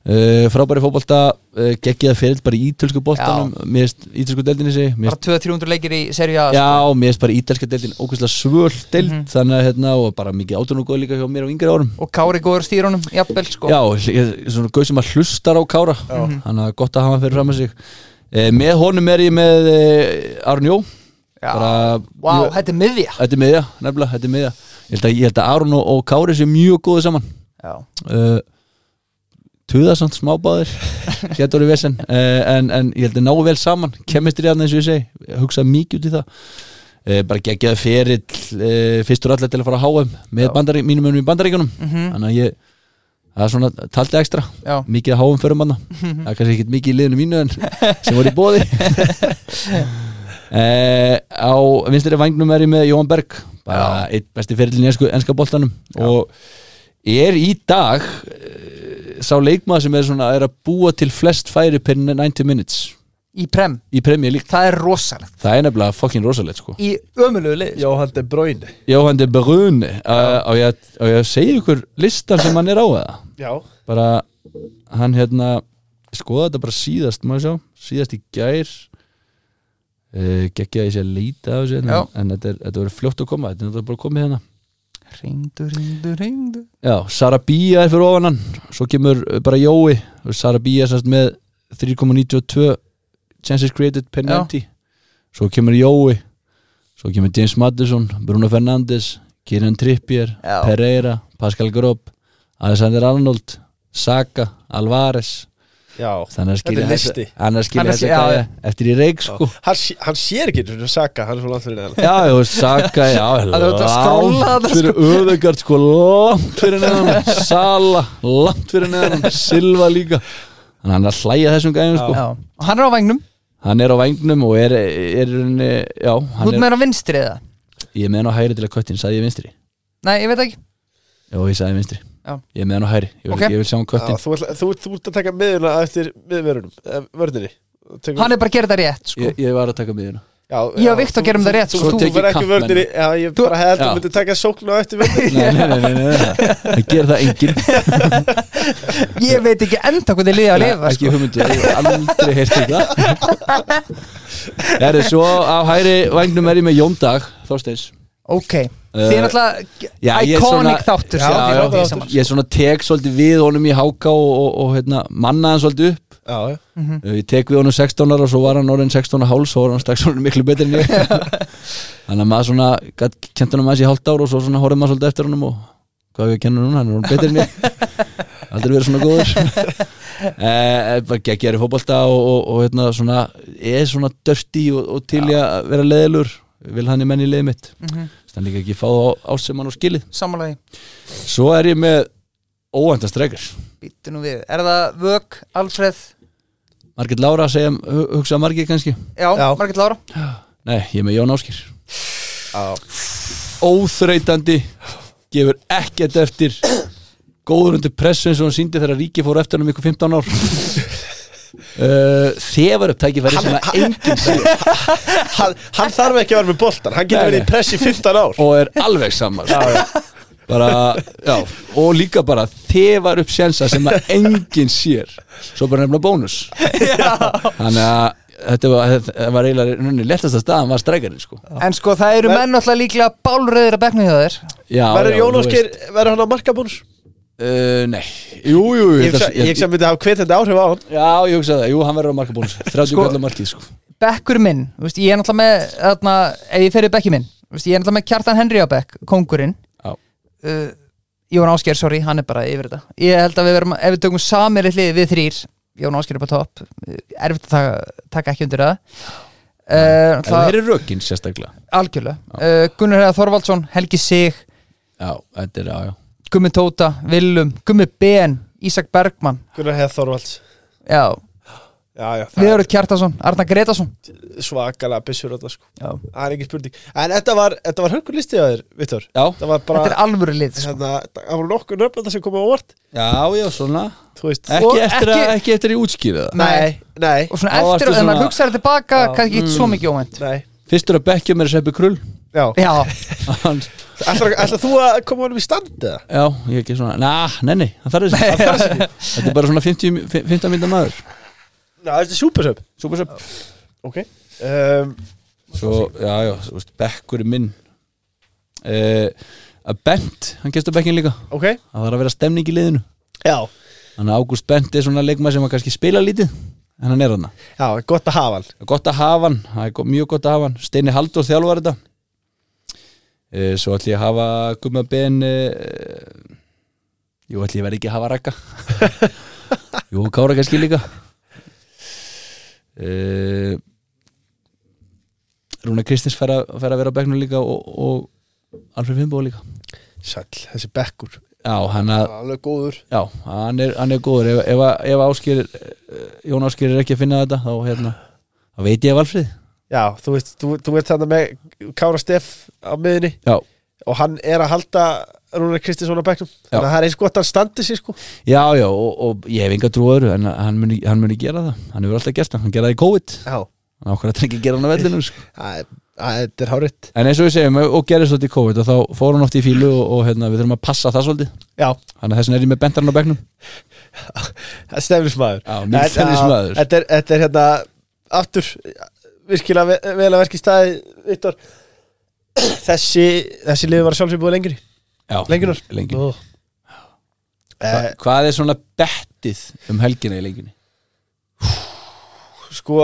Speaker 3: uh, frábæri fótbolta, uh, geggiða fyrir bara í ítölsku boltanum, mér finnst ítölsku deldinni sig, mér
Speaker 2: bara 200-300 leikir í seri A sko.
Speaker 3: Já, mér finnst bara ítalska deildin ókvæmstlega svöld deild
Speaker 2: Mhm.
Speaker 3: þannig að hérna og bara mikið átun og góð líka hjá mér á yngri árum
Speaker 2: og Kári góður stýrunum, jafnvel sko
Speaker 3: Já, ég- svona gauð sem að hlustar á Kára þannig að gott að hafa hann fyrir fram að sig eh, Með honum er ég með eh, Arun Jó
Speaker 2: Já.
Speaker 3: bara,
Speaker 2: Vá,
Speaker 3: mjög-
Speaker 2: þetta er miðja
Speaker 3: Þetta er miðja, nefnilega, þetta er miðja Ég held að, ég held að Arun og, og Kári séu mjög góði saman
Speaker 2: Já,
Speaker 3: uh, Tuðasamt smábáðir Getur í vesen uh, en, en ég held að náu vel saman Kemistri aðna eins og ég segi Hugsa mikið út í það uh, Bara geggjaði ferill uh, Fyrstur allir til að fara á HM Með
Speaker 2: Já.
Speaker 3: bandari, mínum önum í bandaríkunum Þannig að ég Það er svona, taldi ekstra
Speaker 2: já,
Speaker 3: Mikið að háum förum manna Það er kannski ekkit mikið í liðinu mínu en Sem voru í bóði uh, Á vinstri vangnum er ég með Jóhann Berg Bara eitt besti ferillin í ensku, enska boltanum Og er í dag eh, sá leikmaður sem er svona er að búa til flest færi per 90 minutes
Speaker 2: í prem,
Speaker 3: í Premier League
Speaker 2: það er rosalegt
Speaker 3: það er nefnilega fucking rosalegt sko
Speaker 2: Í ömulegu lið
Speaker 1: Jóhann de Bruyne
Speaker 3: Jóhann de Bruyne uh, á, ég að- á ég að segja ykkur listan sem hann er á eða
Speaker 1: Já,
Speaker 3: bara hann hérna ég skoða þetta bara síðast má ég sjá síðast í gær uh, geggja að ég sé að leita á þessu hérna,
Speaker 2: Já.
Speaker 3: en þetta, er, þetta verður fljótt að koma þetta er náttúrulega bara komið hérna
Speaker 2: Ringdu, ringdu, ringdu
Speaker 3: Já, Sarabia er fyrir ofan hann Svo kemur uh, bara Jói Sarabia semst með 3,92 Chances created per
Speaker 2: Já.
Speaker 3: 90 Svo kemur Jói Svo kemur James Madison, Bruno Fernandes Kieran Trippier,
Speaker 2: Já.
Speaker 3: Pereira Pascal Grob, Alexander Arnold Saka, Alvarez
Speaker 1: já
Speaker 3: Þannig
Speaker 1: Þetta
Speaker 3: að skilja
Speaker 1: er listi.
Speaker 3: Þannig að
Speaker 2: Hann er
Speaker 3: skilja
Speaker 2: skil-
Speaker 3: þessi
Speaker 2: já,
Speaker 3: gæja Eftir í reik sko
Speaker 1: hann, sé- hann sér ekki þetta Saka, hann er svo langt fyrir neðan
Speaker 3: Já, já, Saka, já
Speaker 2: er auðvitað að skrolla
Speaker 3: langt
Speaker 2: þarna,
Speaker 3: fyrir öðugard sko, langt fyrir neðan Sala, langt fyrir neðan Silva líka Þannig að hann er að hlæja þessum gæðum sko
Speaker 2: Já, og hann er á vagnum,
Speaker 3: Hann er á vængnum og er, er, er já,
Speaker 2: þú
Speaker 3: hann
Speaker 2: ert
Speaker 3: er,
Speaker 2: með hann á vinstri eða
Speaker 3: ég er með hann á hægri til að köttin sagði ég vinstri,
Speaker 2: Nei, ég veit ekki
Speaker 3: já, ég sagði vinstri
Speaker 2: Já.
Speaker 3: ég er með hann á hægri, ég vil,
Speaker 2: Ok.
Speaker 3: ég vil sjá hann
Speaker 1: Já,
Speaker 3: köttin
Speaker 1: þú, ætla, þú, þú ert að taka miðuna eftir miðvörunum, eh, vörðinni Tökum,
Speaker 2: Hann er bara að gera þetta rétt sko
Speaker 3: ég, ég var að taka miðuna
Speaker 1: já,
Speaker 2: Ég og Viktor gerum það rétt,
Speaker 1: Þú,
Speaker 2: sko.
Speaker 1: þú,
Speaker 3: Svo
Speaker 1: þú verð
Speaker 3: tek
Speaker 1: ekki
Speaker 3: ég
Speaker 1: vörðinni Já, ég
Speaker 2: Þú-
Speaker 1: bara held að
Speaker 3: Já.
Speaker 1: þú myndir taka sóknu á eftir vörðinni
Speaker 3: Nei, nei, nei, nei, nei, nei. það gerir það enginn
Speaker 2: Ég veit ekki enda hvernig liðið að lifa
Speaker 3: ekki
Speaker 2: sko.
Speaker 3: hugmyndu, ég hef aldrei heyrst þetta Það er svo á hægri vængnum er ég með Jóndag Þorsteins
Speaker 2: Ok,
Speaker 3: Eh,
Speaker 2: þið er náttúrulega
Speaker 3: já, ég er
Speaker 2: Iconic
Speaker 3: svona-
Speaker 2: þáttur
Speaker 1: Já,
Speaker 2: sko. sem þið
Speaker 1: já,
Speaker 2: látið í
Speaker 1: já.
Speaker 2: saman.
Speaker 3: ég svona tek svolítið við honum í háka og, og, og hérna, manna hann svolítið upp
Speaker 1: Já, já
Speaker 3: mm. ég tek við honum 16 ára og svo var hann orðin 16 og háls og var hann strax orðin miklu betri en ég þannig að maður svona gat kent honum aðeins í hálft ár og svo svona horfði maður svolítið eftir honum og hvað hef ég að kenna núna, hann er orðin betri en ég aldrei verið svona góður eh, bara geggjari fótbolta og, og, og hérna svona er svona dörti og, og til ég að vera leðilur vil hann í menn í leið mitt
Speaker 2: Mhm.
Speaker 3: þannig ekki fá þá ásemann og skilið
Speaker 2: Samanlagi,
Speaker 3: svo er ég með óvæntastregur
Speaker 2: býttu nú við Er það Vök, Alfreð,
Speaker 3: Margit Lára segja, hu- hugsa Margit kannski
Speaker 2: já,
Speaker 1: Já.
Speaker 2: Margrét Lára
Speaker 3: Nei, ég er með Jón Áskir
Speaker 1: Já,
Speaker 3: Óþreytandi, gefur ekkert eftir Góður undir pressu eins og hann síndi þegar Ríki fór eftir hann um ykkur 15 ár uh, Þefar upp tækifæri sem að enginn sér
Speaker 1: hann, hann þarf ekki að vera með boltan Hann
Speaker 3: Nei,
Speaker 1: getur verið
Speaker 3: nei.
Speaker 1: í press í 15 ár
Speaker 3: og er alveg saman bara, já, og líka bara þefar upp sjensa sem að enginn sér svo bara nefnilega bónus þannig að þetta var, þetta var eiginlega lettast að staðan var streikarinn sko
Speaker 2: En sko það eru
Speaker 1: Ver-
Speaker 2: menn alltaf líklega bálröðir að bekna hjá þér
Speaker 3: já,
Speaker 1: Verður
Speaker 3: já,
Speaker 1: Jónas
Speaker 3: þú
Speaker 1: Geir,
Speaker 3: veist.
Speaker 1: verður hann á markabónus?
Speaker 3: uh, nei, jú, jú,
Speaker 1: Ég
Speaker 3: þetta-
Speaker 1: hugsa ég hugsa að myndi hafa hvetjandi áhrif á hann
Speaker 3: já, ég hugsa það, jú, hann verður á markabónus 30
Speaker 2: Sko-
Speaker 3: sko, markið sko
Speaker 2: Bekkur minn, þú veist, ég er náttúrulega með þarna, ef ég fer í bekki minn þú veist, Ég er náttúrulega með Kjartan Henry á bekk, kongurinn
Speaker 3: Já.
Speaker 2: uh, Jón Ásker, sorry, hann er bara yfir þetta Ég held að við verum, ef við tökum samir lið við þrýr Jón Ásker er bara topp uh, Erfitt að taka, taka ekki undir það Uh,
Speaker 3: en það
Speaker 2: það
Speaker 3: er rökin sérstaklega
Speaker 2: algjörlega uh, Gunnar Heiða Þorvaldsson, Helgi Sig
Speaker 3: já, þetta er, já, já
Speaker 2: Gummi Tóta, Willum, Gummi Ben Ísak Bergmann
Speaker 1: Gunnar Heð Þorvalds
Speaker 2: Já,
Speaker 1: Já, já, það
Speaker 2: Viðurud Kjartason, Arna Gretason
Speaker 1: er svakalega byssur á það sko
Speaker 2: Já.
Speaker 1: Það er ekki spurning En þetta var, þetta var hörkur listið að þér, Vittur
Speaker 3: Já.
Speaker 1: Það var bara,
Speaker 2: Þetta er alvöru lið sko.
Speaker 1: hérna, það voru nokkuð nöfnum sem komið á óvart
Speaker 3: já, já, svona
Speaker 1: Þú veist
Speaker 2: Og
Speaker 3: ekki eftir, að,
Speaker 2: ekki-
Speaker 3: ekki eftir í útskýrið það
Speaker 1: Nei, nei,
Speaker 2: Og svona
Speaker 3: Þá
Speaker 2: eftir,
Speaker 3: varstu
Speaker 2: en maður
Speaker 3: svona-
Speaker 2: hugsaði tilbaka kannski ekki svo mikið óvænt
Speaker 1: nei
Speaker 3: fyrstur að bekkja mér að seppi krull
Speaker 1: Já,
Speaker 2: Já,
Speaker 3: hann
Speaker 1: ætlar, ætlar þú að koma honum í standið?
Speaker 3: Já, ég ekki svona, na, nei, nei, það þarf þessi það þarf þessi. Þetta er bara svona 50, 15 mynda maður
Speaker 1: Já, þetta er súpersöp
Speaker 3: Súpersöp
Speaker 1: Ok um,
Speaker 3: Svo, já, já, þú veist, bekkur er minn uh, Að Bent, hann gestur bekkin líka
Speaker 1: Ok
Speaker 3: Það þarf að vera stemning í liðinu
Speaker 1: Já
Speaker 3: Þannig að Ágúst Bent er svona leikmaður sem að kannski spila lítið En hann er hann
Speaker 1: Já, gott að hafa hann
Speaker 3: Gott að hafa hann, það er go- mjög gott að hafa hann Steini Halldór þjálfar þetta uh, Svo ætli ég að hafa Gumma Ben uh, Jú, ætli ég verði ekki að hafa Raka Jú, Kára kannski líka uh, Rúna Kristins fær að, fær að vera á bekknum líka og, og Alfred Fimbo líka
Speaker 1: Sæll, þessi bekkur
Speaker 3: Já, hann, að,
Speaker 1: Alveg góður
Speaker 3: já, hann, er, hann er góður Ef, ef, að- ef áskir, Jón Áskir er ekki að finna þetta þá, hérna, þá veit ég af Alfred
Speaker 1: Já, þú veist, þú, þú ert þarna með Kára Steff á miðinni
Speaker 3: Já,
Speaker 1: Og hann er að halda Rúnar Kristinsson á bekknum Þannig að það er eins gott að hann standi sér sko
Speaker 3: Já, já, og, og ég hef enga trú á öðru en hann muni, hann muni gera það, hann hefur alltaf gert það hann gera það í COVID,
Speaker 1: Já
Speaker 3: hann ákveður að ekki að gera hann á vellinum sko.
Speaker 1: Það er- það er- þetta er hárétt
Speaker 3: en eins og við segjum, og gerist þetta í COVID og þá fór hann oft í fílu og, og hérna, við þurfum að passa það svolítið,
Speaker 1: Já,
Speaker 3: þannig að þessin er ég með bentarinn á bekknum
Speaker 1: það er stefnismæður
Speaker 3: Já, minn stefnismaður.
Speaker 1: Þetta er, þetta er hérna aftur virkilega ve- vel að verki staði Vittor Þessi, þessi liður var sjálfsög búið lengri
Speaker 3: Já,
Speaker 1: Lengjunnar
Speaker 3: lengi.
Speaker 1: Ó.
Speaker 3: Hva,
Speaker 1: Eh,
Speaker 3: Hvað er svona bettið um helgina í lengjunni?
Speaker 1: Sko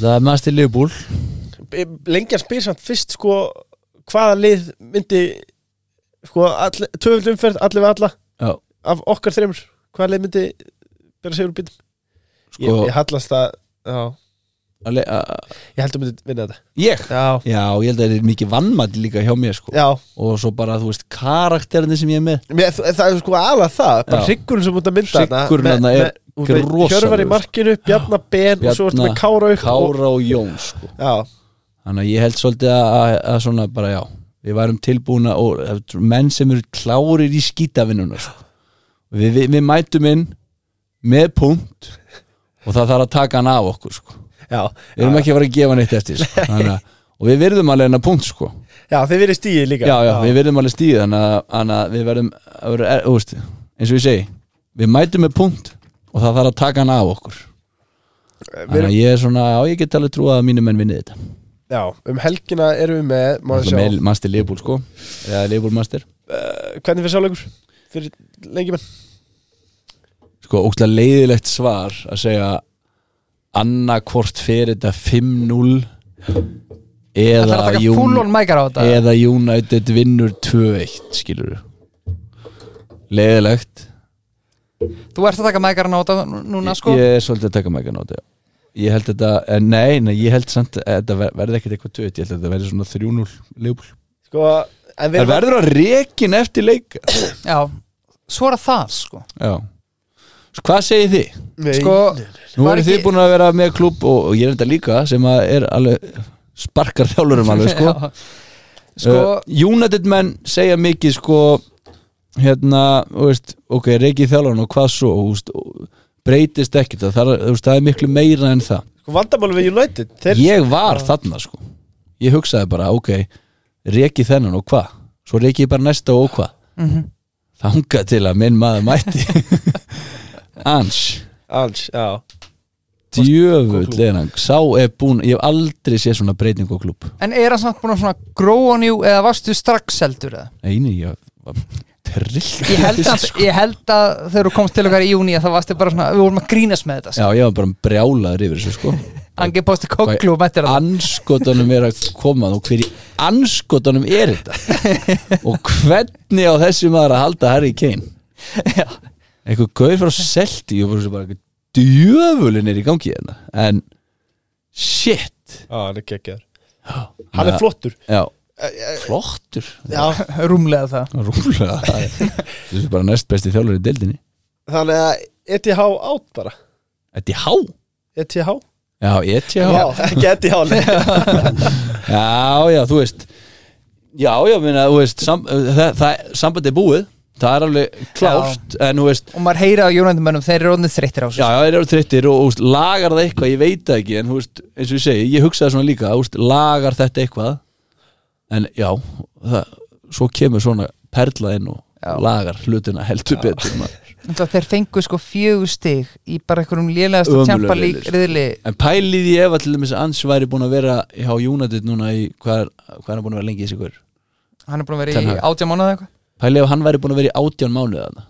Speaker 3: Það er maður til liðbúl
Speaker 1: Lengjan spyr samt fyrst sko Hvaða lið myndi Sko tvöfald umferð Allir við alla
Speaker 3: Já,
Speaker 1: af okkar þreymur Hvaða lið myndi Bera sigur úr bítum
Speaker 3: sko,
Speaker 1: ég, ég hallast það Já
Speaker 3: að le- að-
Speaker 1: Ég held að myndi vinna þetta
Speaker 3: Ég?
Speaker 1: Já
Speaker 3: Já, ég held að það er mikið vannmæti líka hjá mér sko.
Speaker 1: Já
Speaker 3: og svo bara, þú veist, karakterinu sem ég er með
Speaker 1: Mér, það, það er sko alveg það Bara
Speaker 3: Já.
Speaker 1: hryggurinn sem mútt að mynda þarna,
Speaker 3: Hryggurinn
Speaker 1: með-
Speaker 3: þarna er
Speaker 1: með- þú ert með
Speaker 3: rosalegur,
Speaker 1: Hjörvar í
Speaker 3: sko.
Speaker 1: markinu Bjarna Ben Og svo ertu með Kára upp og-
Speaker 3: Kára og Jón sko.
Speaker 1: Já
Speaker 3: Þannig að ég held svolítið að, að, að svona bara já Við værum tilbúna og eh, menn sem eru klárir í skítavinnuna sko. við, við, við mætum inn með punkt og það þarf að taka hann af okkur sko.
Speaker 1: Já
Speaker 3: Við erum ekki að vera að gefa hann eitt eftir sko. Þannig að, og við virðum alveg hennar punkt sko.
Speaker 1: Já þeir verið stíði líka
Speaker 3: já, já, við verðum alveg stíð þannig að, þannig að við verðum að vera, er, úst, eins og ég segi við mætum með punkt og það þarf að taka hann af okkur þannig að ég er svona, já ég get alveg trúað að mínu menn vinni þetta
Speaker 1: Já, um helgina erum við með, má við sjá,
Speaker 3: með master Leopold sko eða Leopold master
Speaker 1: uh, hvernig fyrir sáleikur fyrir lengi menn?
Speaker 3: sko ókslega leiðilegt svar að segja annarkvort fyrir þetta 5-0
Speaker 2: það þarf að
Speaker 3: eða,
Speaker 2: taka
Speaker 3: Jún-
Speaker 2: full on mækar á þetta
Speaker 3: eða United vinnur 2-1 skilur leiðilegt
Speaker 2: Þú ert að taka mækarinn á þetta nú- núna sko
Speaker 3: ég er svolítið að taka mækja nóti ég held þetta, eh, nei, nei ég held samt að þetta ver- verði ekkert eitthvað 2-1 ég held að þetta verði svona 3-0 Leopold
Speaker 1: Sko, en við
Speaker 3: það verður að rekin eftir leika
Speaker 2: Já, svo er það það sko
Speaker 3: já Svo hvað segir þið?
Speaker 1: Nei,
Speaker 2: Sko,
Speaker 3: Nú
Speaker 2: Var
Speaker 3: eru
Speaker 2: ekki-
Speaker 3: þið búin að vera með klúb og, og ég er þetta líka sem að er alveg sparkar þjálfurum alveg sko,
Speaker 2: Já. sko
Speaker 3: Uh, United menn segja mikið sko hérna, þú veist, ok, reikið þjálfurinn og hvað svo þú veist, og breytist ekkit það, þarf- þú veist, það er miklu meira en það
Speaker 1: sko vandamál við United þeir,
Speaker 3: ég var þarna sko ég hugsaði bara ok reki þennan og hvað svo reki ég bara næsta og hvað
Speaker 2: mhm.
Speaker 3: þanga til að minn maður mætti ans
Speaker 1: alls, já
Speaker 3: djöfull er hann sá er búin ég hef aldrei séð svona breyting á klub
Speaker 2: En er hann samt búin að svona gróa njú eða varstu strax seldur eða?
Speaker 3: einu ég var trillt
Speaker 2: Ég held að, ég held að þegar þú komst til okkar í júni þá varstu bara svona, við vorum að grínast með þetta sko.
Speaker 3: já ég var bara brjálaður yfir þessu sko
Speaker 2: Angi posti koklu og mættir það
Speaker 3: anskotanum er að koma og hver í anskotanum er þetta og hvernig á þessi maður að halda Harry Kane einhver gauð frá Celti og bara eitthvað djöfulinn er í gangi hérna en shit
Speaker 1: Já, hann er geggjaður Hann er flottur
Speaker 3: já,
Speaker 1: Eh, eh,
Speaker 3: flottur
Speaker 1: Já,
Speaker 2: Rúmlega það
Speaker 3: rúlega það er- þessi er bara næst besti þjálfur í deildinni
Speaker 1: þannig að E ETH átt bara
Speaker 3: ETH
Speaker 1: ETH
Speaker 3: já, E ETH
Speaker 1: E Já,
Speaker 3: já,
Speaker 1: ekki E ETH leik.
Speaker 3: já, þú veist já, já, minna, þú veist sam, það, það, sambandi er búið það er alveg klárt en þú veist,
Speaker 2: Og maður heyra á júnendumönnum, þeir eru orðnið þreyttir á
Speaker 3: Já,
Speaker 2: þessu
Speaker 3: já, þeir eru þreyttir og úst, lagar það eitthvað, ég veit það ekki en úst, eins og ég segi, ég hugsaði svona líka úst, lagar þetta eitthvað en já, það, svo kemur svona perla inn og lagar hlutina heldur betur maður.
Speaker 2: Þannig að þeir fengu sko fjögur stig í bara einhverjum lélegast
Speaker 3: Ömurlegu
Speaker 2: að tjampa lík
Speaker 3: riðli, sko.
Speaker 2: riðli
Speaker 3: en pælið ég ef að til dæmis ans væri búin að vera hjá United núna í, hvað er, hvað er hann búin að vera lengi í sig hver
Speaker 2: Hann er búin að vera
Speaker 3: Ten
Speaker 2: í
Speaker 3: Hag.
Speaker 2: átjá mánuð eitthvað
Speaker 3: pælið ef hann væri búin að vera í átján mánuði þarna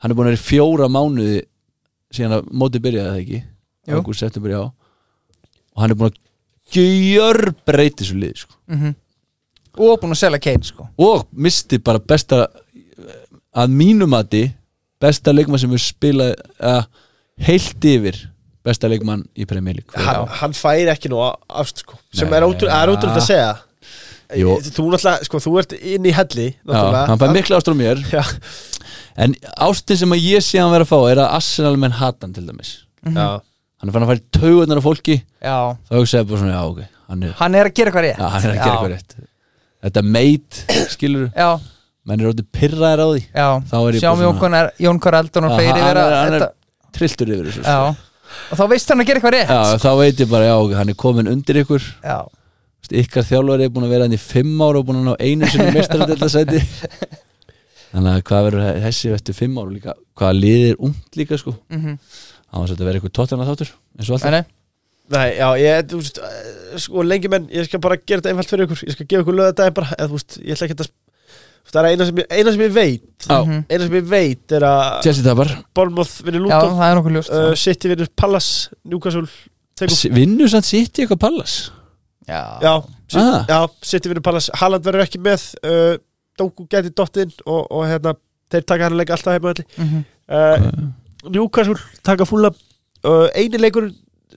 Speaker 3: hann er búin að vera í fjóra mánuði síðan að móti byrjaði það ekki
Speaker 2: Jú.
Speaker 3: ágúst, september, já og hann er búin að gjör breyti svo liði sko
Speaker 2: Mhm. Og búin að selja Kane sko
Speaker 3: og misti bara besta að mínum mati besta leikmann sem við spilaði uh, heilt yfir besta leikmann í Premier League
Speaker 1: hann, hann fær ekki nú ást sko, sem
Speaker 3: Nei.
Speaker 1: er ótrúlega er ótrúlegt að segja
Speaker 3: Jú.
Speaker 1: Þú náttúrulega, sko, þú ert inn í helli
Speaker 3: Já, hann fær mikla ástur á mér
Speaker 1: Já.
Speaker 3: en ástin sem að ég sé hann vera að fá er að Arsenal menn hata hann til dæmis
Speaker 1: Já,
Speaker 3: hann er fann að fara í taugarnar af fólki
Speaker 2: Já,
Speaker 3: þá hugsaði ég bara svona, já ok hann er,
Speaker 2: hann er að gera eitthvað rétt
Speaker 3: já, hann er að gera eitthvað rétt þetta meit, skilur
Speaker 2: Já,
Speaker 3: menn er ótið pirraðir á því
Speaker 2: já,
Speaker 3: Þá er ég
Speaker 2: sjáum
Speaker 3: bara
Speaker 2: Jón
Speaker 3: svona-
Speaker 2: Konar, Jón Konar Eldon og
Speaker 3: Já,
Speaker 2: fleiri
Speaker 3: hann
Speaker 2: vera
Speaker 3: er- hann er-
Speaker 2: þetta-
Speaker 3: trilltur yfir þessu sko.
Speaker 2: Já, og þá veist hann að gera eitthvað rétt
Speaker 3: Já, þá veit ég bara, já, ok, hann er komin undir ykkur
Speaker 2: Já,
Speaker 3: Veist, ykkar þjálfari er búin að vera hann í fimm ára og búin að ná einu sinni mestaradildasæti þannig að hvað verður þessi eftir fimm ára og líka, hvað liðir umt líka sko
Speaker 2: mm -hmm.
Speaker 3: á þess að þetta verður eitthvað tóttana þáttur eins og alltaf
Speaker 2: nei,
Speaker 1: Nei, já, ég, þú veist, eh, sko, lengi menn, ég skal bara gera þetta einfalt fyrir ykkur, ég skal gefa ykkur löða bara, eða, þú veist, ég ætla ekki að, þú veist, það er eina sem ég, eina sem ég veit,
Speaker 3: Já,
Speaker 2: Mhm.
Speaker 1: eina sem ég veit er að
Speaker 3: Chelsea tapar
Speaker 1: Bournemouth vinnur
Speaker 2: já,
Speaker 1: Luton,
Speaker 2: það er nokkuð ljóst
Speaker 1: uh, City vinnur Palace, Newcastle, tegur,
Speaker 3: S- vinnur samt sitt í eitthvað pallas
Speaker 2: Já,
Speaker 1: já, City,
Speaker 3: Ah.
Speaker 1: já, City vinnur Palace, Haaland verður ekki með, uh, Dóku geti dottinn og, og hérna, þeir taka hann að leika alltaf heima allir,
Speaker 2: mhm.
Speaker 3: Eh.
Speaker 1: uh, Newcastle taka fúla, uh, eini leikur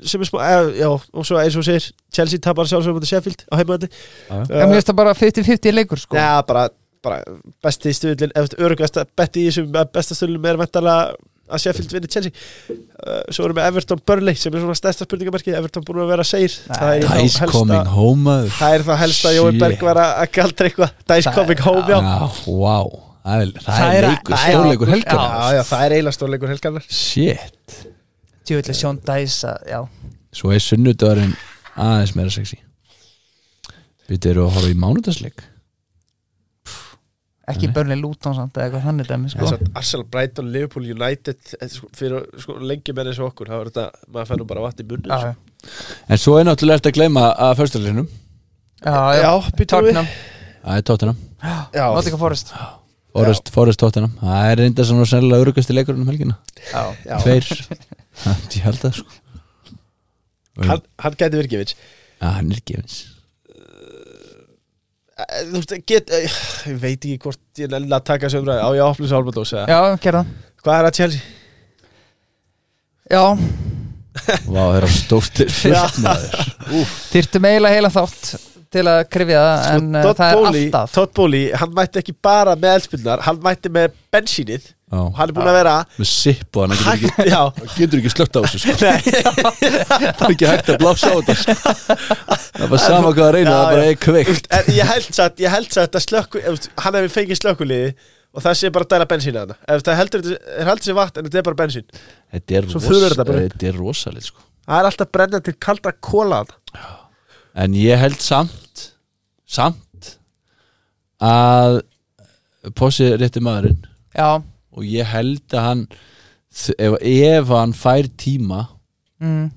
Speaker 1: sem er smá, uh, já, og svo eins og þú segir, Chelsea tapar sjálfsögum á móti Sheffield á Eh, heimaðalli.
Speaker 3: Já, já.
Speaker 2: En mér finnst það bara 50-50 leikur sko
Speaker 1: Já, bara, bara besti stöðlin örugasta betti í þessum að besta stöðlin er vantarlega að Sheffield vinni Chelsea uh, svo erum við Everton Burnley sem er svona stærsta spurningamarki Everton búin að vera segir það er, þá
Speaker 3: Dice
Speaker 1: helsta-
Speaker 3: coming home maður.
Speaker 1: það er það helst að Jói
Speaker 3: Shit.
Speaker 1: Berg var að að galdra eitthvað Dice
Speaker 2: Það-
Speaker 1: coming home já.
Speaker 3: Já, wow það er, það
Speaker 2: Það
Speaker 3: er
Speaker 2: er-
Speaker 3: leikur,
Speaker 2: það er-
Speaker 3: stórleikur helgar
Speaker 1: Já, já, það er eiginlega stórleikur helgarnar
Speaker 3: shit,
Speaker 2: Tjóðlega Sjón Dæs að- Já,
Speaker 3: svo er sunnudagurinn aðeins meira sexy við erum að horfa í mánudagsleik
Speaker 2: ekki börnlega Lúton samt eða eitthvað þannig dæmi sko
Speaker 1: Þess að Arsenal, Brighton, Liverpool, United eh, sko, fyrir sko, lengi menn eins og okkur þá er þetta, maður fær nú bara vatn í munni sko.
Speaker 2: Já, já,
Speaker 3: en svo er náttúrulega eftir að gleyma að fyrstuleginum
Speaker 2: já,
Speaker 1: já,
Speaker 2: já.
Speaker 1: býtum við
Speaker 2: Tottenham,
Speaker 3: Það er Tottenham
Speaker 1: Já.
Speaker 2: Nottingham Forest
Speaker 3: Forrest, Forrest Tottenham Það er reynda sem var sennilega örugasti leikurinn um helgina
Speaker 2: Já,
Speaker 1: Já.
Speaker 3: Tveir Ha, Ég held það sko
Speaker 1: hann, hann gæti verið gefins
Speaker 3: Já, hann er gefins
Speaker 1: Eh, þú veist, get, eh, ég veit ekki hvort ég nenni að taka þessu umræði á ég áflýs álmadós eða
Speaker 2: já gerða
Speaker 1: hvað er að Chelsea?
Speaker 2: Já,
Speaker 3: Vá, það er stóttir fyrst maður
Speaker 2: þyrftum eiginlega heila þátt til að krifja það en uh,
Speaker 1: Sko, Todd
Speaker 2: það er
Speaker 1: Bowley,
Speaker 2: alltaf
Speaker 1: Todd Bowley, hann mætti ekki bara með eldspilnar hann mætti með bensínið og
Speaker 3: Já,
Speaker 1: hann er búin að vera
Speaker 3: með sipp og hann getur ekki,
Speaker 1: hægt, já,
Speaker 3: hann getur ekki slögt á þessu sko
Speaker 1: nei,
Speaker 3: Það er ekki hægt að blása á þetta sko Það er bara sama hvað að reyna,
Speaker 1: Já,
Speaker 3: það er bara
Speaker 1: já.
Speaker 3: eitthvað kveikt
Speaker 1: en ég held satt ég held satt að slökku, eh, þú veist, hann hefði fengið slökkuliði og og það sé bara að dæla bensín að það ef það heldur, þetta- er heldur sér vatn en þetta er bara bensín
Speaker 3: Þetta er,
Speaker 1: Svo þurfur þetta bara upp.
Speaker 3: þetta er rosalegt sko
Speaker 1: það er alltaf brenna til kalda kóla að
Speaker 3: En ég held samt Samt Að Possi er rétti maðurinn
Speaker 2: já,
Speaker 3: Og ég held að hann Ef, ef hann fær tíma
Speaker 2: mm,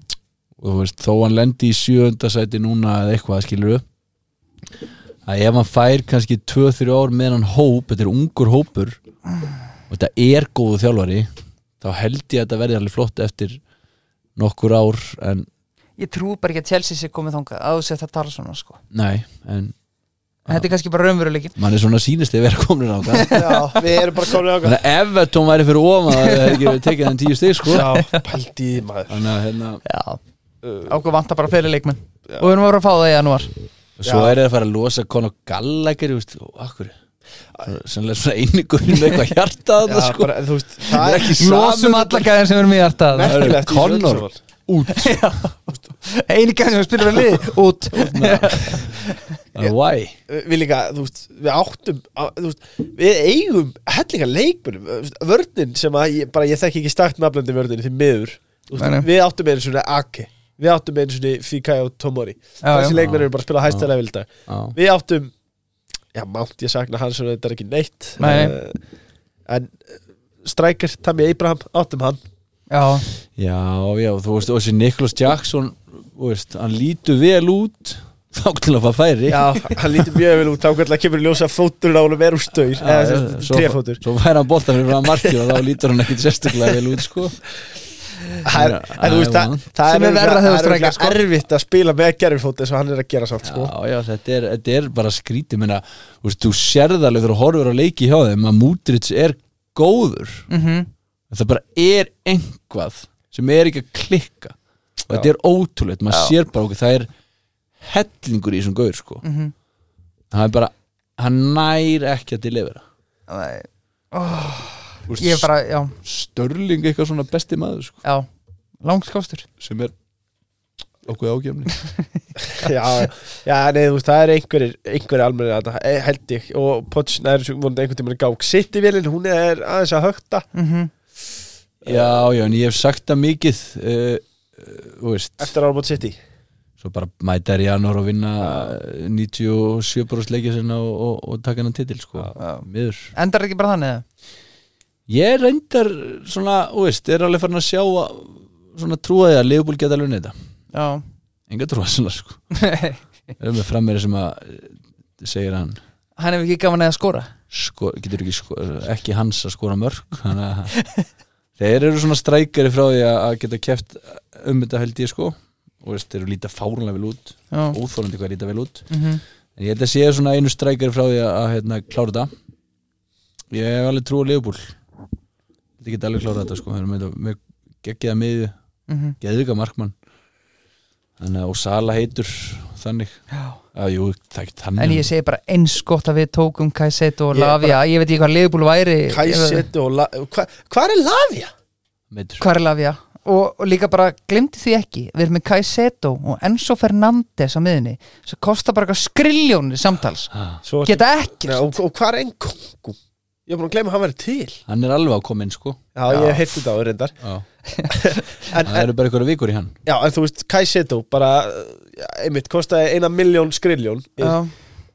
Speaker 3: og þú veist, Þó hann lendi í sjöundasæti núna Eða eitthvað skilur upp Að ef hann fær kannski 2-3 ár Með hann hóp, þetta er ungur hópur Og þetta er góðu þjálfari Þá held ég að þetta verði alveg flott Eftir nokkur ár En
Speaker 2: ég trú bara ekki að Chelsea sé komið þangað að þú sér það tala svona sko.
Speaker 3: nei, en
Speaker 2: En þetta er kannski bara raunveruleikin
Speaker 3: mann er svona sýnist að vera komin á það
Speaker 1: Já, við erum bara komin á
Speaker 3: Þannig að Evertón væri fyrir ofan það hefði ekki verið tekið enn tíu stig sko
Speaker 1: Já, pældi í því, maður
Speaker 3: Þannig að hérna
Speaker 2: já,
Speaker 1: uh,
Speaker 2: ákveð vantar bara fleiri leikmenn og við erum að vera að fá það í janúar
Speaker 3: Svo er það að fara að losa Conor Gallagher, þú veist, og akkur Sannlega svona einu guðin með eitthvað hjarta
Speaker 1: já,
Speaker 3: þarna sko
Speaker 1: bara, þú veist, það er
Speaker 3: ekki
Speaker 2: losum alla gæðin sem erum í hjarta
Speaker 3: Nei.
Speaker 1: merkilegt í þessu
Speaker 3: Connor.
Speaker 1: öllu saman.
Speaker 2: eini gæðin sem spilur við lið út
Speaker 3: saman Why?
Speaker 1: við líka, þú veist, við áttum á- þú veist, við eigum hellinga leikmunum, vörnin sem að ég, bara ég þekki ekki stakt nafnandi vörnin því miður, Þú
Speaker 2: Nei, nei.
Speaker 1: veist, við áttum einu svona Ake, E. við áttum einu svona Fikayo Tomori,
Speaker 2: já,
Speaker 1: þessi
Speaker 2: já.
Speaker 1: leikmenn eru bara að spila hæsta level í dag,
Speaker 3: Já,
Speaker 1: við áttum já, mátt ég sakna hans svona þetta er ekki neitt
Speaker 2: Nei.
Speaker 1: Eh, en eh, strækir, Tammy Abraham, áttum hann
Speaker 2: já,
Speaker 3: já, já, þú veist, og þessi Nicholas Jackson Þú veist, hann lítur vel út Þá til að fara færi
Speaker 1: já, hann lítur mjög vel út, þá hvernig kemur í ljósa fóturinn á honum er úr staur, eða þessi
Speaker 3: svo,
Speaker 1: trefótur
Speaker 3: svo fær hann boltan fyrir að markið og þá lítur hann ekkit sérstaklega vel út sko
Speaker 1: Það er, en þú veist, það, það
Speaker 2: Sem er verra þegar þú
Speaker 1: það er
Speaker 2: sko. streikar,
Speaker 1: örugglega erfitt að spila með gerfifót eins og hann er að gera sátt sko.
Speaker 3: Já, já, þetta er, þetta er bara skríti menna, þú, veist, þú sérð alveg þegar þú horfur á leiki hjá þeim að Múdrits er góður
Speaker 2: mhm
Speaker 3: en það bara er einhvað sem er ekki að klikka og þetta er ótrúlegt, maður sér bara okkur það er hellingur í þessum gaur sko.
Speaker 2: Mhm.
Speaker 3: það er bara hann nær ekki að delivera
Speaker 2: Nei,
Speaker 3: Þú veist,
Speaker 2: ég er bara, já,
Speaker 3: Störling eitthvað svona besti maður sko,
Speaker 2: já langskostur
Speaker 3: sem er okkur ágefni
Speaker 1: Já, já, nei, þú veist, það er einhverjir einhverjir almennir að það, held ég og Potts nær vonandi einhvern tímann gák sitt í velin, hún er aðeins að högta
Speaker 2: mm
Speaker 3: Já, já, en ég hef sagt það mikið uh, uh, veist,
Speaker 1: eftir árum átt sitt í
Speaker 3: svo bara mæta er í janúar og vinna eh, 97% leikja sinna og, og, og taka hennan titil sko. miður
Speaker 2: Endar ekki bara þannig eða?
Speaker 3: ég er reyndar svona, þú veist, er alveg farin að sjá að- svona trúaði að Leopold geta alveg neita
Speaker 2: Já
Speaker 3: enga trúaði svona sko erum við frammeiri sem að eh, segir hann
Speaker 2: Hann hefur ekki gaman eða að skora
Speaker 3: sko, getur ekki, sko, ekki hans að skora mörg þannig að þeir eru svona strækari frá því að að geta keft um þetta held ég sko og veist, þeir eru líta fárunlega vel út
Speaker 2: Já
Speaker 3: óþólandi hvað er líta vel út
Speaker 2: mm -hmm.
Speaker 3: En ég held að sé svona einu strækari frá því að, að hérna, klára þetta Ég hef alveg trú á Leopold Þetta geti alveg klára þetta sko Við erum með, með geggiða miðu
Speaker 2: Mhm.
Speaker 3: Geðvika markmann Þannig að og Sala heitur Þannig
Speaker 2: Já
Speaker 3: að jú, það er ekki þannig
Speaker 2: En ég segi bara eins gott að við tókum Kajset
Speaker 1: Ég
Speaker 2: og
Speaker 1: er
Speaker 2: Lavia Ég veit ekki hvað Leifbúl væri
Speaker 1: Kæsit og La- hva, hvað er Lavia?
Speaker 3: Meitur.
Speaker 2: Hvað er Lavia? Og, og líka bara glemdi því ekki Við erum með Kajseto og Enzo Fernandes á miðinni sem kostar bara eitthvað skriljónir samtals
Speaker 3: Ah,
Speaker 1: Svo,
Speaker 2: Geta
Speaker 1: Nei,
Speaker 2: ekkert
Speaker 1: og, og hvað er Engungu? Ég er búin að gleyma að hann verið til
Speaker 3: Hann er alveg á komin sko
Speaker 1: Já, ég hef heitt þetta á reyndar
Speaker 3: Já.
Speaker 1: en,
Speaker 3: Það
Speaker 1: en,
Speaker 3: eru bara einhverja vikur í hann
Speaker 1: já, en þú veist, Kæsit bara, já, einmitt, kostaði eina miljón skriljón
Speaker 2: Já,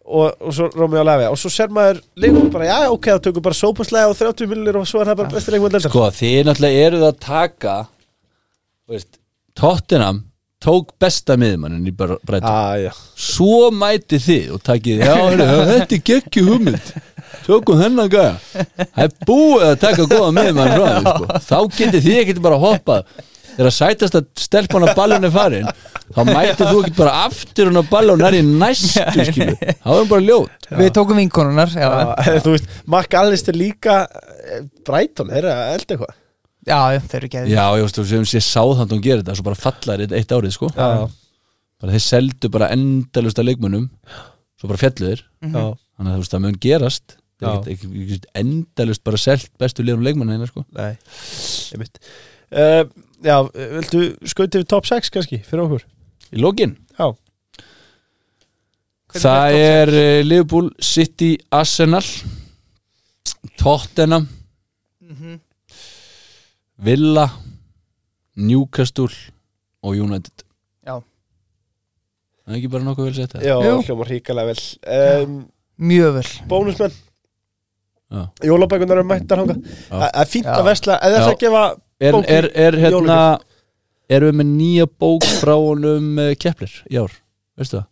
Speaker 1: og, og svo Rómi og Lavia og svo ser maður Liverpool bara, já ok, það tökur bara sópaslega og 30 millir og svo er það bara bestur einhvern veldar
Speaker 3: Sko þið náttúrulega eruð að taka þú veist, Tottenham tók besta miðmannin í bara breyta
Speaker 1: ah, já.
Speaker 3: svo mæti þið og takið já, heyrðu, já, þetta er geggju hugmynd tökum þennan gæja það er búið að taka góða með mann frá þér sko. þá getið þið ekkert bara hoppað þegar sætast að stelpan á ballunni farin þá mætið þú ekkert bara aftur hún á ballunni er í næstu skilu þá erum bara ljót
Speaker 2: Við tókum vinkonunar Já, já,
Speaker 1: Já, þú veist, Mark Allister líka eh, Brighton, þeirra, elda eitthvað
Speaker 2: já, já þeir eru ekki
Speaker 3: já, ég veist, þú sem sé sáðhandum gerir þetta svo bara fallar þetta eitt árið sko
Speaker 1: Já,
Speaker 3: bara þeir seldu bara endalusta leikmunum svo bara fjalluðir
Speaker 1: já,
Speaker 3: þannig að þú veist, það mun gerast Það
Speaker 1: Já.
Speaker 3: er ekkert- ekki- ekki endalust bara selt bestu liðum leikmanna hérna sko
Speaker 1: nei einmitt uh, Já, viltu skauti við top 6 kannski, fyrir okkur
Speaker 3: í lokin
Speaker 1: Já,
Speaker 2: Hvernig
Speaker 3: það
Speaker 2: er
Speaker 3: er eh, Liverpool City Arsenal Tottenham
Speaker 2: Mhm.
Speaker 3: Villa Newcastle og United
Speaker 2: Já.
Speaker 3: Það er ekki bara nokkuð vel sett það
Speaker 1: Já,
Speaker 2: Jú.
Speaker 1: hljóma ríkala vel um,
Speaker 2: mjög vel
Speaker 1: Bónusmenn
Speaker 3: Já.
Speaker 1: Jólabækunar eru mættar hanga
Speaker 3: Já.
Speaker 1: Það það er fínt að
Speaker 2: Já.
Speaker 1: vesla Eða þess
Speaker 3: Já.
Speaker 1: að gefa
Speaker 3: er,
Speaker 1: Bókin,
Speaker 3: er, er hérna
Speaker 1: jólagjöf.
Speaker 3: erum við með nýja bók frá honum uh, Kepler í ár, veistu það?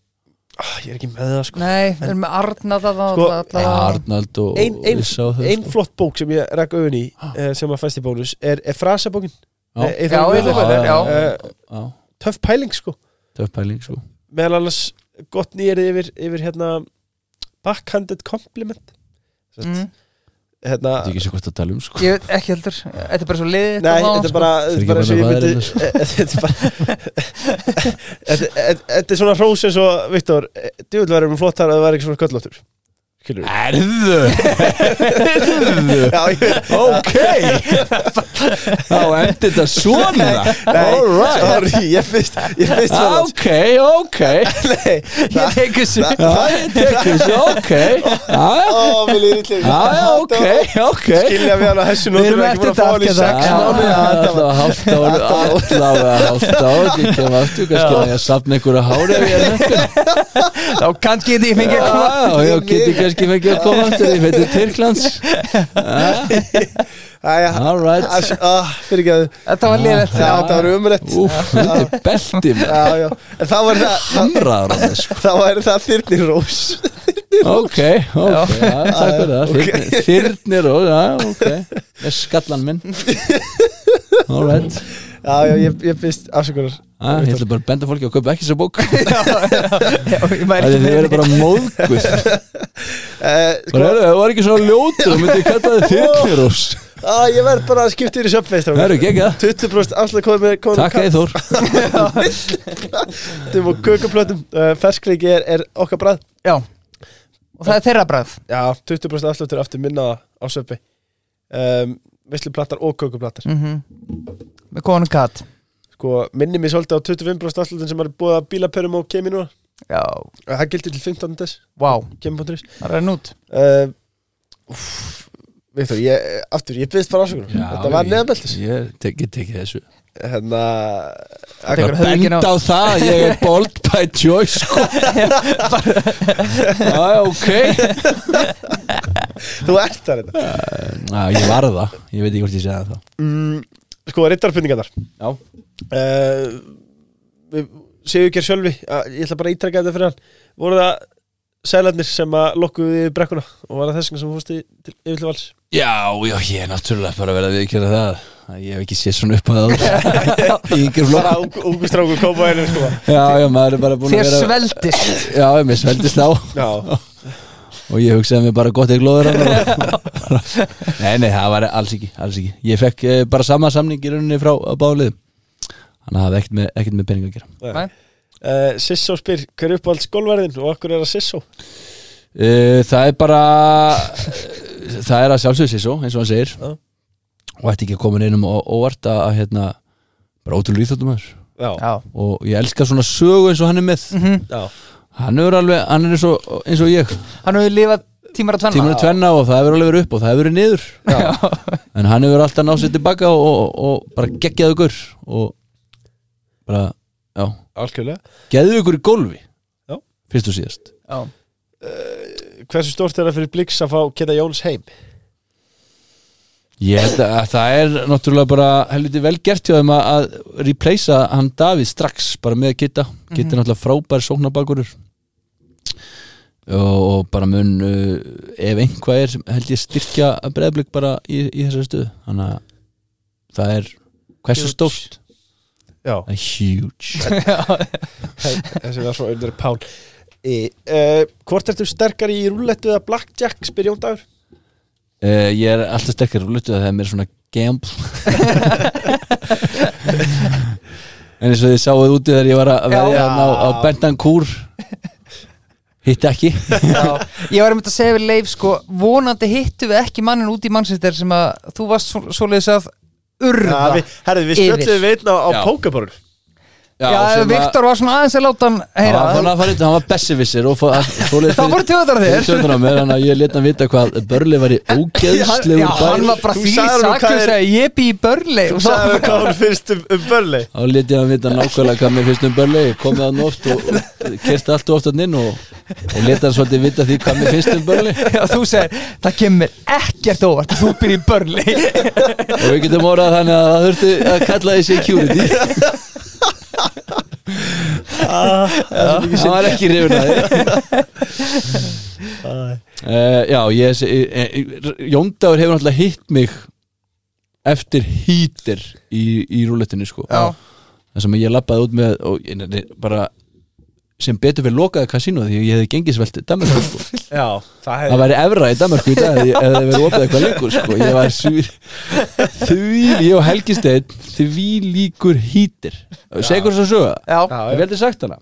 Speaker 1: ah, Ég er ekki með það sko
Speaker 2: Nei, við erum með Arna það
Speaker 1: Sko,
Speaker 3: Já, Arnald og
Speaker 1: Ein- ein-
Speaker 3: ég sá það,
Speaker 1: Einn
Speaker 3: sko.
Speaker 1: flott bók sem ég rakk auðin í eh, sem að fæst í bónus er, er frasabókin
Speaker 3: Já.
Speaker 1: Eh,
Speaker 2: Já,
Speaker 1: Eyþór
Speaker 2: ég
Speaker 1: Vilhjálmsson.
Speaker 2: þarf- já.
Speaker 1: Eh,
Speaker 3: Já,
Speaker 1: Töff pæling sko
Speaker 3: töff pæling sko
Speaker 1: meðal annars gott nýrið yfir, yfir hérna backhanded compliment Sett,
Speaker 2: mm.
Speaker 1: hérna
Speaker 3: Þetta er ekki svo hvort að tala um sko
Speaker 2: Ég veit ekki heldur, þetta sko- er bara svo liðið
Speaker 1: Nei, þetta er bara
Speaker 3: Það er
Speaker 1: þetta
Speaker 3: ekki
Speaker 1: er bara eins og ég
Speaker 3: bara
Speaker 1: myndi
Speaker 3: maðurinn, sko.
Speaker 1: Þetta er bara Þetta þetta- þetta er svona hrós eins og Viktor, djúvill verður um flottar að það væri ekki svona köllóttur Skilur við
Speaker 3: Erðu
Speaker 1: Já, ég veit
Speaker 3: Ok Þá endi þetta svona Alright
Speaker 1: Sorry, ég finnst Ég finnst svona
Speaker 3: Ok, ok
Speaker 1: Nei,
Speaker 2: Ég tek þessu
Speaker 1: það-
Speaker 3: Já, ég tek þessu, ok Já,
Speaker 1: Ó, mér líður illa yfir
Speaker 3: já,
Speaker 1: þetta.
Speaker 3: já, ok, ok
Speaker 1: Skilja við hann á hessu
Speaker 2: Við
Speaker 1: nótum
Speaker 2: erum
Speaker 1: ekki búin
Speaker 2: eftir
Speaker 1: að fá hann í
Speaker 2: þetta
Speaker 1: sex
Speaker 2: að taka
Speaker 1: mánu
Speaker 3: Alltaf að hálft ár Alltaf að hálft ár Ég kem aftur, kannski að ég að safna einhverju hári ef ég er þetta.
Speaker 2: Þá kannski ég fengi að koma
Speaker 3: Já, já, geti kannski fengið að koma aftur Ég veitir Tyrklands
Speaker 1: Æja,
Speaker 3: Alright
Speaker 1: fyrir ekki að
Speaker 2: Þetta var liðið
Speaker 3: Já.
Speaker 1: Það var umrætt
Speaker 3: Úf, þetta er belti maður.
Speaker 1: Já, já, en það var það það-
Speaker 3: Hamraður á þessu
Speaker 1: Það var það þyrnir rós
Speaker 3: Ok, ok, já, takk fyrir það Þyrnir- Þyrnir og, já, ok Með skallan minn Alright
Speaker 1: Já, já, ég ég finnst afsökunar
Speaker 3: ah, Ég ætla bara að benda fólki að kaupa ekki þessa bók
Speaker 2: Ég
Speaker 3: Það
Speaker 2: mæri
Speaker 3: er
Speaker 2: ekki
Speaker 3: þið
Speaker 2: með
Speaker 3: verið bara móðguð
Speaker 1: Eh,
Speaker 3: Bara,
Speaker 1: Sko,
Speaker 3: heyrðu, það var ekki svo ljótur Þú myndi ég kalla þið þyrnir og
Speaker 1: á, Ah, ég verð bara að skipta yfir í Subway strákar.
Speaker 3: Það eru ekki
Speaker 1: 20% afslut komið með komið
Speaker 3: Takk Eithór
Speaker 1: kattum og kökuplötum uh, Ferskleiki er, er okkar bræð
Speaker 2: Já, og það er þeirra bragð
Speaker 1: Já, 20% afslutur aftur minna á Subway um, Vesluplattar og kökuplattar
Speaker 2: Mhm. Með konum katt
Speaker 1: Sko, minni mér svolítið á 25% afslutin sem er búið að bílaperum og kemi núna
Speaker 2: Já,
Speaker 1: Eh, Það gildir til 15. des,
Speaker 2: vá,
Speaker 1: kemi.is
Speaker 2: það er nút
Speaker 1: uh, Viktor, ég, aftur, ég byggðist bara afsökunar Þetta var neðabeltis
Speaker 3: Ég tekið tekið þessu
Speaker 1: Hérna,
Speaker 2: Þetta
Speaker 1: akkur,
Speaker 2: er- höfðu ekki
Speaker 3: Benda á það, að ég er bold by choice sko. Já, ok
Speaker 1: þú ert þar hérna. þetta
Speaker 3: Já, ég var það, ég veit ekki hvort ég segja það þá.
Speaker 1: mm, Sko, rittarpunningarnar
Speaker 3: Já,
Speaker 1: uh, við séu ekki að sjálfi að, ég ætla bara að ítreka þetta fyrir hann voru það sælarnir sem að lokkuðu við brekkuna og var það þess vegna sem fórst í til, yfir til vals
Speaker 3: já, já, ég er náttúrulega bara að vera að viðkjöra það að Ég hef ekki séð svona upp að það Í yngjur flokk
Speaker 1: bara ungu- ungu stráku koma einu sko
Speaker 3: Já, já, maður er bara búin
Speaker 2: Þér
Speaker 3: að vera
Speaker 2: sveldist
Speaker 3: Já, ég mér sveldist á
Speaker 1: já,
Speaker 3: Og ég hugsaði mér bara gott eitthvað Nei, nei, það var alls ekki, alls ekki Ég fekk eh, bara sama samning í rauninni frá báliðum Þannig að það hafði ekkert með, ekkert með pening að gera
Speaker 2: Nei.
Speaker 1: uh, Sissó spyr hver er uppáhalds golverðin og okkur er að Sissó
Speaker 3: Uh, það er bara eh, það er að sjálfsögðu sér svo eins og hann segir
Speaker 1: Já.
Speaker 3: og ætti ekki að koma neinum á- óvart að, að hérna, bara ótrúlega íþjóttum aður
Speaker 1: já,
Speaker 2: Já,
Speaker 3: og ég elska svona sögu eins og hann er með
Speaker 1: já,
Speaker 3: hann er alveg, hann er eins og, eins og ég
Speaker 2: hann hefur lifað tímar að tvenna
Speaker 3: tímur er tvenna og það hefur alveg verið upp og það hefur verið niður en hann hefur alltaf náð sér tilbaka og, og, og bara geggjaðu ykkur og bara, já
Speaker 1: algjörlega
Speaker 3: geðu ykkur í gólfi
Speaker 1: Já.
Speaker 3: fyrst og síðast
Speaker 2: Já.
Speaker 1: hversu stórt er það fyrir Blix að fá Keta Jóns heim
Speaker 3: Ég held að það er náttúrulega bara helviti vel gert hjá þeim að- að replacea hann Davíð strax bara með Kitta Kitta er náttúrulega frábær sóknabakurur og, og bara mun uh, ef einhvað er held ég styrkja breyðblik bara í, í þessari stöðu þannig að það er hversu
Speaker 1: Huge.
Speaker 3: stórt
Speaker 1: já,
Speaker 3: það er huge
Speaker 1: þessi var svo undir pán e, uh, hvort ertu sterkari í rúllettu eða blackjack spyr Jón Dagur
Speaker 3: uh, ég er alltaf sterkar úr lutu að það er mér svona gamble en eins og þið sáuð úti þegar ég var að
Speaker 2: Já.
Speaker 3: verja á, á bendan kúr hitt ekki
Speaker 2: Já, ég var einmitt að segja við Leif sko, vonandi hittu við ekki mannin út í mannsistir sem að þú varst svo, svoleiðis að urða
Speaker 1: Ja, við, herri, við
Speaker 2: Yfir.
Speaker 1: spjöldum við einn á, á
Speaker 3: Já.
Speaker 1: pókaborun
Speaker 2: Já,
Speaker 3: sem að-
Speaker 2: Viktor var svona aðeins að láta hann
Speaker 3: hann
Speaker 2: heyra
Speaker 3: var þannig að fara ytta, hann var besservissir og fór- svo leið
Speaker 2: Það voru tjóðar þér
Speaker 3: Sjöndar á mér, þannig að ég leta hann vita hvað Börli var í ógeðslegu
Speaker 2: Já, hann var bara
Speaker 1: Þú
Speaker 2: því
Speaker 1: sagðir honum hvað
Speaker 2: saklaus
Speaker 1: er-
Speaker 2: að ég bý í börli
Speaker 1: Þú sagði við hvað hún finnst um, um börli
Speaker 3: Þá leti ég hann vita nákvæmlega hvað mér finnst um Börli komið hann oft og kerti allt og oft hann inn og, og leti hann svolítið vita því hvað mér finnst um Börli
Speaker 2: Já, þú segir, það kemur ekkert óvart Þú býr í börli
Speaker 3: og við getum orðað þannig að það þurfti að kalla því security
Speaker 2: Ah.
Speaker 3: Það var ekki reyfin að því Eh, Já, ég uh, Jóndagur hefur náttúrulega hitt mig eftir hýtir í, í rúlettinu sko
Speaker 2: Já.
Speaker 3: Það sem ég labbaði út með og ég, nei, bara sem betur fyrir lokaði kasínu því ég hefði gengisvelt Danmarku sko.
Speaker 1: Já, það
Speaker 3: það væri efra í Danmarku í dag ef það hefði verið opið eitthvað lengur sko. ég var svír því, ég og Helgi Steinn því líkur hýtir segur þess að söga
Speaker 2: Já,
Speaker 3: Ég veldi sagt hana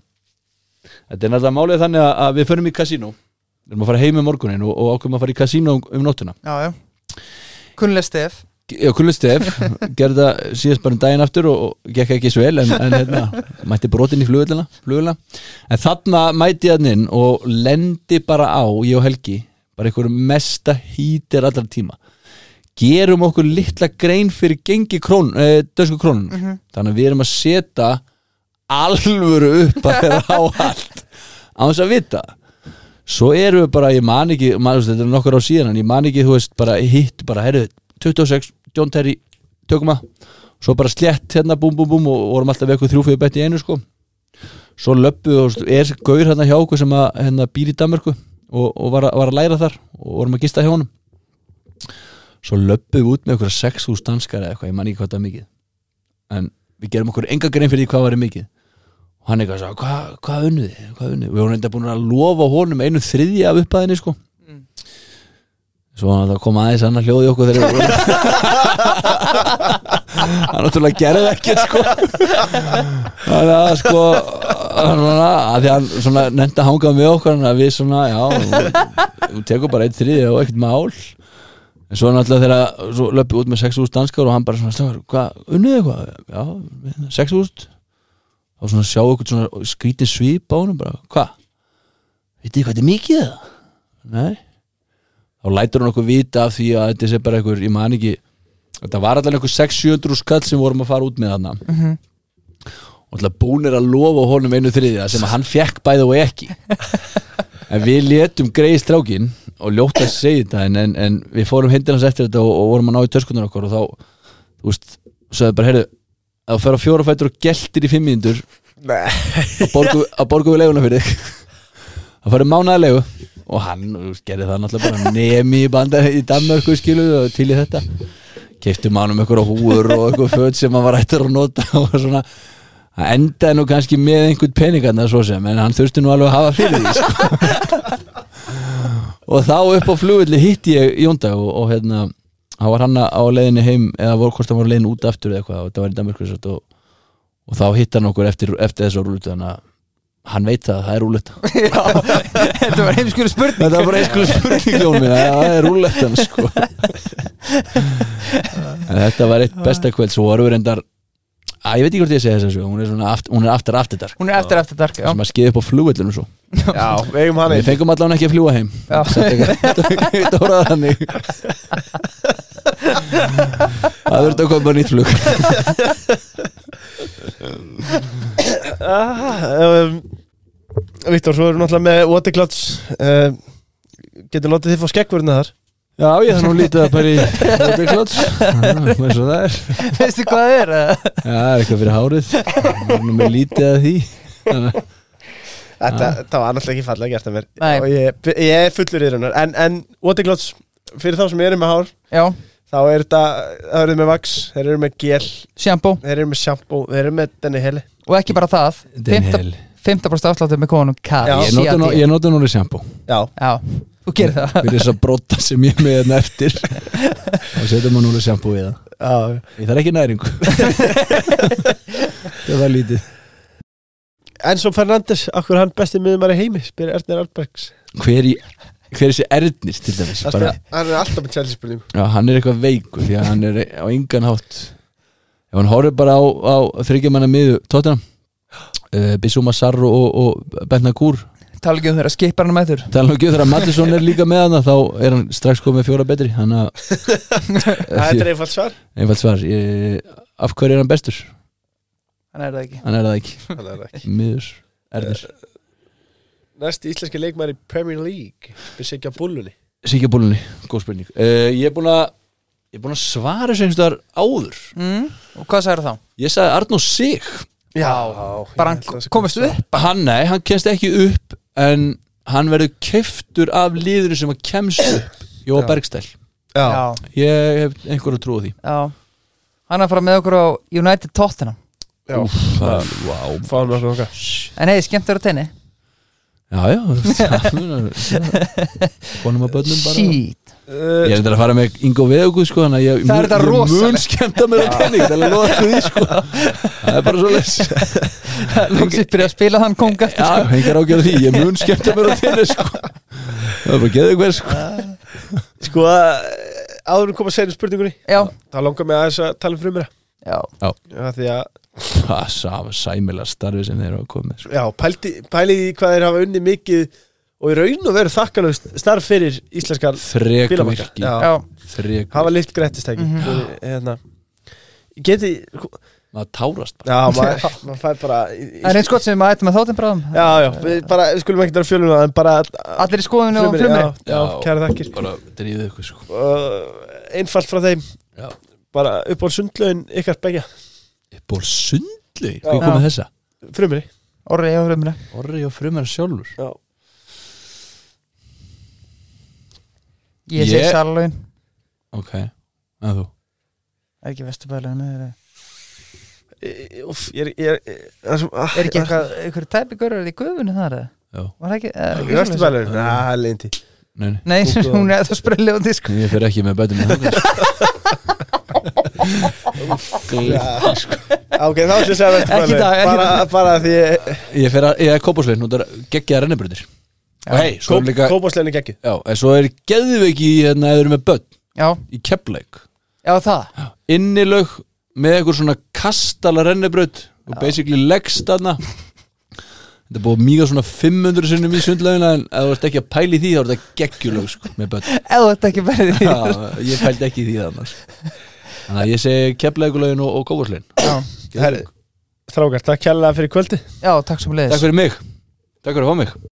Speaker 3: Þetta er náttúrulega málið þannig að- að við förum í kasínó Við erum að fara heim um morgunin og, og ákveðum að fara í kasínó um, um nóttuna
Speaker 2: já, já Kunnlega stef
Speaker 3: Já, Kulli Stef gerði það síðast bara um daginn aftur og, og gekk ekki svo vel en, en hérna, mætti brotin í flugulina, flugulina En þarna mætti ég hann inn og lendi bara á, ég og Helgi bara einhverju mesta hýtir allra tíma Gerum okkur litla grein fyrir gengi krón, e, dösku krónun Þannig að við erum að setja alvöru upp að þeirra á allt á þess að vita svo erum við bara, ég man ekki man, þú veist, þetta er nokkur á síðan, en ég man ekki þú veist, bara hitt, bara, herru, 26 John Terry, tökum að svo bara slétt hérna, búm, búm, búm og vorum alltaf við eitthvað þrjú fyrir bett í einu, sko svo löppuð og þú veist, er gaur hérna hjá okkur sem að, hérna, býr í Danmörku og, og var, að, var að læra þar og vorum að gista hjá honum svo löppuð við út með okkur 6.000 danskar eða eitthvað, ég man ekki hvað það er mikið en við gerum okkur enga grein fyrir því hvað var mikið og hann eitthvað svo, hvað hva unnuði, hvað unnuði og við vorum enda búin að lofa honum einu þriðja af upphæðinni sko svo hann það kom aðeins annar hljóði okkur þegar við vorum hann náttúrulega gerði ekkert sko þannig að sko hann svona, að því hann svona nefndi að hanga með okkur þannig að við svona, já þú tekur bara einn þriðja og ekkert mál en svo náttúrulega þegar svo löpum við út með 6.000 danskar og hann bara svona, strákar, hvað, unnuði eitthvað já, 6.000 og svona sjá okkur svona skrítin svip á honum bara, hva? Vitið þið hvað þetta er mikið það? Nei þá lætur hann okkur vita af því að þetta sé bara einhver, ég man ekki þetta var allan einhver 600 skall sem vorum að fara út með þarna og alltaf búnir að lofa honum einu þriðja sem að hann fekk bæða og ekki en við létum greið strákin og ljótt að segja þetta en, en, en við fórum hindi hans eftir þetta og, og vorum að ná í töskunar okkur og þá, þú veist, sögðu bara, heyrðu að þú fer á fjóra fætur og geltir í fimm mínútur að borgu, að borgu við leiguna fyrir þig að fara mánaði leigu og hann þú veist, gerði það náttúrulega bara nemi í banda í Danmörku skilu og til í þetta keiptum hann um einhverja húur og einhver föt sem hann var ættur að nota og svona hann endaði nú kannski með einhvern peningarna svo sem en hann þurfti nú alveg að hafa fyrir því sko. og þá upp á flugulli hitti ég Jóndag og, og hérna hann var hann á leiðinni heim eða voru hvort hann var á leiðinni út aftur eða eitthvað og þetta var í Danmörku sem sagt, og, og þá hitti hann okkur eftir, eftir þessu rúlutu þannig að hann veit það að það er rúluta
Speaker 2: Já, þetta var heimskur spurning
Speaker 3: Þetta var bara einhverjum spurning Jón minn að Það er rúllettan sko En Þetta var eitt besta kvöld Svo voru við reyndar að, Ég veit ekki hvort ég segi þess að svo Hún er, svona aft, hún er aftar aftir dark
Speaker 2: Hún er eftir eftir dark, já
Speaker 3: sem að skeiði upp á flugvöllunum svo
Speaker 1: Já, við eigum hann
Speaker 3: Við
Speaker 1: einn
Speaker 3: fengum allan ekki að fljúa heim
Speaker 2: Já.
Speaker 3: Þetta voru þannig Það þurfti að koma nýtt flug
Speaker 1: um, Viktor, svo erum við náttúrulega með Waterclouds um, Getur látið þið fá skeggvörna þar
Speaker 3: Já, ég þannig lítið að bara í Það er klóts Það er
Speaker 2: Veistu hvað það er? eða?
Speaker 3: Já, það er eitthvað fyrir hárið Nú með lítið að því Þannig að-
Speaker 1: Þetta,
Speaker 3: Ah.
Speaker 1: það var náttúrulega ekki fallega gert að mér
Speaker 2: Nei.
Speaker 1: Og ég, ég er fullur í raunar En, en Waterclouds, fyrir þá sem eru með hár
Speaker 2: Já,
Speaker 1: Þá er þetta, það eru með vax Þeir eru með gel,
Speaker 2: sjambó
Speaker 1: þeir eru með shampoo Þeir eru með denni heli
Speaker 2: Og ekki bara það 15%
Speaker 3: Þetta er hel
Speaker 2: 15% afsláttur með konum
Speaker 1: Já.
Speaker 2: Kari
Speaker 3: Ég nota nú- Ég nota núna sjampó
Speaker 1: Já,
Speaker 2: Já, þú gerir það
Speaker 3: fyrir þess að brotta sem ég er með hérna eftir og setjum maður núna sjampú í það
Speaker 1: já
Speaker 3: ég þarf ekki næringu það var lítið
Speaker 1: Enzo Fernandes, akkur er hann besti miðumar í heimi spyrir Ernir Arnbergs
Speaker 3: hver, í, hver er þessi erðnir til dæmis
Speaker 1: Hann
Speaker 3: bara,
Speaker 1: spyr- hann er alltaf með Chelsea spurning
Speaker 3: já, hann er eitthvað veikur því að hann er á engan hátt ef hann horfir bara á, á þryggjumanna miðu tóttina uh, Bissúma Sarro og, og Bentnagúr
Speaker 2: tala ekki um þeirra skiparna með þur
Speaker 3: tala nú ekki um þegar Mattisson er líka með hana þá er hann strax komið með fjóra betri hann að
Speaker 1: Þetta er einfalt svar
Speaker 3: einfalt svar ég, af hverju er hann bestur?
Speaker 2: hann er það ekki
Speaker 3: hann er það ekki,
Speaker 1: Þannig er það ekki.
Speaker 3: miður erður,
Speaker 1: Næsti íslenski leikmæri Premier League Við segja búlunni
Speaker 3: síkjabúlunni góð spurning, uh, ég er búin að ég er búin að svara þessu einhverstaðar áður
Speaker 2: mm. og hvað sagði þá?
Speaker 3: ég sagði Arnó Sig
Speaker 2: bara hann komist upp
Speaker 3: hann, nei, hann kemst ekki upp en hann verður keiftur af liðinu sem að kemst upp Jóa
Speaker 1: Já.
Speaker 3: Bergstæl,
Speaker 1: Já,
Speaker 2: já.
Speaker 3: ég hef einhverju trú á því
Speaker 2: já hann er að fara með okkur á United Tottenham
Speaker 1: já
Speaker 3: það, wow.
Speaker 1: Fáum við okkur
Speaker 2: en heiði skemmt að vera tenni
Speaker 3: já, já það munar- já. konum að börnum bara
Speaker 2: shit
Speaker 1: Uh,
Speaker 3: ég er þetta að fara með Ingo Veguð sko, þannig að ég,
Speaker 2: Það er þetta
Speaker 3: mun- ég mun
Speaker 2: rosalegt.
Speaker 3: skemmta mér á tenning það er loðað því sko það er bara svo les
Speaker 2: Lúsið byrja að spila hann konga
Speaker 3: já, hengar ágjörð því, ég mun skemmta mér á tenning sko það er bara geðið hver sko
Speaker 1: Sko, eh, áður en við koma að segja spurningunni
Speaker 2: já,
Speaker 1: Það langar mig aðeins að tala um frumir
Speaker 2: já,
Speaker 1: Því að,
Speaker 3: það er sama sæmila starfi sem þeir eru að koma með sko.
Speaker 1: já, pældi, pælið í hvað þeir hafa unni mikið Og í raun og veru þakkanlega starf fyrir íslenskan
Speaker 3: þrek
Speaker 1: bílamarka
Speaker 3: virki
Speaker 1: Já,
Speaker 2: já. Mhm.
Speaker 3: þrek
Speaker 1: hafa lilt grættistæki mm -hmm. Hérna Geti,
Speaker 3: maður tárast bara
Speaker 1: já, maður mað fær bara
Speaker 2: það er eins gott sem maður ætti með þáttin bráðum Eh,
Speaker 1: Já, já, við bara, við skulum ekkert að fjölum það En bara
Speaker 2: allir í skoðinu og
Speaker 1: frumir, já, já,
Speaker 2: frumri
Speaker 1: kæra þakkir
Speaker 3: bara dríðu ykkur sko
Speaker 1: uh, einfalt frá þeim
Speaker 3: Já.
Speaker 1: bara upp á sundlaun ykkar begja
Speaker 3: upp á sundlu,
Speaker 1: Já.
Speaker 3: hvað kom með þessa
Speaker 1: frumri
Speaker 2: orðið á frumri
Speaker 3: orri og frumar sjálfur
Speaker 1: já.
Speaker 2: ég segi
Speaker 3: Ég-
Speaker 2: salun
Speaker 3: ok, að þú
Speaker 2: ekki vesturbæðleginu er
Speaker 1: Í- úff, ég er- ég er ég- það sem- ah,
Speaker 2: ekki eitthvað einhver tæpi görður í gufunni þar eða?
Speaker 3: já,
Speaker 2: var það ekki eh,
Speaker 1: ég-
Speaker 2: ekki svoleiðis?
Speaker 1: Vesturbælurinn? Næ, það er leint í
Speaker 3: nei, nei
Speaker 2: nei,
Speaker 1: Kúka.
Speaker 2: hún er það sprelli á disk
Speaker 3: Ég fer ekki með bötum
Speaker 1: ok, þá ætlum ég að segja vesturbælurinn
Speaker 2: Ekki í dag, ekki í
Speaker 1: bara, bara því
Speaker 3: Ég fer að, ég er kópáslegin Nú er geggjaða rennibröðir Og hei, svo er líka
Speaker 1: kópásleinu geggi
Speaker 3: Já, en svo er geðveiki í hérna eða eru með börn
Speaker 2: já,
Speaker 3: Í keppleik
Speaker 2: já það
Speaker 3: Innilög með eitthvað svona kastala rennibröð Og basically leggst þarna Þetta er búið að míga svona 500 sinnum í sundlaugina En ef þú ert ekki að pæli því þá er þetta geggjulög sko Með börn
Speaker 2: eða þetta ekki verið því
Speaker 3: Já, ég pældi ekki í því þarna sko. Þannig að ég segi keppleikulögin og, og kópáslegin
Speaker 2: já,
Speaker 1: Herri, strákar, takk kærlega fyrir kvöldi
Speaker 2: já, takk sem leiðis
Speaker 3: Takk fyrir mig Takk fyrir að fá mig